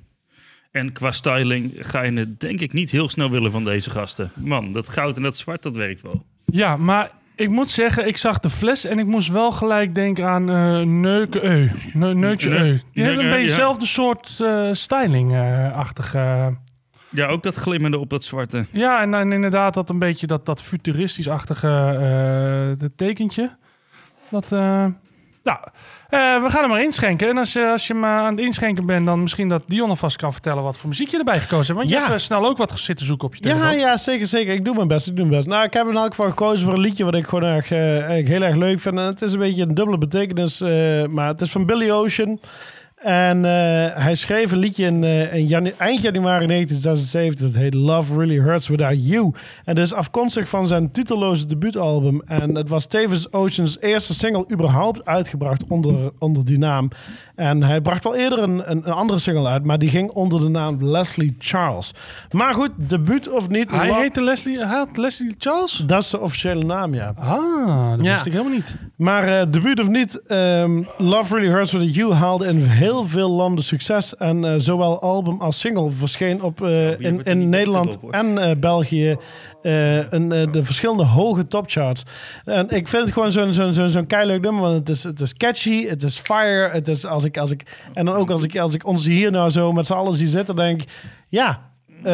Speaker 5: En qua styling ga je het denk ik niet heel snel willen van deze gasten. Man, dat goud en dat zwart, dat werkt wel.
Speaker 1: Ja, maar ik moet zeggen, ik zag de fles en ik moest wel gelijk denken aan eh Neuke Eu. Ne Neutje
Speaker 5: Ne-
Speaker 1: Eu. Die
Speaker 5: Neuke
Speaker 1: heeft een
Speaker 5: Eu,
Speaker 1: beetje
Speaker 5: ja.
Speaker 1: dezelfde soort eh, styling eh, achtig eh.
Speaker 5: Ja, ook dat glimmende op dat zwarte.
Speaker 1: Ja, en dan inderdaad dat een beetje dat, dat futuristisch-achtige eh, dat tekentje. Dat, eh, nou, eh, we gaan hem maar inschenken. En als, je- als je maar aan het inschenken bent, dan misschien dat Dion alvast kan vertellen wat voor muziek je erbij gekozen hebt. Want je
Speaker 2: Ja.
Speaker 1: hebt eh, snel ook wat zitten zoeken op je telefoon.
Speaker 2: Ja, ja, zeker, zeker. Ik doe mijn best, ik doe mijn best. Nou, ik heb in elk geval gekozen voor een liedje wat ik gewoon erg, eh, eigenlijk heel erg leuk vind. En het is een beetje een dubbele betekenis, eh, maar het is van Billy Ocean. En eh, hij schreef een liedje in, eh, in janu- eind januari 1976. Dat heet Love Really Hurts Without You. En dat is afkomstig van zijn titelloze debuutalbum. En het was tevens Ocean's eerste single überhaupt uitgebracht onder, onder die naam. En hij bracht wel eerder een, een, een andere single uit, maar die ging onder de naam Leslie Charles. Maar goed, debuut of niet.
Speaker 1: Hij
Speaker 2: Lo-
Speaker 1: heette Leslie, hij had Leslie Charles?
Speaker 2: Dat is de officiële naam, ja.
Speaker 1: Ah, dat
Speaker 2: Ja.
Speaker 1: wist ik helemaal niet.
Speaker 2: Maar eh debuut of niet, ehm, Love Really Hurts With You haalde in heel veel landen succes. En eh, zowel album als single verscheen op, eh, in,
Speaker 5: hebben die
Speaker 2: in Nederland
Speaker 5: titel op,
Speaker 2: en eh, België eh, een, eh, de verschillende hoge topcharts. En ik vind het gewoon zo'n zo'n zo'n zo'n keileuk nummer, want het is, het is catchy, het is fire. Het is als ik, als ik, en dan ook als ik, als ik ons hier nou zo met z'n allen zie zitten, denk ik, ja... eh,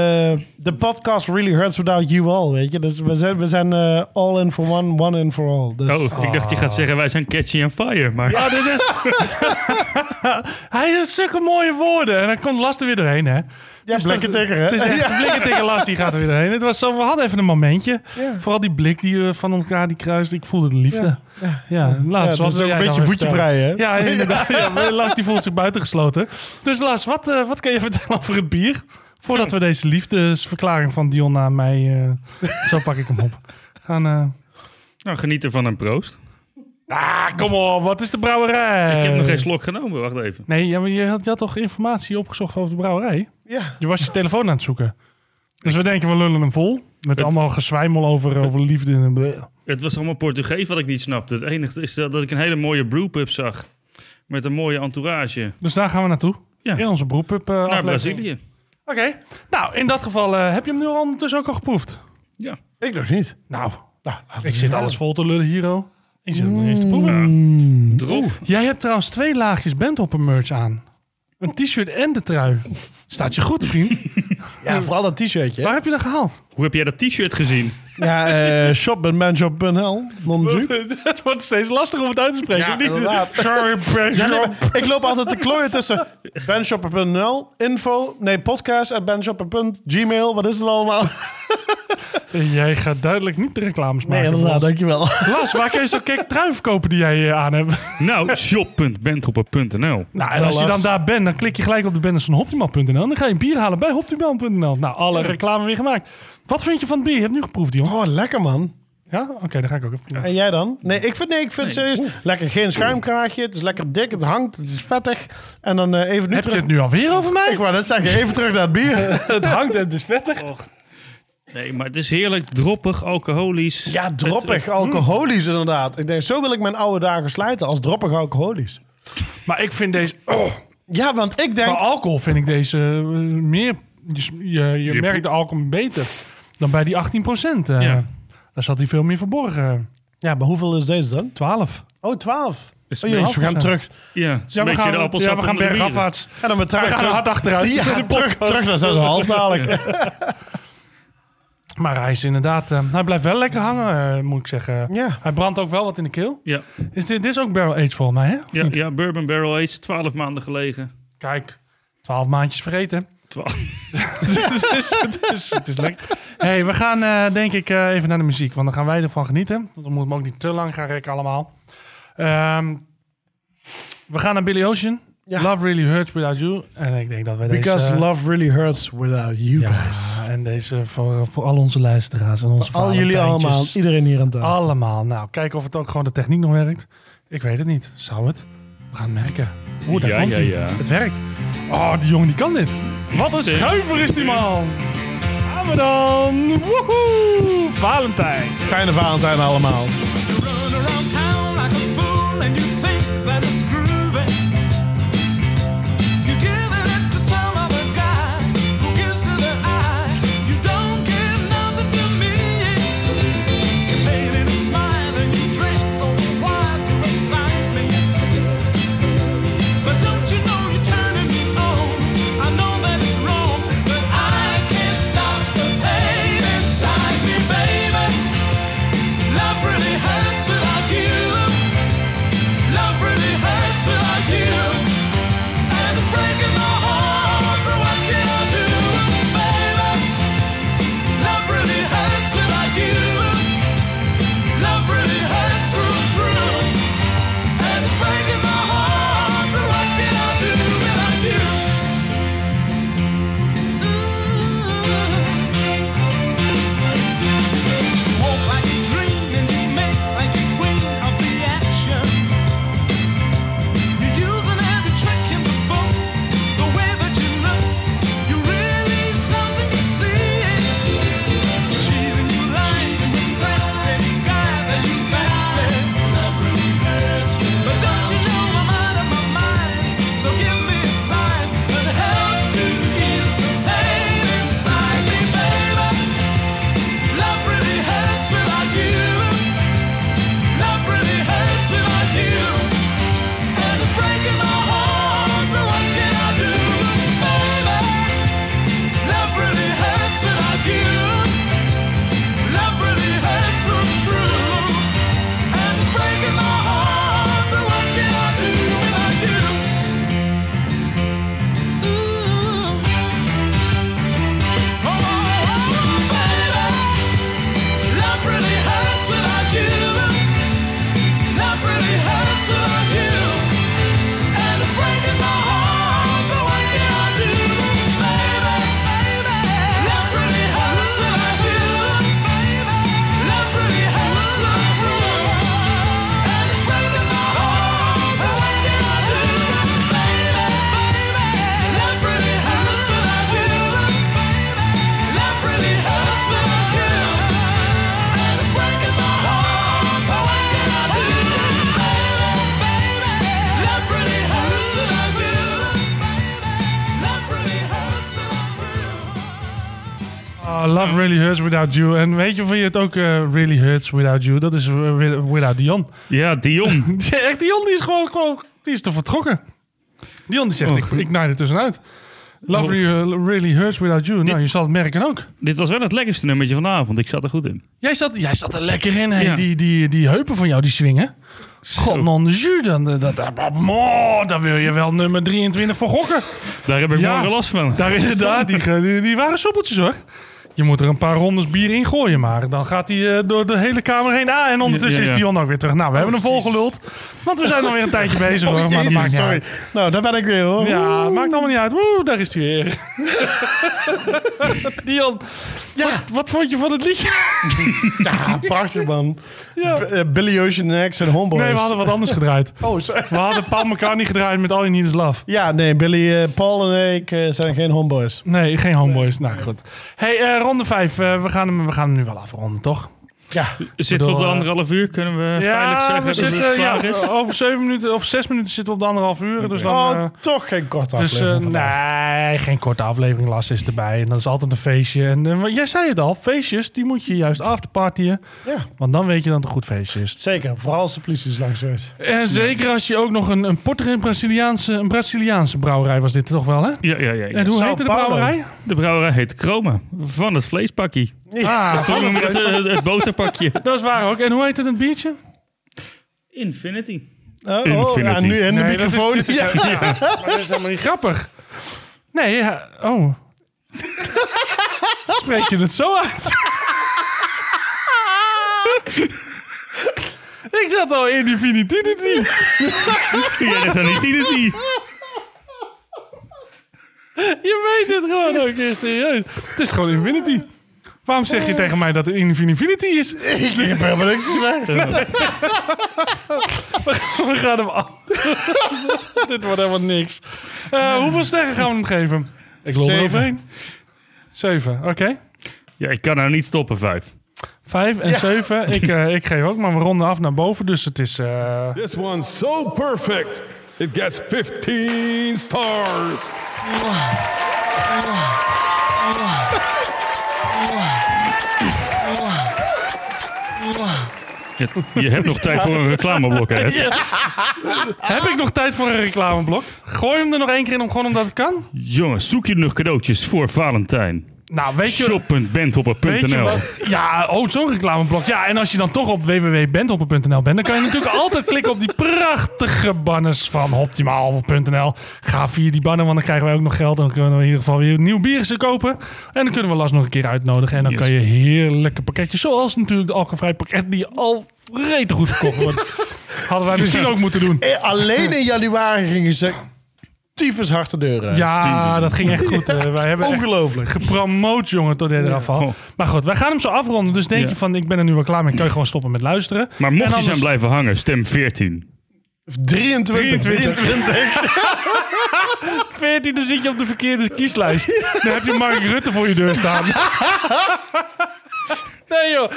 Speaker 2: De podcast really hurts without you all, weet je. Dus we zijn, we zijn eh, all in for one, one in for all. Dus,
Speaker 5: Oh, ik dacht je gaat zeggen wij zijn catchy and fire. Maar
Speaker 1: Ja, dit is... hij heeft zulke mooie woorden. En dan komt Last er weer doorheen, hè?
Speaker 2: Ja,
Speaker 1: Het is
Speaker 2: blikken
Speaker 1: toch-
Speaker 2: tegen, hè?
Speaker 1: Het is echt blikken tegen last, die gaat er weer heen. Het was zo, we hadden even een momentje.
Speaker 2: Ja.
Speaker 1: Vooral die blik die we van elkaar die kruiste. Ik voelde de liefde. Ja, Lars,
Speaker 2: Ja, dat
Speaker 1: wat
Speaker 2: is
Speaker 1: wil jij
Speaker 2: ook een
Speaker 1: dan
Speaker 2: beetje
Speaker 1: weer
Speaker 2: voetje
Speaker 1: vertellen?
Speaker 2: vrij, hè? [LAUGHS]
Speaker 1: Ja, inderdaad. Ja, Lars die voelt zich buitengesloten. Dus Lars, wat, eh, wat kan je [LAUGHS] vertellen over het bier? Voordat we deze liefdesverklaring van Dion naar mij... eh, zo pak ik hem op. Gaan... eh,
Speaker 5: nou, geniet ervan en proost.
Speaker 1: ah, kom op, wat is de brouwerij?
Speaker 5: Ik heb nog geen slok genomen, wacht even.
Speaker 1: Nee, ja, maar je, had, je had toch informatie opgezocht over de brouwerij?
Speaker 2: Ja.
Speaker 1: Je was je telefoon aan het zoeken. Dus we denken, we lullen hem vol. Met allemaal gezwijmel over, over liefde. En bleh.
Speaker 5: Het was allemaal Portugees wat ik niet snapte. Het enige is dat dat ik een hele mooie brewpub zag. Met een mooie entourage.
Speaker 1: dus daar gaan we naartoe.
Speaker 5: Ja.
Speaker 1: In onze broepup eh
Speaker 5: Naar
Speaker 1: aflevering.
Speaker 5: Brazilië.
Speaker 1: Oké. Nou, in dat geval eh, heb je hem nu al ondertussen ook al geproefd.
Speaker 5: Ja.
Speaker 2: Ik nog niet.
Speaker 1: Nou,
Speaker 2: Nou, laten we
Speaker 1: ik zit
Speaker 2: zien.
Speaker 1: alles vol te lullen hier, oh. Ik zit hem nog eens te proeven.
Speaker 5: Drop.
Speaker 1: Mm. Jij hebt trouwens twee laagjes bandhopper merch aan. Een t-shirt en de trui. Staat je goed, [LAUGHS] vriend.
Speaker 2: Ja, vooral dat t-shirtje. hè?
Speaker 1: Waar heb je dat gehaald?
Speaker 5: Hoe heb jij dat t-shirt gezien?
Speaker 2: Ja, eh shop.manshop.nl. Non-dupe.
Speaker 1: [LAUGHS] het wordt steeds lastiger om het uit te spreken.
Speaker 2: Ja,
Speaker 1: of niet?
Speaker 2: inderdaad.
Speaker 1: Sorry, Benjo.
Speaker 2: Ja, nee, maar ik loop altijd te klooien tussen benshopper.nl, info, nee, podcast at benshopper.gmail, wat is het allemaal?
Speaker 1: Jij gaat duidelijk niet de reclames maken.
Speaker 2: Nee,
Speaker 1: voor
Speaker 2: inderdaad,
Speaker 1: ons.
Speaker 2: dankjewel.
Speaker 1: Lars, waar kun je zo'n kek trui verkopen die jij eh, aan hebt? [LAUGHS]
Speaker 5: Nou, shop.bentropper.nl.
Speaker 1: Nou, en als je dan
Speaker 2: Lars.
Speaker 1: daar bent, dan klik je gelijk op de banners van Hoptiman.nl. En dan ga je een bier halen bij Hoptiman.nl. Nou, alle reclame weer gemaakt. Wat vind je van het bier? Je hebt nu geproefd, jongen.
Speaker 2: Oh, lekker man.
Speaker 1: Ja? Oké, dan ga ik ook even proeven.
Speaker 2: En jij dan? Nee, ik vind, nee, ik vind serieus lekker geen schuimkraagje, het is lekker dik, het hangt, het is vettig. En dan eh, even nu
Speaker 1: Heb je
Speaker 2: terug...
Speaker 1: het nu alweer over mij?
Speaker 2: Ik wou net zeggen, even terug naar het bier.
Speaker 1: [LAUGHS] het hangt en het is vettig.
Speaker 5: Nee, maar het is heerlijk droppig, alcoholisch.
Speaker 2: Ja, droppig, alcoholisch inderdaad. Ik denk, zo wil ik mijn oude dagen slijten, als droppig alcoholisch.
Speaker 1: Maar ik vind deze...
Speaker 2: Ja, want ik
Speaker 1: Bij
Speaker 2: denk...
Speaker 1: alcohol vind ik deze eh, meer... Je, je, je
Speaker 5: Je
Speaker 1: merkt de alcohol beter dan bij die 18 procent. Eh,
Speaker 5: Ja.
Speaker 1: Daar zat hij veel meer verborgen.
Speaker 2: Ja, maar hoeveel is deze dan?
Speaker 1: 12.
Speaker 2: Oh, 12.
Speaker 5: Is
Speaker 2: Oh jongens, we gaan
Speaker 1: 12%.
Speaker 2: terug.
Speaker 5: Ja, het is een beetje de
Speaker 1: ja,
Speaker 5: appelsap
Speaker 1: we gaan
Speaker 5: onder de bieren.
Speaker 1: bergafwaarts.
Speaker 2: En dan
Speaker 1: We
Speaker 2: betraag
Speaker 1: gaan hard achteruit. [LAUGHS]
Speaker 2: Ja, terug, terug naar 6,5 dadelijk.
Speaker 1: Maar hij is inderdaad... eh, hij blijft wel lekker hangen, eh, moet ik zeggen.
Speaker 2: Ja.
Speaker 1: Hij brandt ook wel wat in de keel.
Speaker 5: Mm. Ja,
Speaker 1: Is dit, dit is ook barrel age volgens mij, hè?
Speaker 5: ja, ja, Bourbon Barrel Age, 12 maanden gelegen.
Speaker 1: Kijk, 12 maandjes vergeten.
Speaker 5: Twa-
Speaker 1: [LAUGHS] het, is, Dus het, is, het is lekker. hey, we gaan eh, denk ik eh, even naar de muziek. Want dan gaan wij ervan genieten. Want we moeten hem ook niet te lang gaan rekken allemaal. Ehm, we gaan naar Billy Ocean.
Speaker 2: Ja.
Speaker 1: Love Really Hurts Without You. En ik denk dat wij
Speaker 2: Because
Speaker 1: deze... eh,
Speaker 2: love really hurts without you
Speaker 1: ja,
Speaker 2: guys.
Speaker 1: en deze voor, voor al onze luisteraars en onze
Speaker 2: Al jullie
Speaker 1: Valentijntjes.
Speaker 2: allemaal, iedereen hier aan tafel.
Speaker 1: Allemaal. Nou, kijken of het ook gewoon de techniek nog werkt. Ik weet het niet. Zou het? We gaan het merken. Oeh, daar
Speaker 5: Ja,
Speaker 1: komt
Speaker 5: ja,
Speaker 1: hij.
Speaker 5: ja.
Speaker 1: Het werkt. Oh, die jongen die kan dit. Wat een
Speaker 5: Zeker.
Speaker 1: schuiver is die man. Gaan we dan. Woehoe. Valentijn.
Speaker 2: Fijne Valentijn allemaal.
Speaker 7: You run around town like a fool and you think that it's groovy.
Speaker 3: Oh,
Speaker 1: Oh, Love Really Hurts Without You. En weet je of je het ook eh, Really Hurts Without You? Dat is eh, wi- Without Dion.
Speaker 5: Ja, Dion.
Speaker 1: Ja, Echt, Dion [LAUGHS] die is gewoon, gewoon die is te vertrokken. Dion die zegt,
Speaker 5: Oh,
Speaker 1: ik,
Speaker 5: goed.
Speaker 1: ik naai er tussenuit. Love
Speaker 5: Oh.
Speaker 1: really, eh, really hurts without you. Nou,
Speaker 5: Dit-
Speaker 1: je zal het merken ook.
Speaker 5: Dit was wel het lekkerste nummertje van de avond. Ik zat er goed in.
Speaker 1: Jij zat, jij zat er lekker in, hè?
Speaker 5: Ja.
Speaker 1: Die, die, die heupen van jou, die swingen. God, non jus, dan, dat, dat, dat- mo, daar wil je wel nummer 23 voor gokken.
Speaker 5: Daar heb ik
Speaker 1: Ja.
Speaker 5: morgen last van.
Speaker 1: Daar is het, daar, die, ge- die, die waren soepeltjes, hoor. Je moet er een paar rondes bier in gooien, maar dan gaat hij eh, door de hele kamer heen. Ah, en ondertussen
Speaker 5: Ja, ja, Oh, ja.
Speaker 1: is Dion ook weer terug. Nou, we hebben hem volgeluld, want we zijn alweer een tijdje bezig, hoor. Maar
Speaker 5: Oh,
Speaker 1: dat
Speaker 2: Jezus,
Speaker 1: maakt niet
Speaker 2: sorry.
Speaker 1: uit.
Speaker 2: Nou, daar ben ik weer hoor.
Speaker 1: Ja, maakt allemaal [LAUGHS] niet uit. Woe, daar is hij weer. Dion, wat, wat vond je van het liedje?
Speaker 2: Ja, prachtig man.
Speaker 1: [LAUGHS] Ja.
Speaker 2: B- eh, Billy Ocean en X en Homeboys.
Speaker 1: Nee, we hadden wat anders gedraaid.
Speaker 2: [LAUGHS] Oh, sorry.
Speaker 1: We hadden Paul McCartney gedraaid met All You Need Is Love.
Speaker 2: Ja, nee, Billy, eh, Paul en ik eh, zijn geen homeboys.
Speaker 1: Nee, geen homeboys. Nou, goed. hey, eh, ronde 5. we, gaan hem, we gaan hem nu wel afronden, toch?
Speaker 2: Ja,
Speaker 5: Zitten we op Dus de
Speaker 1: bedoel, eh,
Speaker 5: anderhalf uur? Kunnen we veilig
Speaker 1: ja,
Speaker 5: zeggen
Speaker 1: we
Speaker 5: dat
Speaker 1: zitten,
Speaker 5: het
Speaker 1: ja,
Speaker 5: klaar is?
Speaker 1: over zeven minuten of zes minuten zitten we op de anderhalf uur. Dus dan...
Speaker 2: oh,
Speaker 1: eh,
Speaker 2: toch geen korte
Speaker 1: dus eh,
Speaker 2: aflevering vandaag.
Speaker 1: nee, geen korte aflevering. Last is erbij. En dat is altijd een feestje. En eh, jij zei het al, feestjes, die moet je juist afterpartyen.
Speaker 2: Ja,
Speaker 1: Want dan weet je dat het een goed feestje is.
Speaker 2: zeker. Vooral als de politie is langs geweest.
Speaker 1: En zeker als je ook nog een, een Porter en Braziliaanse, een Braziliaanse brouwerij was dit toch wel, hè?
Speaker 5: Ja, ja, ja. ja.
Speaker 1: En hoe
Speaker 2: Sao
Speaker 1: heette de
Speaker 2: Paulo.
Speaker 1: brouwerij?
Speaker 5: De brouwerij heet Chroma. Van het vleespakkie.
Speaker 1: Ah,
Speaker 2: Ja.
Speaker 5: Toen noemen we het, eh, het boterpakje.
Speaker 1: Dat is waar ook. En hoe heette het biertje?
Speaker 5: Infinity.
Speaker 2: Oh, oh, ja,
Speaker 5: Infinity.
Speaker 2: nu in de microfoon.
Speaker 1: Dat is,
Speaker 2: Ja.
Speaker 1: helemaal niet grappig. Nee, ja.
Speaker 2: [LAUGHS]
Speaker 1: Oh. Spreek je het zo uit? Ik zat al in die finitidity.
Speaker 5: Jij dacht aan Infinity.
Speaker 1: Je weet het gewoon ook echt serieus. Het is gewoon infinity. Waarom zeg je tegen mij dat het infinity is?
Speaker 2: Eh. Ik heb helemaal
Speaker 1: er
Speaker 2: niks gezegd.
Speaker 1: [LAUGHS] We gaan hem af. Dit wordt helemaal niks. Eh, Hoeveel sterren gaan we hem geven? Ik
Speaker 2: lul
Speaker 1: er
Speaker 2: eroverheen.
Speaker 1: overheen. Zeven, oké.
Speaker 5: Ja, ik kan nou niet stoppen, vijf.
Speaker 1: Vijf en zeven. Ik, eh, ik geef ook, maar we ronden af naar boven. Dus het is... eh,
Speaker 4: This one's so perfect, it gets 15 stars.
Speaker 3: [LAUGHS]
Speaker 5: Je, je hebt nog tijd voor een reclameblok,
Speaker 1: [LAUGHS]
Speaker 5: hè?
Speaker 1: Heb ik nog tijd voor een reclameblok? Gooi hem er nog één keer in, om, gewoon omdat het kan?
Speaker 5: Jongens, zoek je nog cadeautjes voor Valentijn?
Speaker 1: Nou, weet je... Weet je
Speaker 5: Shop.bandhopper.nl
Speaker 1: wat? Ja, oh, zo'n reclameblok. Ja, en als je dan toch op www.bandhopper.nl bent, dan kan je natuurlijk altijd klikken op die prachtige banners van optimaal.nl. Ga via die banner, want dan krijgen wij ook nog geld. Dan kunnen we in ieder geval weer nieuw bier ze kopen. En dan kunnen we Las nog een keer uitnodigen. En dan
Speaker 5: Yes.
Speaker 1: kan je heerlijke pakketjes, zoals natuurlijk de alcoholvrij pakket, die al rete goed verkocht wordt. Hadden wij misschien ook moeten doen.
Speaker 2: Eh, Alleen in januari gingen ze tyfus hard de deur eh, uit.
Speaker 1: Ja, dat ging echt
Speaker 2: [LAUGHS]
Speaker 1: goed. Eh, wij hebben echt
Speaker 2: Ongelooflijk.
Speaker 1: gepromoot, jongen, tot dit eraf al.
Speaker 5: Oh.
Speaker 1: Maar goed, wij gaan hem zo afronden. Dus denk
Speaker 5: Ja.
Speaker 1: je van, ik ben er nu wel klaar mee. Kan je gewoon stoppen met luisteren.
Speaker 5: Maar
Speaker 1: En
Speaker 5: mocht je
Speaker 1: anders-
Speaker 5: zijn blijven hangen, stem 14.
Speaker 2: 23, 23.
Speaker 5: [LAUGHS]
Speaker 1: 14, dan zit je op de verkeerde kieslijst. Dan heb je Mark Rutte voor je deur
Speaker 2: [LAUGHS]
Speaker 1: staan. Nee joh,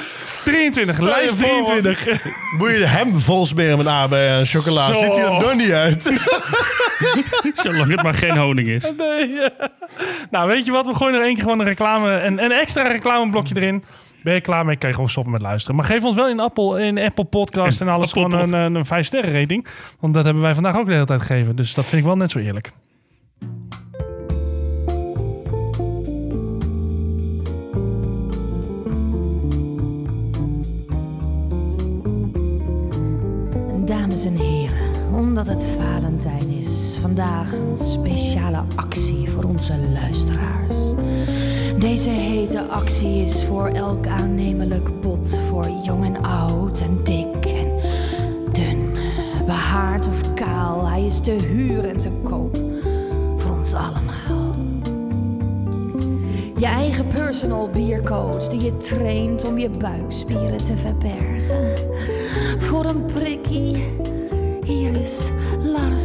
Speaker 1: 23,
Speaker 2: Stel je
Speaker 1: lijst
Speaker 2: voor,
Speaker 1: 23.
Speaker 2: Moet je hem volsmeren met AB en chocola.
Speaker 1: Zo.
Speaker 2: Ziet hij er nog niet [LAUGHS] uit.
Speaker 5: Zolang het maar geen honing
Speaker 1: [LAUGHS]
Speaker 5: is.
Speaker 1: Nee, ja. Nou weet je wat, we gooien er één keer gewoon een reclame, een, een extra reclameblokje erin. Ben je klaar mee, kan je gewoon stoppen met luisteren. Maar geef ons wel in Apple, in Apple Podcast en
Speaker 5: En
Speaker 1: alles
Speaker 5: Apple
Speaker 1: gewoon een, een, een 5 sterren rating. Want dat hebben wij vandaag ook de hele tijd gegeven. Dus dat vind ik wel net zo eerlijk.
Speaker 6: Dames en heren, omdat het Valentijn is, vandaag een speciale actie voor onze luisteraars. Deze hete actie is voor elk aannemelijk bod, voor jong en oud en dik en dun, behaard of kaal. Hij is te huur en te koop voor ons allemaal. Je eigen personal biercoach die je traint om je buikspieren te verbergen voor een prikkie. Hier is Lars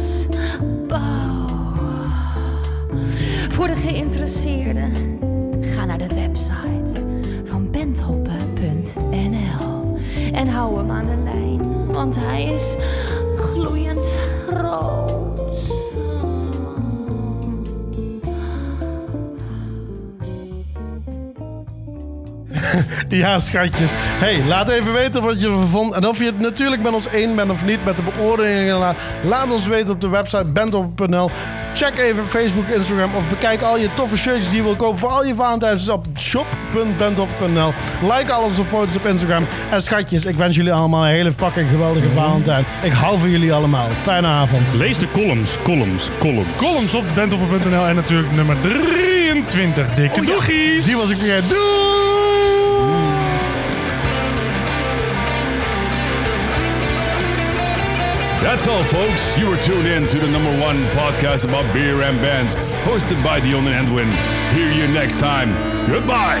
Speaker 6: Bouw. Voor de geïnteresseerden, ga naar de website van benthoppen.nl en hou hem aan de lijn, want hij is gloeiend rood.
Speaker 2: Ja, schatjes. hey, laat even weten wat je ervan vond. En of je het natuurlijk met ons één bent of niet met de beoordelingen. la- Laat ons weten op de website bentop.nl. Check even Facebook, Instagram of bekijk al je toffe shirtjes die je wil kopen voor al je Valentijns op shop.bentop.nl. Like al onze foto's op Instagram. En schatjes, ik wens jullie allemaal een hele fucking geweldige Valentijn. Ik hou van jullie allemaal. Fijne avond.
Speaker 5: Mhm. Lees de columns, columns, columns.
Speaker 1: Columns op bentopper.nl en natuurlijk nummer 23. Dikke doegies.
Speaker 2: Oh Die was ik weer. Doei!
Speaker 4: That's all, folks. You were tuned in to the number one podcast about beer and bands, hosted by Dion and Edwin. Hear you next time. Goodbye.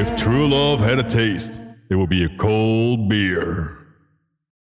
Speaker 4: If true love had a taste, it would be a cold beer.